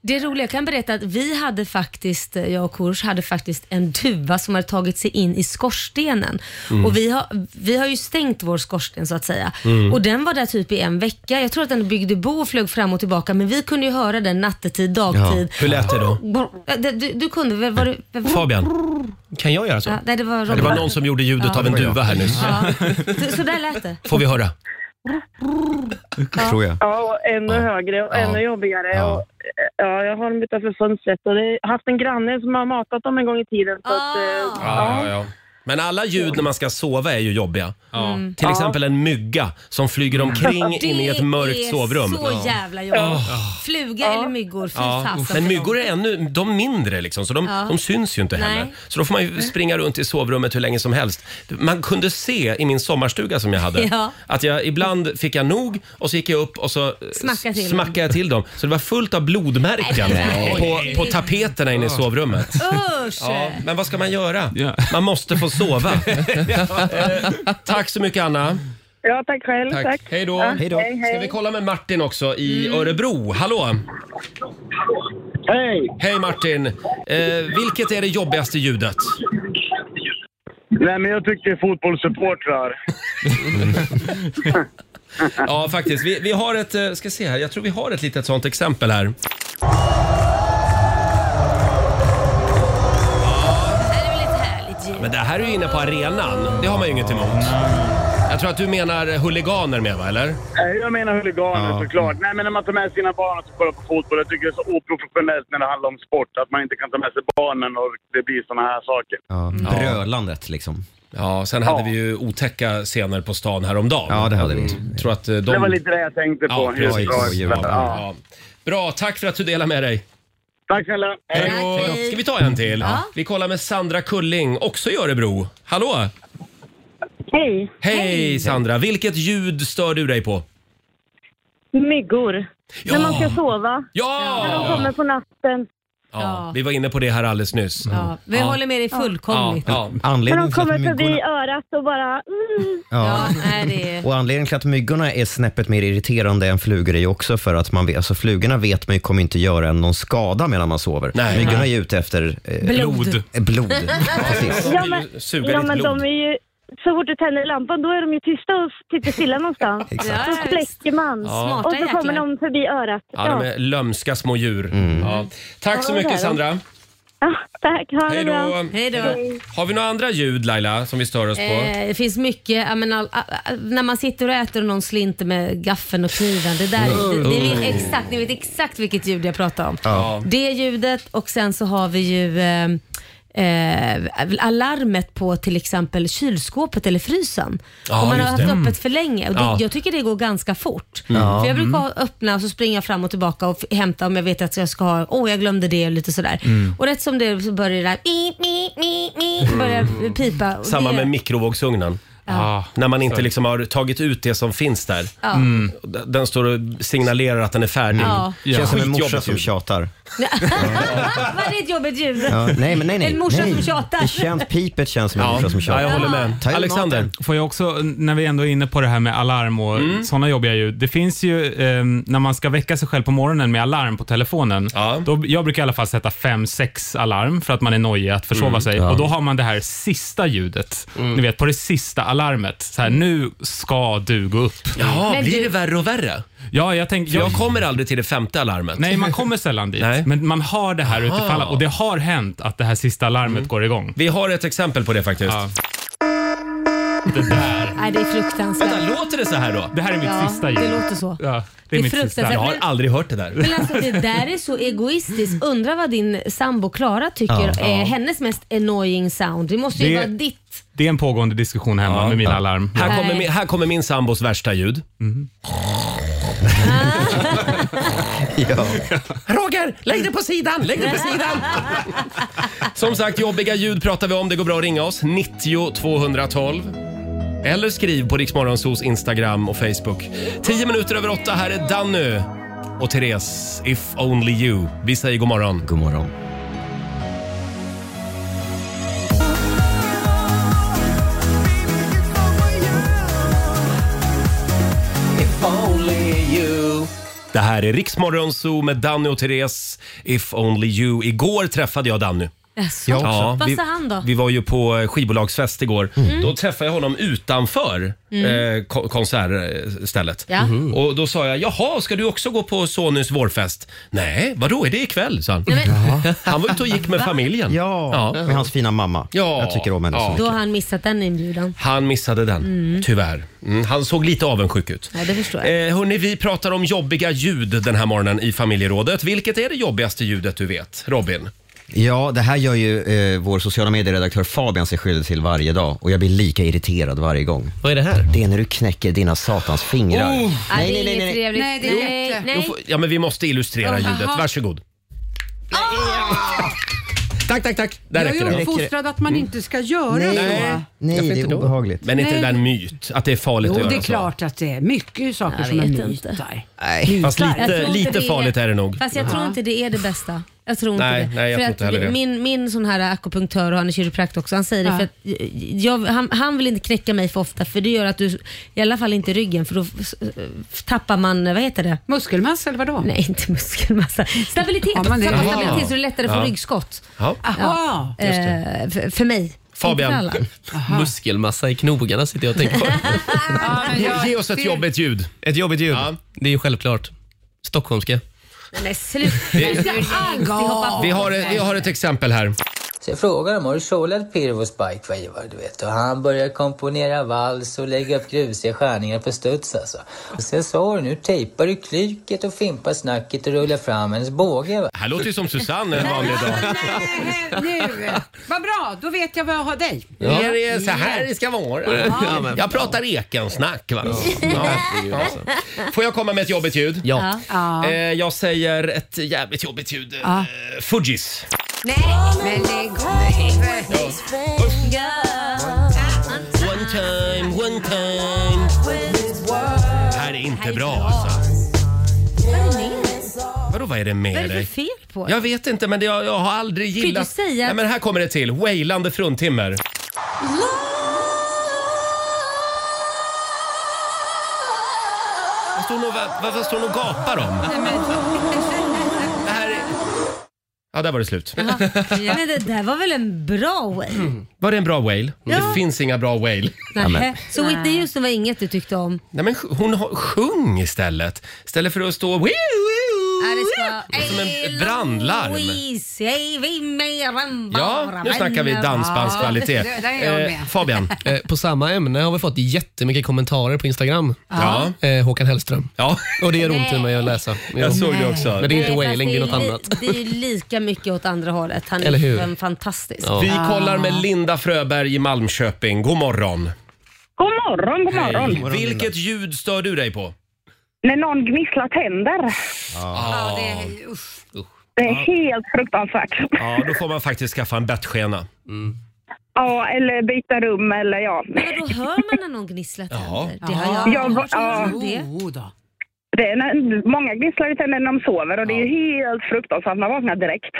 [SPEAKER 2] Det roliga, jag kan berätta att vi hade faktiskt, eh, jag och Korosh hade faktiskt en duva som hade tagit sig in i skorstenen.
[SPEAKER 14] Mm.
[SPEAKER 2] Och vi har, vi har ju stängt vår skorsten så att säga.
[SPEAKER 14] Mm.
[SPEAKER 2] Och den var där typ i en vecka. Jag tror att den byggde bo och flög fram och tillbaka, men vi kunde ju höra den nattetid, dagtid.
[SPEAKER 1] Hur lät det då?
[SPEAKER 2] Du, du, du kunde väl? Var du, var-
[SPEAKER 1] Fabian, kan jag göra så?
[SPEAKER 2] Ja, nej, det var Robin.
[SPEAKER 1] Det var någon som gjorde ljudet
[SPEAKER 2] Ja.
[SPEAKER 1] av en duva här nyss.
[SPEAKER 2] Ja. Så- Så där lät det.
[SPEAKER 1] Får vi höra? Tror jag.
[SPEAKER 6] Ja, och ännu högre och ännu jobbigare. Ja. Och, eh, ja, jag har dem utanför fönstret. Och det, jag har haft en granne som har matat dem en gång i tiden. Så att, eh,
[SPEAKER 1] Ja, ja, ja. Men alla ljud när man ska sova är ju jobbiga.
[SPEAKER 2] Mm.
[SPEAKER 1] Till
[SPEAKER 2] Ja.
[SPEAKER 1] exempel en mygga som flyger omkring
[SPEAKER 2] Det
[SPEAKER 1] in i ett mörkt sovrum.
[SPEAKER 2] är så jävla jobbigt.
[SPEAKER 1] Ah. Ja.
[SPEAKER 2] Fluga eller myggor, fy
[SPEAKER 1] Ja.
[SPEAKER 2] fasen.
[SPEAKER 1] Men myggor är ännu de mindre, liksom, så de,
[SPEAKER 2] Ja.
[SPEAKER 1] de syns ju inte heller.
[SPEAKER 2] Nej.
[SPEAKER 1] Så då får man ju springa runt i sovrummet hur länge som helst. Man kunde se i min sommarstuga som jag hade
[SPEAKER 2] <laughs> Ja.
[SPEAKER 1] att jag ibland fick jag nog och så gick jag upp och så eh,
[SPEAKER 2] Smacka till
[SPEAKER 1] smackade jag till dem. Så det var fullt av blodmärken
[SPEAKER 2] Nej.
[SPEAKER 1] på, på tapeterna inne i sovrummet.
[SPEAKER 2] Usch!
[SPEAKER 1] Ja, men vad ska man göra? Man måste få sova. <laughs> Eh, Tack så mycket Anna.
[SPEAKER 6] ja, tack själv. Tack.
[SPEAKER 1] Hej då.
[SPEAKER 6] Ja, Hej, Mm.
[SPEAKER 1] Ska vi
[SPEAKER 6] hej.
[SPEAKER 1] kolla med Martin också i Örebro? Hallå! Hej! Hej Martin! Eh, vilket är det jobbigaste ljudet?
[SPEAKER 5] Nej, men jag tycker fotbollssupportrar.
[SPEAKER 1] ja, faktiskt. Vi, vi har ett, eh, ska se här, jag tror vi har ett litet sånt exempel här. Men det här är ju inne på arenan. Det har man ju inget emot. Jag tror att du menar huliganer med va, eller?
[SPEAKER 5] Nej, Jag menar huliganer
[SPEAKER 1] Ja.
[SPEAKER 5] såklart. Nej, men när man tar med sina barn och kollar på fotboll. Jag tycker det är så oprofessionellt när det handlar om sport. Att man inte kan ta med sig barnen och det blir sådana här saker.
[SPEAKER 1] Brölandet liksom. Ja, sen hade vi ju otäcka scener på stan häromdagen. Ja, det hade vi. Tror att eh, de...
[SPEAKER 5] Det var lite det jag tänkte på.
[SPEAKER 1] Ja,
[SPEAKER 5] Just
[SPEAKER 1] precis.
[SPEAKER 5] bra.
[SPEAKER 1] Ja.
[SPEAKER 5] Ja.
[SPEAKER 1] Ja. Bra, tack för att du delade med dig.
[SPEAKER 5] Tack snälla.
[SPEAKER 3] Eh,
[SPEAKER 1] Hej då. Ska vi ta en till?
[SPEAKER 5] Ja.
[SPEAKER 1] Vi kollar med Sandra Kulling, också i Örebro. Hallå!
[SPEAKER 15] Hej.
[SPEAKER 1] Hej, Sandra! Vilket ljud stör du dig på?
[SPEAKER 15] Myggor. När man ska sova.
[SPEAKER 1] Ja!
[SPEAKER 15] När de kommer på natten.
[SPEAKER 1] Ja, Vi var inne på det här alldeles nyss.
[SPEAKER 15] Ja, vi håller med dig fullkomligt.
[SPEAKER 1] Ja, ja.
[SPEAKER 15] När de
[SPEAKER 3] Anledningen till
[SPEAKER 15] kommer
[SPEAKER 3] att
[SPEAKER 15] förbi
[SPEAKER 3] myggorna...
[SPEAKER 15] örat och bara... Mm.
[SPEAKER 3] Ja.
[SPEAKER 2] Nej, det är...
[SPEAKER 3] Och anledningen till att myggorna är snäppet mer irriterande än flugor är ju också för att man vet, alltså flugorna vet man ju kommer inte göra en någon skada medan man sover.
[SPEAKER 1] Nej.
[SPEAKER 3] myggorna
[SPEAKER 1] Nej.
[SPEAKER 3] är ute efter eh,
[SPEAKER 1] Blod.
[SPEAKER 3] eh, Blod. Precis.
[SPEAKER 15] Ja, men, ja, men de är ju... Så fort du tänder lampan då är de ju tysta och
[SPEAKER 6] typ
[SPEAKER 15] sitter stilla någonstans.
[SPEAKER 1] <laughs> Exakt.
[SPEAKER 15] Då släcker man.
[SPEAKER 1] Ja.
[SPEAKER 15] Och så kommer de förbi örat.
[SPEAKER 5] Mm.
[SPEAKER 1] Ja, de är lömska små djur. Ja. Tack så
[SPEAKER 15] Ja, det är
[SPEAKER 1] mycket
[SPEAKER 15] de.
[SPEAKER 1] Sandra.
[SPEAKER 16] Tack, ha det
[SPEAKER 1] Hej då.
[SPEAKER 16] bra.
[SPEAKER 2] Hej då.
[SPEAKER 1] Har vi några andra ljud Laila som vi stör oss på?
[SPEAKER 2] Eh, det finns mycket, jag menar, all- all- all- när man sitter och äter och någon slinter med gaffeln och kniven. Det där,
[SPEAKER 1] Mm.
[SPEAKER 2] det, det,
[SPEAKER 1] Mm.
[SPEAKER 2] är exakt, ni vet exakt vilket ljud jag pratar om.
[SPEAKER 1] Ja.
[SPEAKER 2] Det ljudet och sen så har vi ju eh, Eh, alarmet på till exempel kylskåpet eller frysen.
[SPEAKER 17] Ja,
[SPEAKER 2] Om man har
[SPEAKER 17] just det.
[SPEAKER 2] haft
[SPEAKER 17] Mm.
[SPEAKER 2] öppet för länge. Och det,
[SPEAKER 17] Ja.
[SPEAKER 2] Jag tycker det går ganska fort.
[SPEAKER 17] Ja.
[SPEAKER 2] För jag brukar
[SPEAKER 17] Mm.
[SPEAKER 2] öppna och så springer jag fram och tillbaka och f- hämta om jag vet att jag ska ha, åh jag glömde det och lite sådär.
[SPEAKER 1] Mm.
[SPEAKER 2] Och rätt som det är så börjar det där, "Ip, ip, ip, ip", börjar pipa. Och
[SPEAKER 1] Samma
[SPEAKER 2] det-
[SPEAKER 1] med mikrovågsugnen.
[SPEAKER 2] Ja. Ah,
[SPEAKER 1] När man inte
[SPEAKER 2] sorry.
[SPEAKER 1] liksom har tagit ut det som finns där.
[SPEAKER 2] Ja. Mm.
[SPEAKER 1] D- Den står och signalerar att den är färdig.
[SPEAKER 2] Ja.
[SPEAKER 3] Känns som en morsa
[SPEAKER 1] Skitjobbigt
[SPEAKER 3] som
[SPEAKER 1] ljud.
[SPEAKER 3] tjatar.
[SPEAKER 2] Vad är det ett jobbigt ljud?
[SPEAKER 3] Ja, nej, men nej, nej.
[SPEAKER 2] En morsa
[SPEAKER 3] nej.
[SPEAKER 2] som tjatar.
[SPEAKER 3] Det känns, pipet känns som en morsa som tjatar. Ta ut maten.
[SPEAKER 9] Får jag också, när vi ändå är inne på det här med alarm och
[SPEAKER 3] Mm.
[SPEAKER 9] sådana jobbiga ljud. Det finns ju eh, när man ska väcka sig själv på morgonen med alarm på telefonen. Då, jag brukar i alla fall sätta fem sex alarm för att man är nojig att försova
[SPEAKER 10] Mm.
[SPEAKER 9] sig.
[SPEAKER 10] Ja.
[SPEAKER 9] Och Då har man det här sista ljudet. Ni vet, på det sista alarmet. Så här, nu ska du gå upp.
[SPEAKER 1] Jaha, Men blir du- det
[SPEAKER 9] värre och värre? Ja, jag, tänk,
[SPEAKER 1] Jag kommer aldrig till det femte alarmet.
[SPEAKER 9] Nej, man kommer sällan dit. Men man har det här
[SPEAKER 1] Aha.
[SPEAKER 9] utifall och det har hänt att det här sista alarmet går igång.
[SPEAKER 1] Vi har ett exempel på det faktiskt.
[SPEAKER 9] Det där.
[SPEAKER 2] Nej, det är fruktansvärt.
[SPEAKER 1] Vänta, låter det så här då?
[SPEAKER 9] Det här är mitt
[SPEAKER 2] Ja,
[SPEAKER 9] sista ljud.
[SPEAKER 2] det låter så.
[SPEAKER 9] Ja,
[SPEAKER 2] Det är mitt fruktansvärt, sista.
[SPEAKER 1] Jag har
[SPEAKER 2] men-
[SPEAKER 1] aldrig hört det där.
[SPEAKER 2] Men alltså det där är så egoistiskt. Undrar vad din sambo Klara tycker
[SPEAKER 9] Ja.
[SPEAKER 2] är
[SPEAKER 9] Ja.
[SPEAKER 2] hennes mest annoying sound. Det måste ju
[SPEAKER 9] Det-
[SPEAKER 2] vara ditt.
[SPEAKER 9] Det är en pågående diskussion hemma med mina alarm.
[SPEAKER 2] Nej.
[SPEAKER 1] Här kommer, min, här kommer min sambos värsta ljud. Roger, lägg det på sidan! Lägg det på sidan! <laughs> Som sagt, jobbiga ljud pratar vi om. Det går bra att ringa oss. 90 212. Eller skriv på Riksmorgonsos Instagram och Facebook. 10 minuter över åtta. Här är Danny och Therese, If Only You. Vi säger god morgon.
[SPEAKER 3] God morgon.
[SPEAKER 1] Det här är Riksmorgonso med Danny och Therese, If Only You. Igår träffade jag Danny.
[SPEAKER 7] Alltså.
[SPEAKER 2] Jaså? Vad
[SPEAKER 1] vi,
[SPEAKER 2] sa han då?
[SPEAKER 1] Vi var ju på eh, skivbolagsfest igår.
[SPEAKER 2] Mm.
[SPEAKER 1] Då träffade jag honom utanför
[SPEAKER 2] Mm.
[SPEAKER 1] eh, ko- konsertstället.
[SPEAKER 2] Ja. Mhm.
[SPEAKER 1] Och då sa jag, jaha, ska du också gå på Sonys vårfest? Nej, vadå, är det ikväll? sa han. <laughs> Han var ute och gick med
[SPEAKER 2] Va?
[SPEAKER 1] familjen.
[SPEAKER 3] Ja, med hans fina mamma.
[SPEAKER 1] Ja.
[SPEAKER 3] Jag tycker om henne så
[SPEAKER 1] Ja.
[SPEAKER 3] mycket.
[SPEAKER 2] Då har han missat den inbjudan.
[SPEAKER 1] Han missade den,
[SPEAKER 2] Mm.
[SPEAKER 1] tyvärr. Mm, han såg lite avundsjuk ut.
[SPEAKER 2] Ja, det förstår jag.
[SPEAKER 1] Eh, hörni, vi pratar om jobbiga ljud den här morgonen i familjerådet. Vilket är det jobbigaste ljudet du vet, Robin?
[SPEAKER 3] Ja, det här gör ju eh, vår sociala medieredaktör Fabian sig skyldig till varje dag och jag blir lika irriterad varje gång.
[SPEAKER 10] Vad är det här?
[SPEAKER 3] Det är när du knäcker dina satans fingrar.
[SPEAKER 1] Oh.
[SPEAKER 2] Ja, det är inget trevligt.
[SPEAKER 7] Nej, det är
[SPEAKER 2] nej,
[SPEAKER 7] jätte-
[SPEAKER 1] Då
[SPEAKER 2] nej.
[SPEAKER 1] får- Ja, men vi måste illustrera
[SPEAKER 7] Jaha.
[SPEAKER 1] ljudet. Varsågod. Tack, tack, tack. Där
[SPEAKER 7] jag
[SPEAKER 1] räcker det.
[SPEAKER 7] är uppfostrad att man inte ska göra
[SPEAKER 1] Nej.
[SPEAKER 7] så.
[SPEAKER 1] Nej.
[SPEAKER 3] Nej,
[SPEAKER 1] Varför
[SPEAKER 3] det är
[SPEAKER 1] inte då?
[SPEAKER 3] obehagligt.
[SPEAKER 1] Men inte
[SPEAKER 7] Nej.
[SPEAKER 1] det där en myt, att det är farligt
[SPEAKER 7] Jo,
[SPEAKER 1] att göra
[SPEAKER 7] det är
[SPEAKER 1] så.
[SPEAKER 7] klart att det är mycket saker
[SPEAKER 2] Jag
[SPEAKER 7] som är
[SPEAKER 2] vet
[SPEAKER 7] myter.
[SPEAKER 2] inte.
[SPEAKER 1] Nej. Fast
[SPEAKER 2] Jag tror
[SPEAKER 1] lite,
[SPEAKER 2] inte
[SPEAKER 1] lite
[SPEAKER 2] det
[SPEAKER 1] farligt är det nog.
[SPEAKER 2] Fast jag tror inte det är det bästa. Jag tror inte
[SPEAKER 1] Nej,
[SPEAKER 2] det.
[SPEAKER 1] nej, jag tror
[SPEAKER 2] för att
[SPEAKER 1] inte heller det.
[SPEAKER 2] Min, min sån här akupunktör och han är kiropraktor också, han säger det
[SPEAKER 17] Ja.
[SPEAKER 2] för att jag, han, han vill inte knäcka mig för ofta för det gör att du, i alla fall inte ryggen för då f- f- tappar man, vad heter det?
[SPEAKER 7] Muskelmassa eller vadå?
[SPEAKER 2] Nej, inte muskelmassa. Stabilitet.
[SPEAKER 7] Har man det?
[SPEAKER 2] Tappar
[SPEAKER 7] Jaha.
[SPEAKER 2] stabilitet så det är lättare att få
[SPEAKER 10] Ja.
[SPEAKER 2] ryggskott.
[SPEAKER 1] Ja.
[SPEAKER 7] Aha.
[SPEAKER 2] Ja.
[SPEAKER 10] Just
[SPEAKER 2] Eh, för, för mig. Inte för
[SPEAKER 10] Fabian.
[SPEAKER 2] alla.
[SPEAKER 10] <laughs> Muskelmassa i knogarna sitter jag och tänker på.
[SPEAKER 1] Ge oss ett jobbigt ljud.
[SPEAKER 10] Ett jobbigt ljud? Det är ju självklart. Stockholmska.
[SPEAKER 2] Nej, Men sluta. Jag ska alltid hoppa på.
[SPEAKER 1] Vi har, vi har ett exempel här.
[SPEAKER 18] Så jag frågade honom, har du solat Pirvos bikewaver? Du vet. Och han började komponera vals och lägga upp grusiga skärningar på studs alltså. Och sen sa hon, nu tejpar du klyket och fimpar snacket och rullar fram hennes båge. Va?
[SPEAKER 1] Här låter ju som Susanne en vanlig dag.
[SPEAKER 7] Nu. Vad bra, då vet jag vad jag har dig.
[SPEAKER 1] <laughs> Ja. Det är så här det ska vara.
[SPEAKER 7] Ja.
[SPEAKER 1] Jag pratar ekensnack. Va? Ja. Ja. alltså- Får jag komma med ett jobbigt ljud?
[SPEAKER 2] Ja. Ja.
[SPEAKER 1] Eh, Jag säger ett jävligt jobbigt ljud. Eh,
[SPEAKER 2] Ja.
[SPEAKER 1] Fudgis.
[SPEAKER 2] Nej, men lägg
[SPEAKER 1] One time, one time. Det här är inte bra alltså. Vadå, vad är det
[SPEAKER 2] Vad
[SPEAKER 1] med
[SPEAKER 2] är det för
[SPEAKER 1] dig?
[SPEAKER 2] fel på
[SPEAKER 1] Jag vet inte, men det, jag, jag har aldrig
[SPEAKER 2] Kan du
[SPEAKER 1] gillat...
[SPEAKER 2] säga
[SPEAKER 1] Nej,
[SPEAKER 2] att-
[SPEAKER 1] men här kommer det till. Wailande fruntimmer. Vad står nog, varför står nog gapar om? Det här är... Ja, där var det slut.
[SPEAKER 2] Ja. Men det där var väl en bra way?
[SPEAKER 1] Var det en bra wail?
[SPEAKER 2] Ja.
[SPEAKER 1] Det finns inga bra wail.
[SPEAKER 2] Nähä. Så Whitney Houston var inget du tyckte om?
[SPEAKER 1] Nej men sj- hon har, sjung istället. Istället för att stå...
[SPEAKER 2] Ja, det ska...
[SPEAKER 1] Det är som en brandlarm.
[SPEAKER 2] Oj, säg vi mer än
[SPEAKER 1] Ja,
[SPEAKER 2] bara
[SPEAKER 1] nu snackar vi
[SPEAKER 2] vänner.
[SPEAKER 1] dansbandskvalitet. Eh,
[SPEAKER 2] Ja, det- där är jag med.
[SPEAKER 1] Fabian?
[SPEAKER 10] Eh, På samma ämne har vi fått jättemycket kommentarer på Instagram.
[SPEAKER 1] Ja.
[SPEAKER 10] Eh, Håkan Hellström.
[SPEAKER 1] Ja.
[SPEAKER 10] Och det gör ont i mig att läsa.
[SPEAKER 1] <laughs> Jag såg det också.
[SPEAKER 10] Men det är inte
[SPEAKER 2] Nej, fast
[SPEAKER 10] wailing, det är något
[SPEAKER 2] li-
[SPEAKER 10] annat.
[SPEAKER 2] Det är lika mycket åt andra hållet. Han är
[SPEAKER 1] Eller hur?
[SPEAKER 2] en fantastisk.
[SPEAKER 1] Vi kollar med Linda Fröberg i Malmköping. God morgon.
[SPEAKER 17] God morgon, god morgon.
[SPEAKER 1] Vilket ljud stör du dig på?
[SPEAKER 17] När någon gnisslar tänder.
[SPEAKER 1] Ja, det är...
[SPEAKER 17] Det är helt fruktansvärt.
[SPEAKER 1] ja, då får man faktiskt skaffa en bettskena.
[SPEAKER 17] Ja, eller byta rum eller ja.
[SPEAKER 2] Men då hör man när någon gnisslar tänder. Det har jag
[SPEAKER 17] Ja,
[SPEAKER 2] aldrig hört
[SPEAKER 17] ja.
[SPEAKER 2] talas om det.
[SPEAKER 17] Det är när, många gnisslar i tänderna när de sover och det är ju helt fruktansvärt. Man vaknar direkt.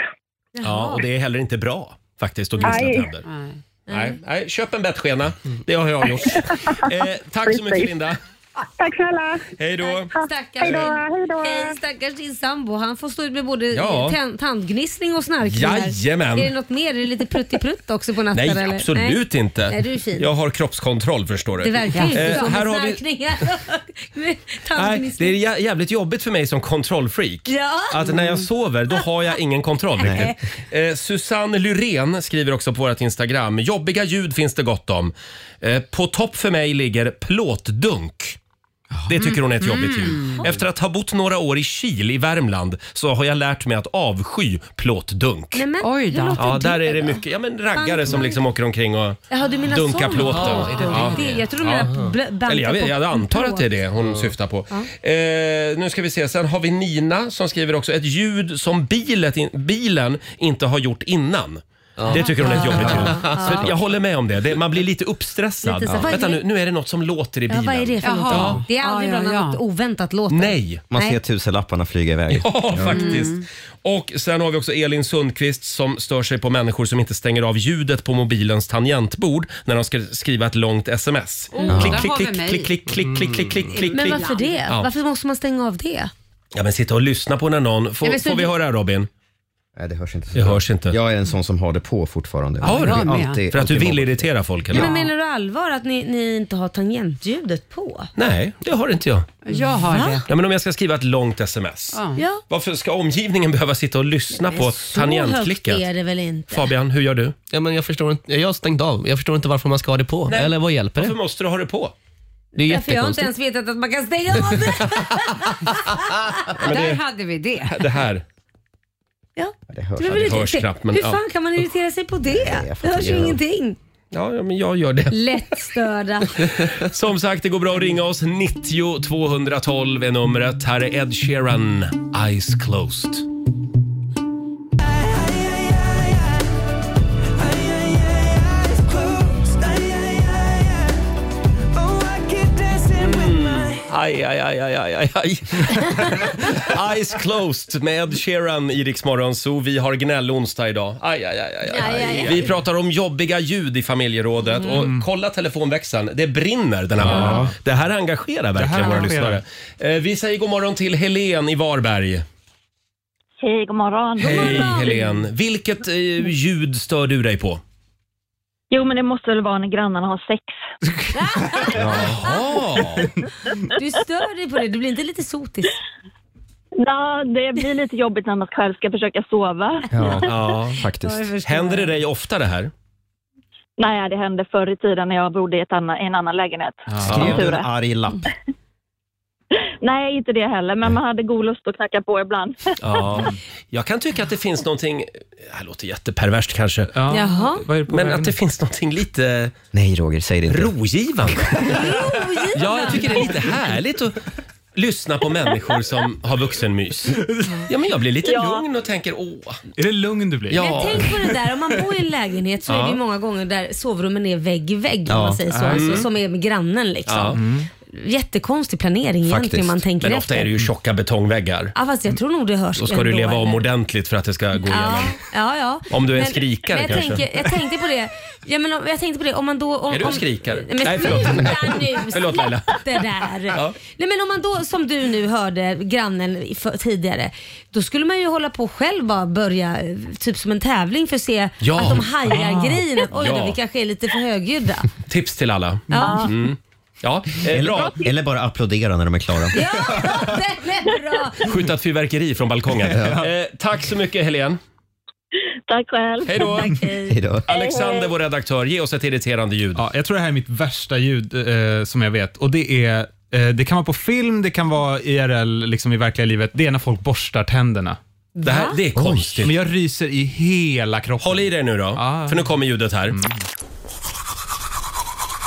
[SPEAKER 1] Ja, och det är heller inte bra faktiskt att gnissla
[SPEAKER 17] Nej.
[SPEAKER 1] tänder. Nej, nej, köp en bettskena. Det har jag gjort. <laughs> Eh, tack så mycket
[SPEAKER 17] Precis.
[SPEAKER 1] Linda.
[SPEAKER 17] Tack snälla.
[SPEAKER 1] Hej då.
[SPEAKER 2] Stackars,
[SPEAKER 1] Hej då,
[SPEAKER 2] Hej, stackars din sambo. Han får stå ut med både
[SPEAKER 1] Ja.
[SPEAKER 2] tan- tandgnissling och snarkning. här.
[SPEAKER 1] Jajamän.
[SPEAKER 2] Är det något mer? Är det lite pruttiprutt också på natten?
[SPEAKER 1] Nej,
[SPEAKER 2] eller?
[SPEAKER 1] absolut
[SPEAKER 2] Nej.
[SPEAKER 1] inte.
[SPEAKER 2] Nej, du är fin.
[SPEAKER 1] Jag har kroppskontroll förstår du.
[SPEAKER 2] Det verkar ju inte
[SPEAKER 1] Eh,
[SPEAKER 2] som
[SPEAKER 1] här
[SPEAKER 2] med
[SPEAKER 1] har vi...
[SPEAKER 2] snarkningar. <laughs>
[SPEAKER 1] Nej, det
[SPEAKER 2] Tandgnissling.
[SPEAKER 1] är jä- jävligt jobbigt för mig som kontrollfreak.
[SPEAKER 2] Ja.
[SPEAKER 1] Att när jag sover, då har jag ingen kontroll
[SPEAKER 2] Nej.
[SPEAKER 1] riktigt. Eh, Susanne Lyrén skriver också på vårt Instagram. Jobbiga ljud finns det gott om. Eh, på topp för mig ligger plåtdunk. Det tycker hon är
[SPEAKER 2] Mm,
[SPEAKER 1] ett jobbigt ljud. Efter att ha bott några år i Kil i Värmland så har jag lärt mig att avsky plåtdunk.
[SPEAKER 2] Nej, men, Oj då.
[SPEAKER 1] Ja, där är det mycket ja, men raggare som liksom åker omkring och
[SPEAKER 2] Jaha, du menar
[SPEAKER 1] dunkar
[SPEAKER 2] sån
[SPEAKER 1] plåten.
[SPEAKER 2] plåtdunk. Det- jag tror du menar bl- banta
[SPEAKER 1] Eller jag, vet-
[SPEAKER 2] på
[SPEAKER 1] jag antar att det är det hon
[SPEAKER 2] plåt.
[SPEAKER 1] syftar på. Eh, nu ska vi se, sen har vi Nina som skriver också ett ljud som bilet in, bilen inte har gjort innan. Det tycker hon är ett jobbigt ljud.
[SPEAKER 2] Ja.
[SPEAKER 1] Så Jag håller med om det. det man blir lite uppstressad.
[SPEAKER 2] Lite så, vad är
[SPEAKER 1] Vänta
[SPEAKER 2] det?
[SPEAKER 1] nu, nu är det något som låter i
[SPEAKER 2] Ja,
[SPEAKER 1] bilen.
[SPEAKER 2] vad är det för något?
[SPEAKER 1] Ja.
[SPEAKER 2] Det är aldrig
[SPEAKER 1] Ja,
[SPEAKER 2] bra
[SPEAKER 1] ja,
[SPEAKER 2] när
[SPEAKER 1] ja.
[SPEAKER 2] något oväntat låter.
[SPEAKER 1] Nej. <laughs>
[SPEAKER 3] Man ser tusenlapparna flyga iväg.
[SPEAKER 1] Ja,
[SPEAKER 2] Mm.
[SPEAKER 1] faktiskt. Och sen har vi också Elin Sundqvist som stör sig på människor som inte stänger av ljudet på mobilens tangentbord när de ska skriva ett långt sms.
[SPEAKER 2] Oh,
[SPEAKER 1] klick,
[SPEAKER 2] där
[SPEAKER 1] klick,
[SPEAKER 2] har vi
[SPEAKER 1] klick,
[SPEAKER 2] mig. Mm.
[SPEAKER 1] klick, klick, klick, klick, klick, klick, klick.
[SPEAKER 2] Men varför det?
[SPEAKER 1] Ja.
[SPEAKER 2] Varför måste man stänga av det?
[SPEAKER 1] Ja, men sitta och lyssna på när någon... Får,
[SPEAKER 2] Nej, men så
[SPEAKER 1] får vi
[SPEAKER 2] du-
[SPEAKER 1] höra Robin?
[SPEAKER 3] Nej, det hörs inte.
[SPEAKER 1] Det hörs inte.
[SPEAKER 3] Jag är en sån som har det på fortfarande.
[SPEAKER 1] Har du?
[SPEAKER 3] Det är
[SPEAKER 1] För att du
[SPEAKER 3] alltid
[SPEAKER 1] vill
[SPEAKER 3] något.
[SPEAKER 1] irritera folk eller?
[SPEAKER 2] Nej, Men menar du allvar att ni, ni inte har tangentljudet på?
[SPEAKER 1] Nej, det har inte jag.
[SPEAKER 2] Jag har Va? det.
[SPEAKER 1] Ja, men om jag ska skriva ett långt sms.
[SPEAKER 2] Ja.
[SPEAKER 1] Varför ska omgivningen behöva sitta och lyssna på tangentklicket?
[SPEAKER 2] Så högt är det väl inte?
[SPEAKER 1] Fabian, hur gör du?
[SPEAKER 10] Ja, men jag, förstår inte, jag har stängt av. Jag förstår inte varför man ska ha det på.
[SPEAKER 1] Nej.
[SPEAKER 10] Eller vad hjälper det?
[SPEAKER 1] Varför måste du ha det på?
[SPEAKER 10] Det är
[SPEAKER 2] Därför jag har inte ens
[SPEAKER 10] jättekonstigt.
[SPEAKER 2] vetat att man kan stänga
[SPEAKER 1] <laughs>
[SPEAKER 2] av det.
[SPEAKER 1] men
[SPEAKER 7] Där
[SPEAKER 1] det-
[SPEAKER 7] hade vi det.
[SPEAKER 1] Det här.
[SPEAKER 2] Ja.
[SPEAKER 1] Det hörs,
[SPEAKER 2] Det var väl
[SPEAKER 1] det hörs
[SPEAKER 2] lite-
[SPEAKER 1] knappt. Men,
[SPEAKER 2] Hur
[SPEAKER 1] ja.
[SPEAKER 2] fan kan man irritera sig på det? Det
[SPEAKER 1] fattar
[SPEAKER 2] hörs ju
[SPEAKER 1] inte.
[SPEAKER 2] ingenting.
[SPEAKER 1] <laughs> Ja, ja, men jag gör det.
[SPEAKER 2] Lätt störda.
[SPEAKER 1] Som sagt, det går bra att ringa oss. 90 212 är numret. Här är Ed Sheeran, Eyes Closed. Aj, aj, aj, aj, aj, aj, aj. <laughs> Eyes closed med Ed Sheeran i Rix Morgon Zoo. Vi har gnällonsdag idag. Aj, aj, aj, aj, aj.
[SPEAKER 10] Aj, aj, aj.
[SPEAKER 1] Vi pratar om jobbiga ljud i familjerådet och kolla telefonväxeln. Det brinner den här
[SPEAKER 10] Mm. Ja.
[SPEAKER 1] morgonen. Det här engagerar
[SPEAKER 10] Det här
[SPEAKER 1] verkligen våra
[SPEAKER 10] engagerar.
[SPEAKER 1] lyssnare. Eh, Vi säger god morgon till Helen i Varberg.
[SPEAKER 19] Hej, god morgon.
[SPEAKER 1] Hej Helen. Vilket eh, ljud stör du dig på?
[SPEAKER 19] Jo, men det måste väl vara när grannarna har sex.
[SPEAKER 2] Du stör dig på det. Du blir inte lite sotis?
[SPEAKER 19] Ja, det blir lite jobbigt när man själv ska försöka sova.
[SPEAKER 1] ja
[SPEAKER 19] Ja, jag
[SPEAKER 1] faktiskt.
[SPEAKER 19] förstår.
[SPEAKER 1] Händer det dig ofta det här?
[SPEAKER 19] Nej, det hände förr i tiden när jag bodde i, ett annan, i en annan lägenhet. Som
[SPEAKER 3] Skrev
[SPEAKER 19] tur
[SPEAKER 3] du en
[SPEAKER 19] är.
[SPEAKER 3] arg lapp?
[SPEAKER 19] Nej, inte det heller, men man hade god lust att knacka på ibland. <laughs>
[SPEAKER 1] Ja. Jag kan tycka att det finns någonting, det här låter jätteperverst kanske,
[SPEAKER 19] Jaha.
[SPEAKER 1] men att det finns någonting lite
[SPEAKER 3] Nej, Roger, säg det inte.
[SPEAKER 1] rogivande. Ja, jag tycker det är lite härligt att lyssna på människor som har vuxenmys. Ja, men jag blir lite lugn och tänker åh.
[SPEAKER 9] Är det lugn du blir?
[SPEAKER 1] Ja.
[SPEAKER 2] Men tänk på det där, om man bor i en lägenhet så är det
[SPEAKER 1] Ja.
[SPEAKER 2] ju många gånger där sovrummen är vägg i vägg om
[SPEAKER 1] Ja.
[SPEAKER 2] man säger så,
[SPEAKER 1] Mm.
[SPEAKER 2] så, som är med grannen liksom.
[SPEAKER 1] Ja. Mm.
[SPEAKER 2] Jättekonstig planering egentligen om man tänker
[SPEAKER 1] Men
[SPEAKER 2] efter.
[SPEAKER 1] ofta är det ju tjocka betongväggar.
[SPEAKER 2] Ja fast jag tror nog det hörs.
[SPEAKER 1] Då ska du
[SPEAKER 2] ändå,
[SPEAKER 1] leva om
[SPEAKER 2] eller?
[SPEAKER 1] ordentligt för att det ska gå
[SPEAKER 2] Ja,
[SPEAKER 1] igenom.
[SPEAKER 2] ja, ja.
[SPEAKER 1] Om du är en skrikare
[SPEAKER 2] men jag
[SPEAKER 1] kanske.
[SPEAKER 2] Tänker, jag tänkte på det. Ja, men om, jag tänkte på det. Om man då, om,
[SPEAKER 1] Är du
[SPEAKER 2] om,
[SPEAKER 1] en skrikare?
[SPEAKER 2] Men
[SPEAKER 1] Nej, förlåt.
[SPEAKER 2] sluta nu.
[SPEAKER 1] <laughs> Förlåt, Laila.
[SPEAKER 2] släpp Det där.
[SPEAKER 1] Ja.
[SPEAKER 2] Nej, men om man då, som du nu hörde grannen i- för, tidigare, då skulle man ju hålla på själv bara börja, eh, typ som en tävling för att se
[SPEAKER 1] Ja.
[SPEAKER 2] att de hajar
[SPEAKER 1] Ah.
[SPEAKER 2] grejen. Att, Oj då,
[SPEAKER 1] Ja.
[SPEAKER 2] vi kanske är lite för högljudda.
[SPEAKER 1] Tips till alla.
[SPEAKER 2] Ja.
[SPEAKER 1] Mm. Ja, eh, bra.
[SPEAKER 3] Eller, eller bara applådera när de är klara.
[SPEAKER 2] Den är bra!
[SPEAKER 1] Skjuta ett fyrverkeri från balkongen.
[SPEAKER 3] Ja.
[SPEAKER 1] eh, tack så mycket Helene.
[SPEAKER 16] Tack själv.
[SPEAKER 1] Hej då.
[SPEAKER 3] Hej då.
[SPEAKER 1] Alexander, vår redaktör, ge oss ett irriterande ljud.
[SPEAKER 9] Ja, jag tror det här är mitt värsta ljud eh, som jag vet. Och det, är, eh, det kan vara på film, det kan vara IRL, liksom i verkliga livet. Det är när folk borstar tänderna.
[SPEAKER 1] Det, här, det är konstigt.
[SPEAKER 9] Men jag ryser i hela kroppen.
[SPEAKER 1] Håll i dig nu då,
[SPEAKER 9] Ah.
[SPEAKER 1] för nu kommer ljudet här.
[SPEAKER 9] Mm.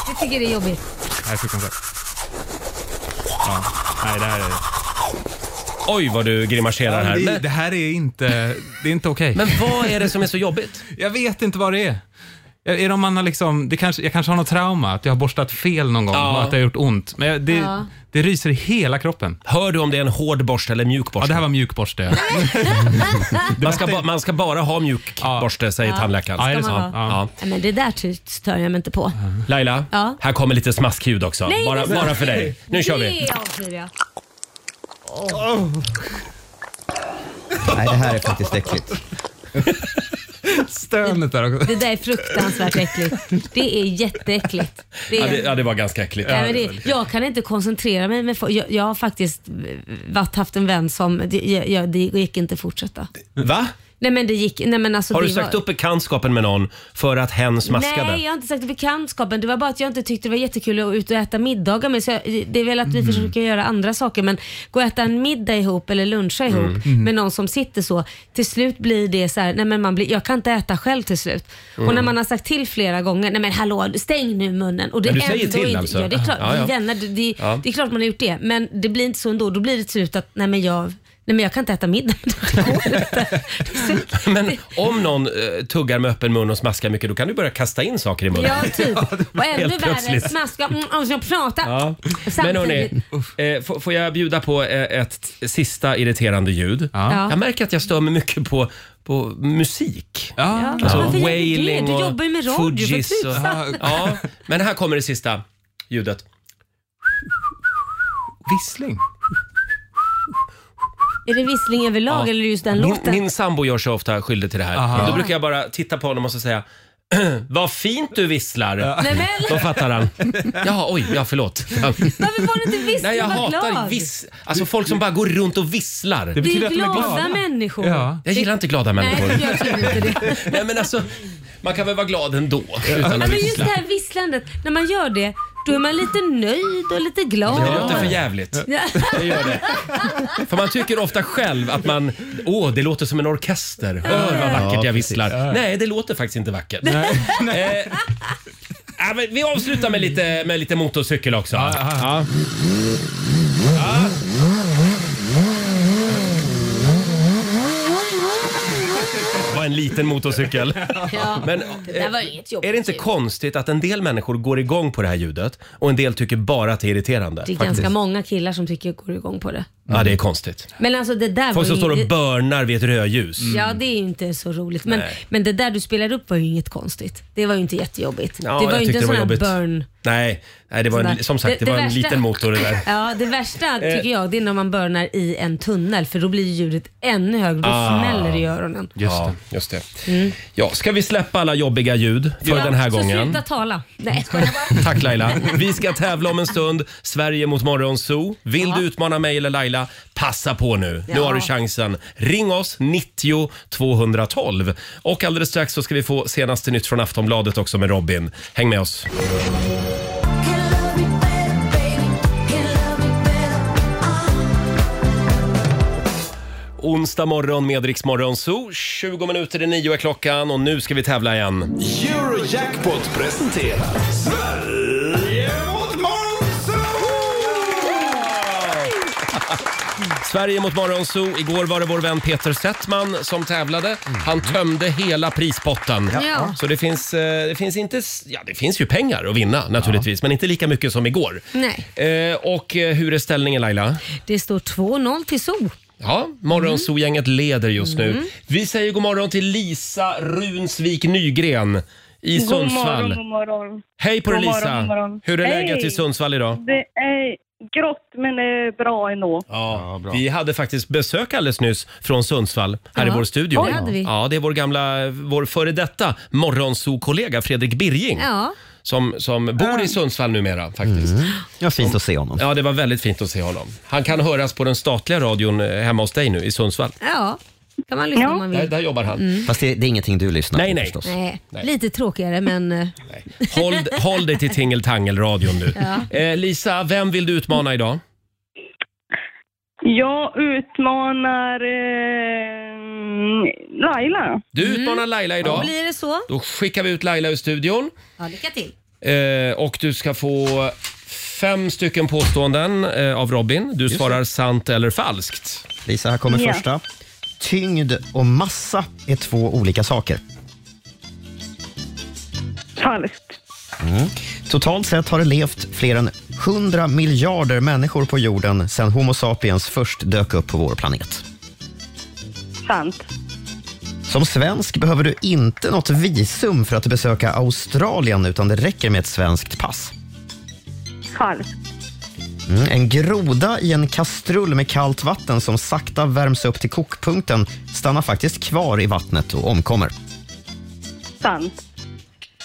[SPEAKER 2] Jag tycker det är jobbigt.
[SPEAKER 9] Det här är fruktansvärt. Ja. Nej, det här är...
[SPEAKER 1] Oj, vad du grimaserar här.
[SPEAKER 9] Det,
[SPEAKER 1] Men-
[SPEAKER 9] det här är inte, det är inte okej.
[SPEAKER 1] Men vad är det som är så jobbigt?
[SPEAKER 9] Jag vet inte vad det är. Är är det om man har liksom, det kanske, jag kanske har något trauma, att jag har borstat fel någon gång
[SPEAKER 1] Ja.
[SPEAKER 9] och att det har gjort ont. Men jag, det,
[SPEAKER 1] Ja.
[SPEAKER 9] det ryser i hela kroppen.
[SPEAKER 1] Hör du om det är en hård borste eller mjuk borste?
[SPEAKER 9] Ja, det här var mjuk borste. ja.
[SPEAKER 1] Man ska, ba- man ska bara ha mjuk borste, säger
[SPEAKER 2] Ja.
[SPEAKER 1] tandläkaren.
[SPEAKER 2] Ska man ha.
[SPEAKER 1] Ja.
[SPEAKER 2] Nej, men det där ty- stör jag mig inte på.
[SPEAKER 1] Laila,
[SPEAKER 2] Ja.
[SPEAKER 1] här kommer lite smaskljud också.
[SPEAKER 2] Nej,
[SPEAKER 1] bara,
[SPEAKER 2] det-
[SPEAKER 1] bara för dig. Nu kör vi.
[SPEAKER 2] Det avskyr jag.
[SPEAKER 3] Nej, det här är faktiskt äckligt.
[SPEAKER 9] Stönet där också.
[SPEAKER 2] Det där är fruktansvärt äckligt. Det är jätteäckligt. Det är...
[SPEAKER 1] Ja, det, ja, det var ganska äckligt.
[SPEAKER 2] Nej, men det, jag kan inte koncentrera mig. Med, fo- jag, jag har faktiskt varit, haft en vän som, det, jag, jag, det gick inte att fortsätta.
[SPEAKER 1] Va?
[SPEAKER 2] Nej men det gick, nej men alltså
[SPEAKER 1] Har
[SPEAKER 2] det
[SPEAKER 1] du sagt
[SPEAKER 2] var,
[SPEAKER 1] upp bekantskapen med någon för att hen smaskade?
[SPEAKER 2] Nej, jag har inte sagt bekantskapen. Det var bara att jag inte tyckte det var jättekul att ut och äta middagar med. Så jag, det är väl att vi
[SPEAKER 1] Mm.
[SPEAKER 2] försöker göra andra saker, men gå och äta en middag ihop eller luncha ihop
[SPEAKER 1] Mm. Mm.
[SPEAKER 2] med någon som sitter så. Till slut blir det så här, nej men man blir, jag kan inte äta själv till slut. Och
[SPEAKER 1] Mm.
[SPEAKER 2] när man har sagt till flera gånger, nej men hallå, stäng nu munnen. Och det
[SPEAKER 1] Men du
[SPEAKER 2] är
[SPEAKER 1] säger
[SPEAKER 2] ändå
[SPEAKER 1] till
[SPEAKER 2] inte,
[SPEAKER 1] alltså?
[SPEAKER 2] Ja, det är klart.
[SPEAKER 1] Ja, ja.
[SPEAKER 2] Vi är vänner, det, det,
[SPEAKER 1] Ja.
[SPEAKER 2] det är klart man har gjort det. Men det blir inte så ändå. Då blir det till slut att, nej men jag, nej men jag kan inte äta middag. <laughs>
[SPEAKER 1] Men om någon eh, tuggar med öppen mun och smaskar mycket, då kan du börja kasta in saker i munnen.
[SPEAKER 2] Ja,
[SPEAKER 1] <laughs>
[SPEAKER 2] typ. Och ännu
[SPEAKER 1] helt
[SPEAKER 2] värre,
[SPEAKER 1] plötsligt.
[SPEAKER 2] smaska, mm, alltså jag pratar.
[SPEAKER 1] Ja. Men hörni, eh, får- får jag bjuda på eh, ett sista irriterande ljud?
[SPEAKER 2] Ja.
[SPEAKER 1] Jag märker att jag stör mig mycket på, på musik.
[SPEAKER 2] Ja.
[SPEAKER 1] Alltså,
[SPEAKER 2] Varför gör du det?
[SPEAKER 1] wailing
[SPEAKER 2] Du
[SPEAKER 1] och
[SPEAKER 2] jobbar ju med radio, för
[SPEAKER 1] Fugees och,
[SPEAKER 2] tusan.
[SPEAKER 1] ja. Men här kommer det sista ljudet.
[SPEAKER 9] Vissling?
[SPEAKER 2] Är det vissling överlag eller just den
[SPEAKER 1] Min,
[SPEAKER 2] låten?
[SPEAKER 1] min sambo gör sig ofta skyldig till det här.
[SPEAKER 9] Aha.
[SPEAKER 1] Då brukar jag bara titta på honom och så säga <clears throat> vad fint du visslar.
[SPEAKER 2] Nej, men-
[SPEAKER 1] Då fattar han. Jaha, oj, ja
[SPEAKER 2] <laughs>
[SPEAKER 1] förlåt.
[SPEAKER 2] Varför var du inte vissling?
[SPEAKER 1] Nej, jag
[SPEAKER 2] Var
[SPEAKER 1] hatar
[SPEAKER 2] glad.
[SPEAKER 1] viss, alltså folk som bara går runt och visslar.
[SPEAKER 2] Det betyder att de är glada glada. människor. Ja.
[SPEAKER 1] Jag gillar inte glada
[SPEAKER 2] Nej,
[SPEAKER 1] människor.
[SPEAKER 2] jag tror
[SPEAKER 1] <laughs>
[SPEAKER 2] inte det.
[SPEAKER 1] Nej, men alltså, man kan väl vara glad ändå utan
[SPEAKER 2] Ja,
[SPEAKER 1] att
[SPEAKER 2] men just
[SPEAKER 1] vissla.
[SPEAKER 2] det här visslandet, när man gör det, då är man lite nöjd och lite glad.
[SPEAKER 1] Det låter för jävligt.
[SPEAKER 2] Ja.
[SPEAKER 1] Det gör det. För man tycker ofta själv att man, åh det låter som en orkester. Hör vad vackert jag visslar. Nej, det låter faktiskt inte vackert. Eh, ja, men vi avslutar med lite, med lite motorcykel också. Ja. Ja. Det var en liten motorcykel.
[SPEAKER 2] Ja.
[SPEAKER 1] Men,
[SPEAKER 2] det där
[SPEAKER 1] eh,
[SPEAKER 2] var inget jobbigt
[SPEAKER 1] Är det inte
[SPEAKER 2] ljud.
[SPEAKER 1] konstigt att en del människor går igång på det här ljudet och en del tycker bara att det är irriterande?
[SPEAKER 2] Det är
[SPEAKER 1] Faktiskt.
[SPEAKER 2] ganska många killar som tycker jag går igång på det.
[SPEAKER 1] Ja, det är konstigt.
[SPEAKER 2] Men alltså det där
[SPEAKER 1] Folk som
[SPEAKER 2] var
[SPEAKER 1] står
[SPEAKER 2] ju...
[SPEAKER 1] och börnar vid ett rödljus.
[SPEAKER 2] Ja, det är ju inte så roligt. Men,
[SPEAKER 1] Mm. Nej.
[SPEAKER 2] men det där du spelade upp var ju inget konstigt. Det var ju inte jättejobbigt.
[SPEAKER 1] Ja,
[SPEAKER 2] det var
[SPEAKER 1] jag tyckte
[SPEAKER 2] ju inte en sån här
[SPEAKER 1] jobbigt.
[SPEAKER 2] burn.
[SPEAKER 1] Nej, nej det var en,
[SPEAKER 2] Sådär.
[SPEAKER 1] som sagt, det, var en
[SPEAKER 2] värsta-
[SPEAKER 1] liten motor det
[SPEAKER 2] <laughs>
[SPEAKER 1] där.
[SPEAKER 2] Ja, det värsta
[SPEAKER 1] Eh.
[SPEAKER 2] tycker jag det är när man burnar i en tunnel för då blir ljudet ännu högre. Då
[SPEAKER 1] Ah.
[SPEAKER 2] smäller det i öronen.
[SPEAKER 1] ja, just det.
[SPEAKER 2] Mm.
[SPEAKER 1] Ja, ska vi släppa alla jobbiga ljud för den här
[SPEAKER 2] så
[SPEAKER 1] gången?
[SPEAKER 2] sluta tala. Nej,
[SPEAKER 1] Tack Laila. Vi ska tävla om en stund. Sverige mot Morgonzoo. Vill du utmana mig eller Laila? Passa på nu. Nu
[SPEAKER 20] Ja.
[SPEAKER 1] har du chansen. Ring oss, 90 212. Och alldeles strax så ska vi få senaste nytt från Aftonbladet också med Robin. Häng med oss.
[SPEAKER 8] Uh,
[SPEAKER 1] Onsdag morgon med Rix Morgonzoo. 20 minuter i nio är klockan och nu ska vi tävla igen.
[SPEAKER 20] Eurojackpot presenterar Sverige mot
[SPEAKER 1] Sverige mot Morgonzoo. Igår var det vår vän Peter Settman som tävlade. Han tömde hela prispotten.
[SPEAKER 20] Ja.
[SPEAKER 1] Så det finns, eh, det finns inte... s- Ja, det finns ju pengar att vinna naturligtvis, men inte lika mycket som igår.
[SPEAKER 2] Nej.
[SPEAKER 1] Eh, och eh, hur är ställningen Laila?
[SPEAKER 2] Det står 2-0 till Zoo.
[SPEAKER 1] Ja, Morgonzoo-gänget leder just nu.
[SPEAKER 2] Mm.
[SPEAKER 1] Vi säger god morgon till Lisa Runsvik Nygren i
[SPEAKER 21] God
[SPEAKER 1] Sundsvall.
[SPEAKER 21] morgon, god morgon.
[SPEAKER 1] Hej på dig
[SPEAKER 21] God
[SPEAKER 1] Lisa!
[SPEAKER 21] morgon, god morgon.
[SPEAKER 1] Hur är
[SPEAKER 21] Hej.
[SPEAKER 1] läget i Sundsvall idag?
[SPEAKER 21] Det är grått men det är bra ändå.
[SPEAKER 1] Ja, vi hade faktiskt besök alldeles nyss från Sundsvall här
[SPEAKER 21] Ja.
[SPEAKER 1] i vår studio.
[SPEAKER 21] Oj, hade vi.
[SPEAKER 1] Ja, det är vår gamla, vår före detta morgonzoo-kollega Fredrik Birging.
[SPEAKER 2] Ja.
[SPEAKER 1] som, som bor i Sundsvall numera faktiskt.
[SPEAKER 21] Mm.
[SPEAKER 3] Ja, fint att se honom.
[SPEAKER 1] Ja, det var väldigt fint att se honom. Han kan höras på den statliga radion eh, hemma hos dig nu i Sundsvall.
[SPEAKER 2] Ja, kan man lyssna om man
[SPEAKER 1] Där,
[SPEAKER 2] vill.
[SPEAKER 1] där jobbar han.
[SPEAKER 2] Mm.
[SPEAKER 3] Fast det, det är ingenting du lyssnar
[SPEAKER 1] Nej,
[SPEAKER 3] på
[SPEAKER 1] nej.
[SPEAKER 3] förstås.
[SPEAKER 2] Nej,
[SPEAKER 1] Nej.
[SPEAKER 2] lite tråkigare men... eh,
[SPEAKER 1] Håll, håll dig till tingeltangelradion nu.
[SPEAKER 2] Ja.
[SPEAKER 1] Eh, Lisa, vem vill du utmana idag?
[SPEAKER 21] Jag utmanar eh, Laila.
[SPEAKER 1] Du
[SPEAKER 2] Mm.
[SPEAKER 1] utmanar Laila idag.
[SPEAKER 2] Då blir det så.
[SPEAKER 1] Då skickar vi ut Laila ur studion.
[SPEAKER 2] Ja, lycka till.
[SPEAKER 1] Eh, och du ska få fem stycken påståenden eh, av Robin. Du svarar sant eller falskt.
[SPEAKER 3] Lisa, här kommer
[SPEAKER 1] Ja.
[SPEAKER 3] första. Tyngd och massa är två olika saker.
[SPEAKER 21] Falskt.
[SPEAKER 3] Mm. Totalt sett har det levt fler än 100 miljarder människor på jorden sedan Homo sapiens först dök upp på vår planet.
[SPEAKER 21] Sant.
[SPEAKER 3] Som svensk behöver du inte något visum för att besöka Australien utan det räcker med ett svenskt pass.
[SPEAKER 21] Falskt.
[SPEAKER 3] Mm. En groda i en kastrull med kallt vatten som sakta värms upp till kokpunkten stannar faktiskt kvar i vattnet och omkommer.
[SPEAKER 21] Sant.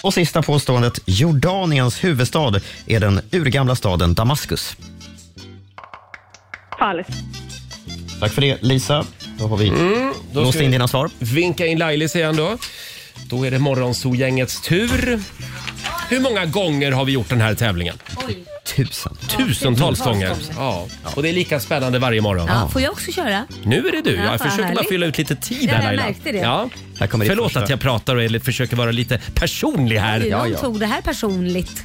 [SPEAKER 3] Och sista påståendet. Jordaniens huvudstad är den urgamla staden Damaskus.
[SPEAKER 21] Falskt.
[SPEAKER 3] Tack för det, Lisa. Mm, Då har vi
[SPEAKER 1] Då
[SPEAKER 3] låst
[SPEAKER 1] ska vi
[SPEAKER 3] in dina svar.
[SPEAKER 1] Vinka in Lailis igen då. Då är det Morgonzoo-gängets tur. Hur många gånger har vi gjort den här tävlingen?
[SPEAKER 3] Tusen.
[SPEAKER 1] Tusentals
[SPEAKER 2] Ja,
[SPEAKER 1] gånger.
[SPEAKER 2] tusentals
[SPEAKER 1] Ja. Och det är lika spännande varje morgon.
[SPEAKER 2] Ja, får jag också köra?
[SPEAKER 1] Nu är det du.
[SPEAKER 2] Ja,
[SPEAKER 1] jag
[SPEAKER 2] fan,
[SPEAKER 1] försöker bara
[SPEAKER 2] härligt.
[SPEAKER 1] fylla ut lite tid
[SPEAKER 2] Ja,
[SPEAKER 1] här
[SPEAKER 2] jag
[SPEAKER 1] Laila.
[SPEAKER 2] märkte det.
[SPEAKER 1] Ja.
[SPEAKER 3] det
[SPEAKER 1] Förlåt
[SPEAKER 3] första.
[SPEAKER 1] att jag pratar och är- försöker vara lite personlig här.
[SPEAKER 2] Oj, någon tog det här personligt.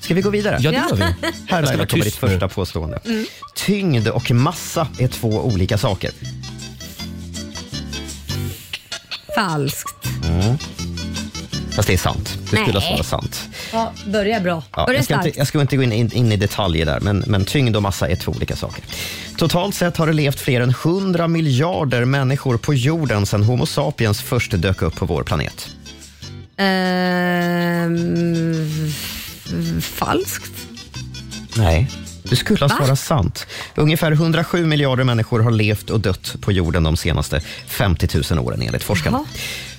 [SPEAKER 3] Ska vi gå vidare?
[SPEAKER 1] Ja, det gör vi.
[SPEAKER 3] Här
[SPEAKER 1] vara
[SPEAKER 3] Laila, kommer ditt
[SPEAKER 1] tyst
[SPEAKER 3] första påstående.
[SPEAKER 2] Mm.
[SPEAKER 3] Tyngd och massa är två olika saker.
[SPEAKER 2] Falskt.
[SPEAKER 3] Mm. Fast det är sant. Du skulle
[SPEAKER 2] Nej.
[SPEAKER 3] ha svarat sant.
[SPEAKER 2] Ja, börja bra.
[SPEAKER 3] Ja,
[SPEAKER 2] börja
[SPEAKER 3] jag, ska
[SPEAKER 2] starkt.
[SPEAKER 3] inte, jag ska inte gå in, in, in i detaljer där, men, men tyngd och massa är två olika saker. Totalt sett har det levt fler än 100 miljarder människor på jorden sedan Homo sapiens först dök upp på vår planet.
[SPEAKER 2] Ehm, f- falskt?
[SPEAKER 3] Nej. Du skulle ha
[SPEAKER 2] Va?
[SPEAKER 3] svarat sant. Ungefär 107 miljarder människor har levt och dött på jorden de senaste 50 000 åren enligt forskarna.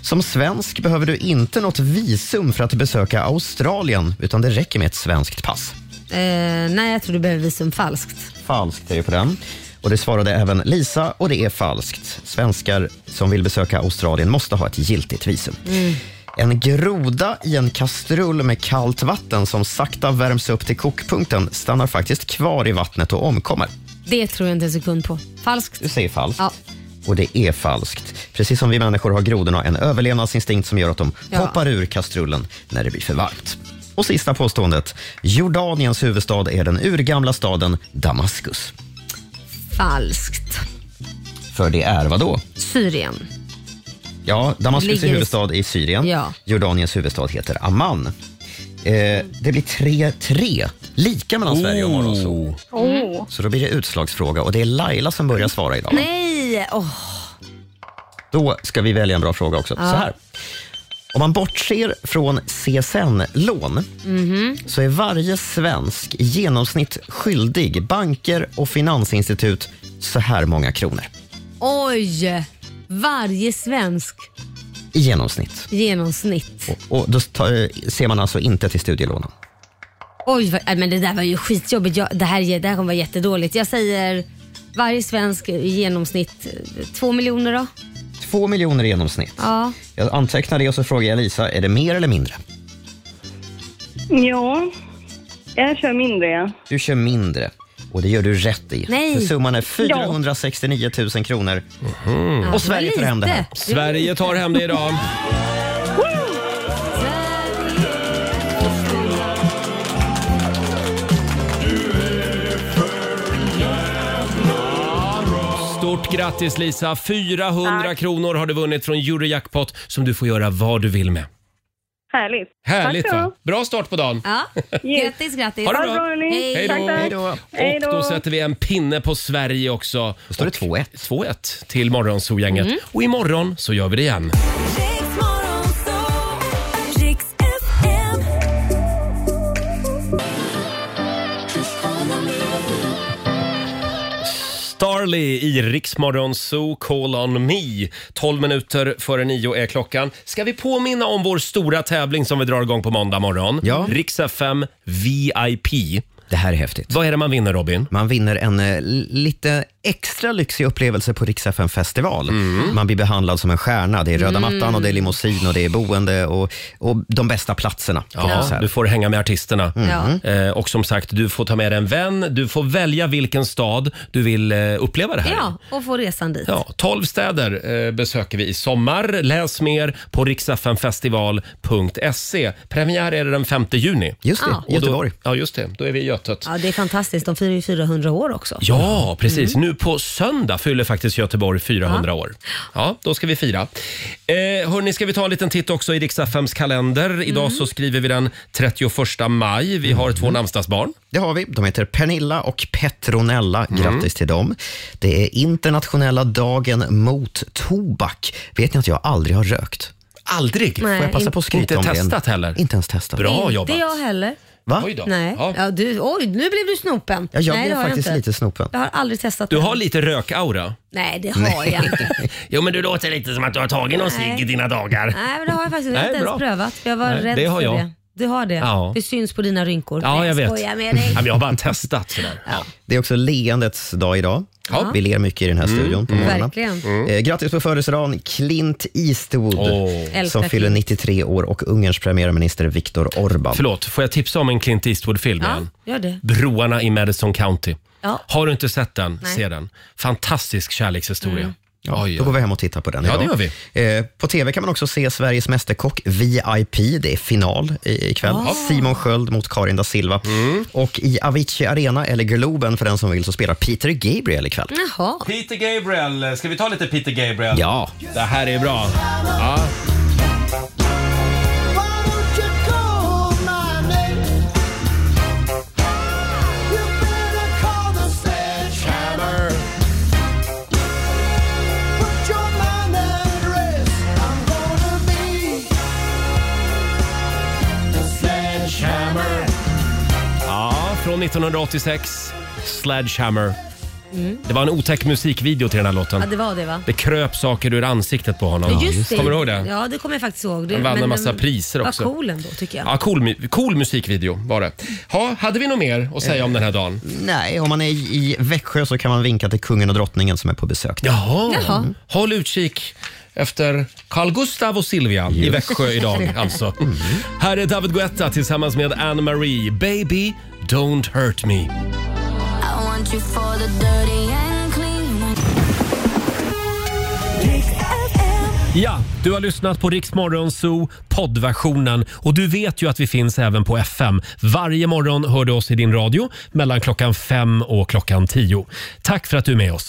[SPEAKER 3] Som svensk behöver du inte något visum för att besöka Australien, utan det räcker med ett svenskt pass.
[SPEAKER 2] Ehm, nej, jag tror du behöver visum falskt.
[SPEAKER 3] Falskt är det på den. Och det svarade även Lisa och det är falskt. Svenskar som vill besöka Australien måste ha ett giltigt visum. En groda i en kastrull med kallt vatten som sakta värms upp till kokpunkten stannar faktiskt kvar i vattnet och omkommer.
[SPEAKER 2] Det tror jag inte en sekund på. Falskt?
[SPEAKER 3] Du säger falskt.
[SPEAKER 2] Ja.
[SPEAKER 3] Och det är falskt. Precis som vi människor har grodorna en överlevnadsinstinkt som gör att de
[SPEAKER 2] Ja.
[SPEAKER 3] hoppar ur kastrullen när det blir för varmt. Och sista påståendet. Jordaniens huvudstad är den urgamla staden Damaskus.
[SPEAKER 2] Falskt.
[SPEAKER 3] För det är vad då?
[SPEAKER 2] Syrien.
[SPEAKER 3] Ja, Damaskus
[SPEAKER 2] Ligger i-
[SPEAKER 3] är huvudstad i Syrien.
[SPEAKER 2] Ja.
[SPEAKER 3] Jordaniens huvudstad heter Amman. Eh, det blir 3-3, lika mellan Sverige och
[SPEAKER 1] Oh.
[SPEAKER 3] Morgonzoo.
[SPEAKER 2] Åh.
[SPEAKER 3] Så då blir det utslagsfråga och det är Laila som börjar svara idag.
[SPEAKER 2] Nej! Åh.
[SPEAKER 3] Då ska vi välja en bra fråga också.
[SPEAKER 2] Ja.
[SPEAKER 3] Så här. Om man bortser från CSN-lån
[SPEAKER 2] Mhm.
[SPEAKER 3] så är varje svensk i genomsnitt skyldig banker och finansinstitut så här många kronor.
[SPEAKER 2] Oj! Varje svensk
[SPEAKER 3] I genomsnitt.
[SPEAKER 2] genomsnitt.
[SPEAKER 3] Och då tar- eh, ser man alltså inte till studielånen.
[SPEAKER 2] Oj, vad, äh, men det där var ju skitjobbigt. Jag, det, här, är- det här kommer vara jättedåligt. Jag säger varje svensk i genomsnitt eh, två miljoner då.
[SPEAKER 3] Två miljoner i genomsnitt.
[SPEAKER 2] Ja.
[SPEAKER 3] Jag antecknar det och så frågar jag Lisa, är det mer eller mindre?
[SPEAKER 21] Ja, jag kör mindre.
[SPEAKER 3] Du kör mindre och det gör du rätt i.
[SPEAKER 21] Nej.
[SPEAKER 3] För summan är
[SPEAKER 21] Ja.
[SPEAKER 3] 469 000 kronor.
[SPEAKER 21] det var
[SPEAKER 3] Mm. Och Sverige tar hem det här.
[SPEAKER 21] lite.
[SPEAKER 1] Sverige tar hem det idag. Stort grattis Lisa! 400 kronor har du vunnit från Eurojackpot som du får göra vad du vill med.
[SPEAKER 21] Härligt.
[SPEAKER 1] Härligt
[SPEAKER 21] Tack då.
[SPEAKER 1] va? Bra start på dagen.
[SPEAKER 2] Ja. Grattis, grattis.
[SPEAKER 1] Ha det bra.
[SPEAKER 2] Hej.
[SPEAKER 1] Hej då. Hej
[SPEAKER 2] då.
[SPEAKER 1] Och då sätter vi en pinne på Sverige också. Då står det 2-1. 2-1 till Morgonzoo-gänget.
[SPEAKER 8] Mm.
[SPEAKER 1] Och imorgon så gör vi det igen.
[SPEAKER 8] Riks Morgonzoo, Riks FM.
[SPEAKER 1] Star Marley i Riksmorgon Zoo, Call on me. 12 minuter före nio är klockan. Ska vi påminna om vår stora tävling som vi drar igång på måndag morgon? Ja. Riks FM VIP.
[SPEAKER 3] Det här är häftigt.
[SPEAKER 1] Vad är det man vinner, Robin?
[SPEAKER 3] Man vinner en eh, lite extra lyxig upplevelse på Rix FM festival. Man blir behandlad som en stjärna. Det är röda
[SPEAKER 1] Mm.
[SPEAKER 3] mattan och det är limousin och det är boende och, och de bästa platserna. på
[SPEAKER 1] Ja,
[SPEAKER 3] konsert.
[SPEAKER 1] du får hänga med artisterna.
[SPEAKER 3] Mm.
[SPEAKER 1] Eh, och som sagt, du får ta med dig en vän. Du får välja vilken stad du vill eh, uppleva det här i.
[SPEAKER 2] Ja, och få resan dit.
[SPEAKER 1] Ja, 12 städer eh, besöker vi i sommar. Läs mer på riksfnfestival.se. Premiär är det den 5 juni.
[SPEAKER 3] Just
[SPEAKER 2] det, Göteborg.
[SPEAKER 1] Ah. Då, ja, just det. Då är vi i Götet.
[SPEAKER 2] Ja, det är fantastiskt. De firar ju 400 år också.
[SPEAKER 1] Ja, precis.
[SPEAKER 2] Mm.
[SPEAKER 1] Nu på söndag fyller faktiskt Göteborg 400
[SPEAKER 2] Ja.
[SPEAKER 1] år. Ja, då ska vi fira. Eh, hörni, ska vi ta en liten titt också i Riksaffems kalender. Idag så skriver vi den 31 maj. Vi har två namnsdagsbarn.
[SPEAKER 3] Det har vi. De heter Pernilla och Petronella.
[SPEAKER 1] Mm.
[SPEAKER 3] Grattis till dem. Det är internationella dagen mot tobak. Vet ni att jag aldrig har rökt?
[SPEAKER 1] Aldrig?
[SPEAKER 3] Får jag
[SPEAKER 2] Nej,
[SPEAKER 3] passa
[SPEAKER 2] inte-
[SPEAKER 3] på att skryta
[SPEAKER 2] Inte
[SPEAKER 3] om det?
[SPEAKER 1] testat heller?
[SPEAKER 3] Inte ens testat.
[SPEAKER 2] Inte jag heller.
[SPEAKER 3] Va?
[SPEAKER 2] Nej. Ja. du, oj, nu blev du snopen.
[SPEAKER 3] Ja, jag
[SPEAKER 2] Nej, det
[SPEAKER 3] blev
[SPEAKER 2] har
[SPEAKER 3] faktiskt
[SPEAKER 2] jag inte.
[SPEAKER 3] lite snopen.
[SPEAKER 2] Jag har aldrig testat
[SPEAKER 1] Du
[SPEAKER 2] det.
[SPEAKER 1] har lite rökaura.
[SPEAKER 2] Nej, det har jag inte.
[SPEAKER 1] Jo, men du låter lite som att du har tagit någon cigg i dina dagar.
[SPEAKER 2] Nej, men det har jag faktiskt jag har
[SPEAKER 1] Nej,
[SPEAKER 2] inte
[SPEAKER 1] bra.
[SPEAKER 2] ens prövat. för Jag var
[SPEAKER 1] Nej,
[SPEAKER 2] rädd
[SPEAKER 1] det har
[SPEAKER 2] för
[SPEAKER 1] jag.
[SPEAKER 2] det. Du har det?
[SPEAKER 1] Ja.
[SPEAKER 2] Det syns på dina rynkor.
[SPEAKER 3] Ja,
[SPEAKER 2] Nej,
[SPEAKER 3] jag vet.
[SPEAKER 2] skojar
[SPEAKER 1] <laughs>
[SPEAKER 2] med dig.
[SPEAKER 1] jag har bara testat sådär.
[SPEAKER 3] Det är också leendets dag idag.
[SPEAKER 2] Ja.
[SPEAKER 3] Vi ler mycket i den här
[SPEAKER 2] Mm.
[SPEAKER 3] studion på
[SPEAKER 2] Mm.
[SPEAKER 3] morgonen.
[SPEAKER 2] Verkligen. Mm.
[SPEAKER 3] Eh, grattis på födelsedagen Clint Eastwood
[SPEAKER 1] Älskar
[SPEAKER 3] som fyller
[SPEAKER 1] Clint.
[SPEAKER 3] 93 år och Ungerns premiärminister Viktor Orbán.
[SPEAKER 1] Förlåt, får jag tipsa om en Clint Eastwood-film
[SPEAKER 2] Ja,
[SPEAKER 1] igen?
[SPEAKER 2] gör det.
[SPEAKER 1] Broarna i Madison County.
[SPEAKER 2] Ja.
[SPEAKER 1] Har du inte sett den,
[SPEAKER 2] Nej.
[SPEAKER 1] se den. Fantastisk kärlekshistoria.
[SPEAKER 3] Mm.
[SPEAKER 1] Ja,
[SPEAKER 3] Då går vi hem och tittar på den
[SPEAKER 1] Ja,
[SPEAKER 3] idag.
[SPEAKER 1] det gör
[SPEAKER 3] Eh, på tv kan man också se Sveriges Mästerkock VIP. Det är final i- ikväll.
[SPEAKER 1] Ah.
[SPEAKER 3] Simon Sköld mot Karin da Silva. Och i Avicii Arena, eller Globen för den som vill, så spelar Peter Gabriel ikväll.
[SPEAKER 2] Jaha.
[SPEAKER 1] Peter Gabriel, ska vi ta lite Peter Gabriel?
[SPEAKER 3] Ja.
[SPEAKER 1] Det här är bra. Ja. ja, från 1986. Sledgehammer. Det var en otäck musikvideo till den här låten.
[SPEAKER 2] Mm. Ja, det var det va?
[SPEAKER 1] Det kröp saker ur ansiktet på honom. Kommer du ihåg det?
[SPEAKER 2] Ja, det kommer jag faktiskt ihåg. Det,
[SPEAKER 1] Han vann en
[SPEAKER 2] men,
[SPEAKER 1] massa
[SPEAKER 2] um,
[SPEAKER 1] priser också.
[SPEAKER 2] Vad cool ändå tycker jag.
[SPEAKER 1] Ja, cool, mu- cool musikvideo var det. Ha, hade vi något mer
[SPEAKER 2] Eh.
[SPEAKER 1] att säga om den här dagen?
[SPEAKER 3] Nej, om man är i Växjö så kan man vinka till kungen och drottningen som är på besök.
[SPEAKER 1] Jaha.
[SPEAKER 2] Jaha.
[SPEAKER 1] Håll utkik efter Carl Gustav och Silvia i
[SPEAKER 3] Just.
[SPEAKER 1] Växjö idag alltså. Här är David Guetta tillsammans med Anne Marie. Baby, don't hurt me.
[SPEAKER 8] I want you for the dirty and clean.
[SPEAKER 1] Ja, du har lyssnat på Rix Morgon Zoo poddversionen och du vet ju att vi finns även på FM. Varje morgon hör du oss i din radio mellan klockan fem och klockan tio. Tack för att du är med oss.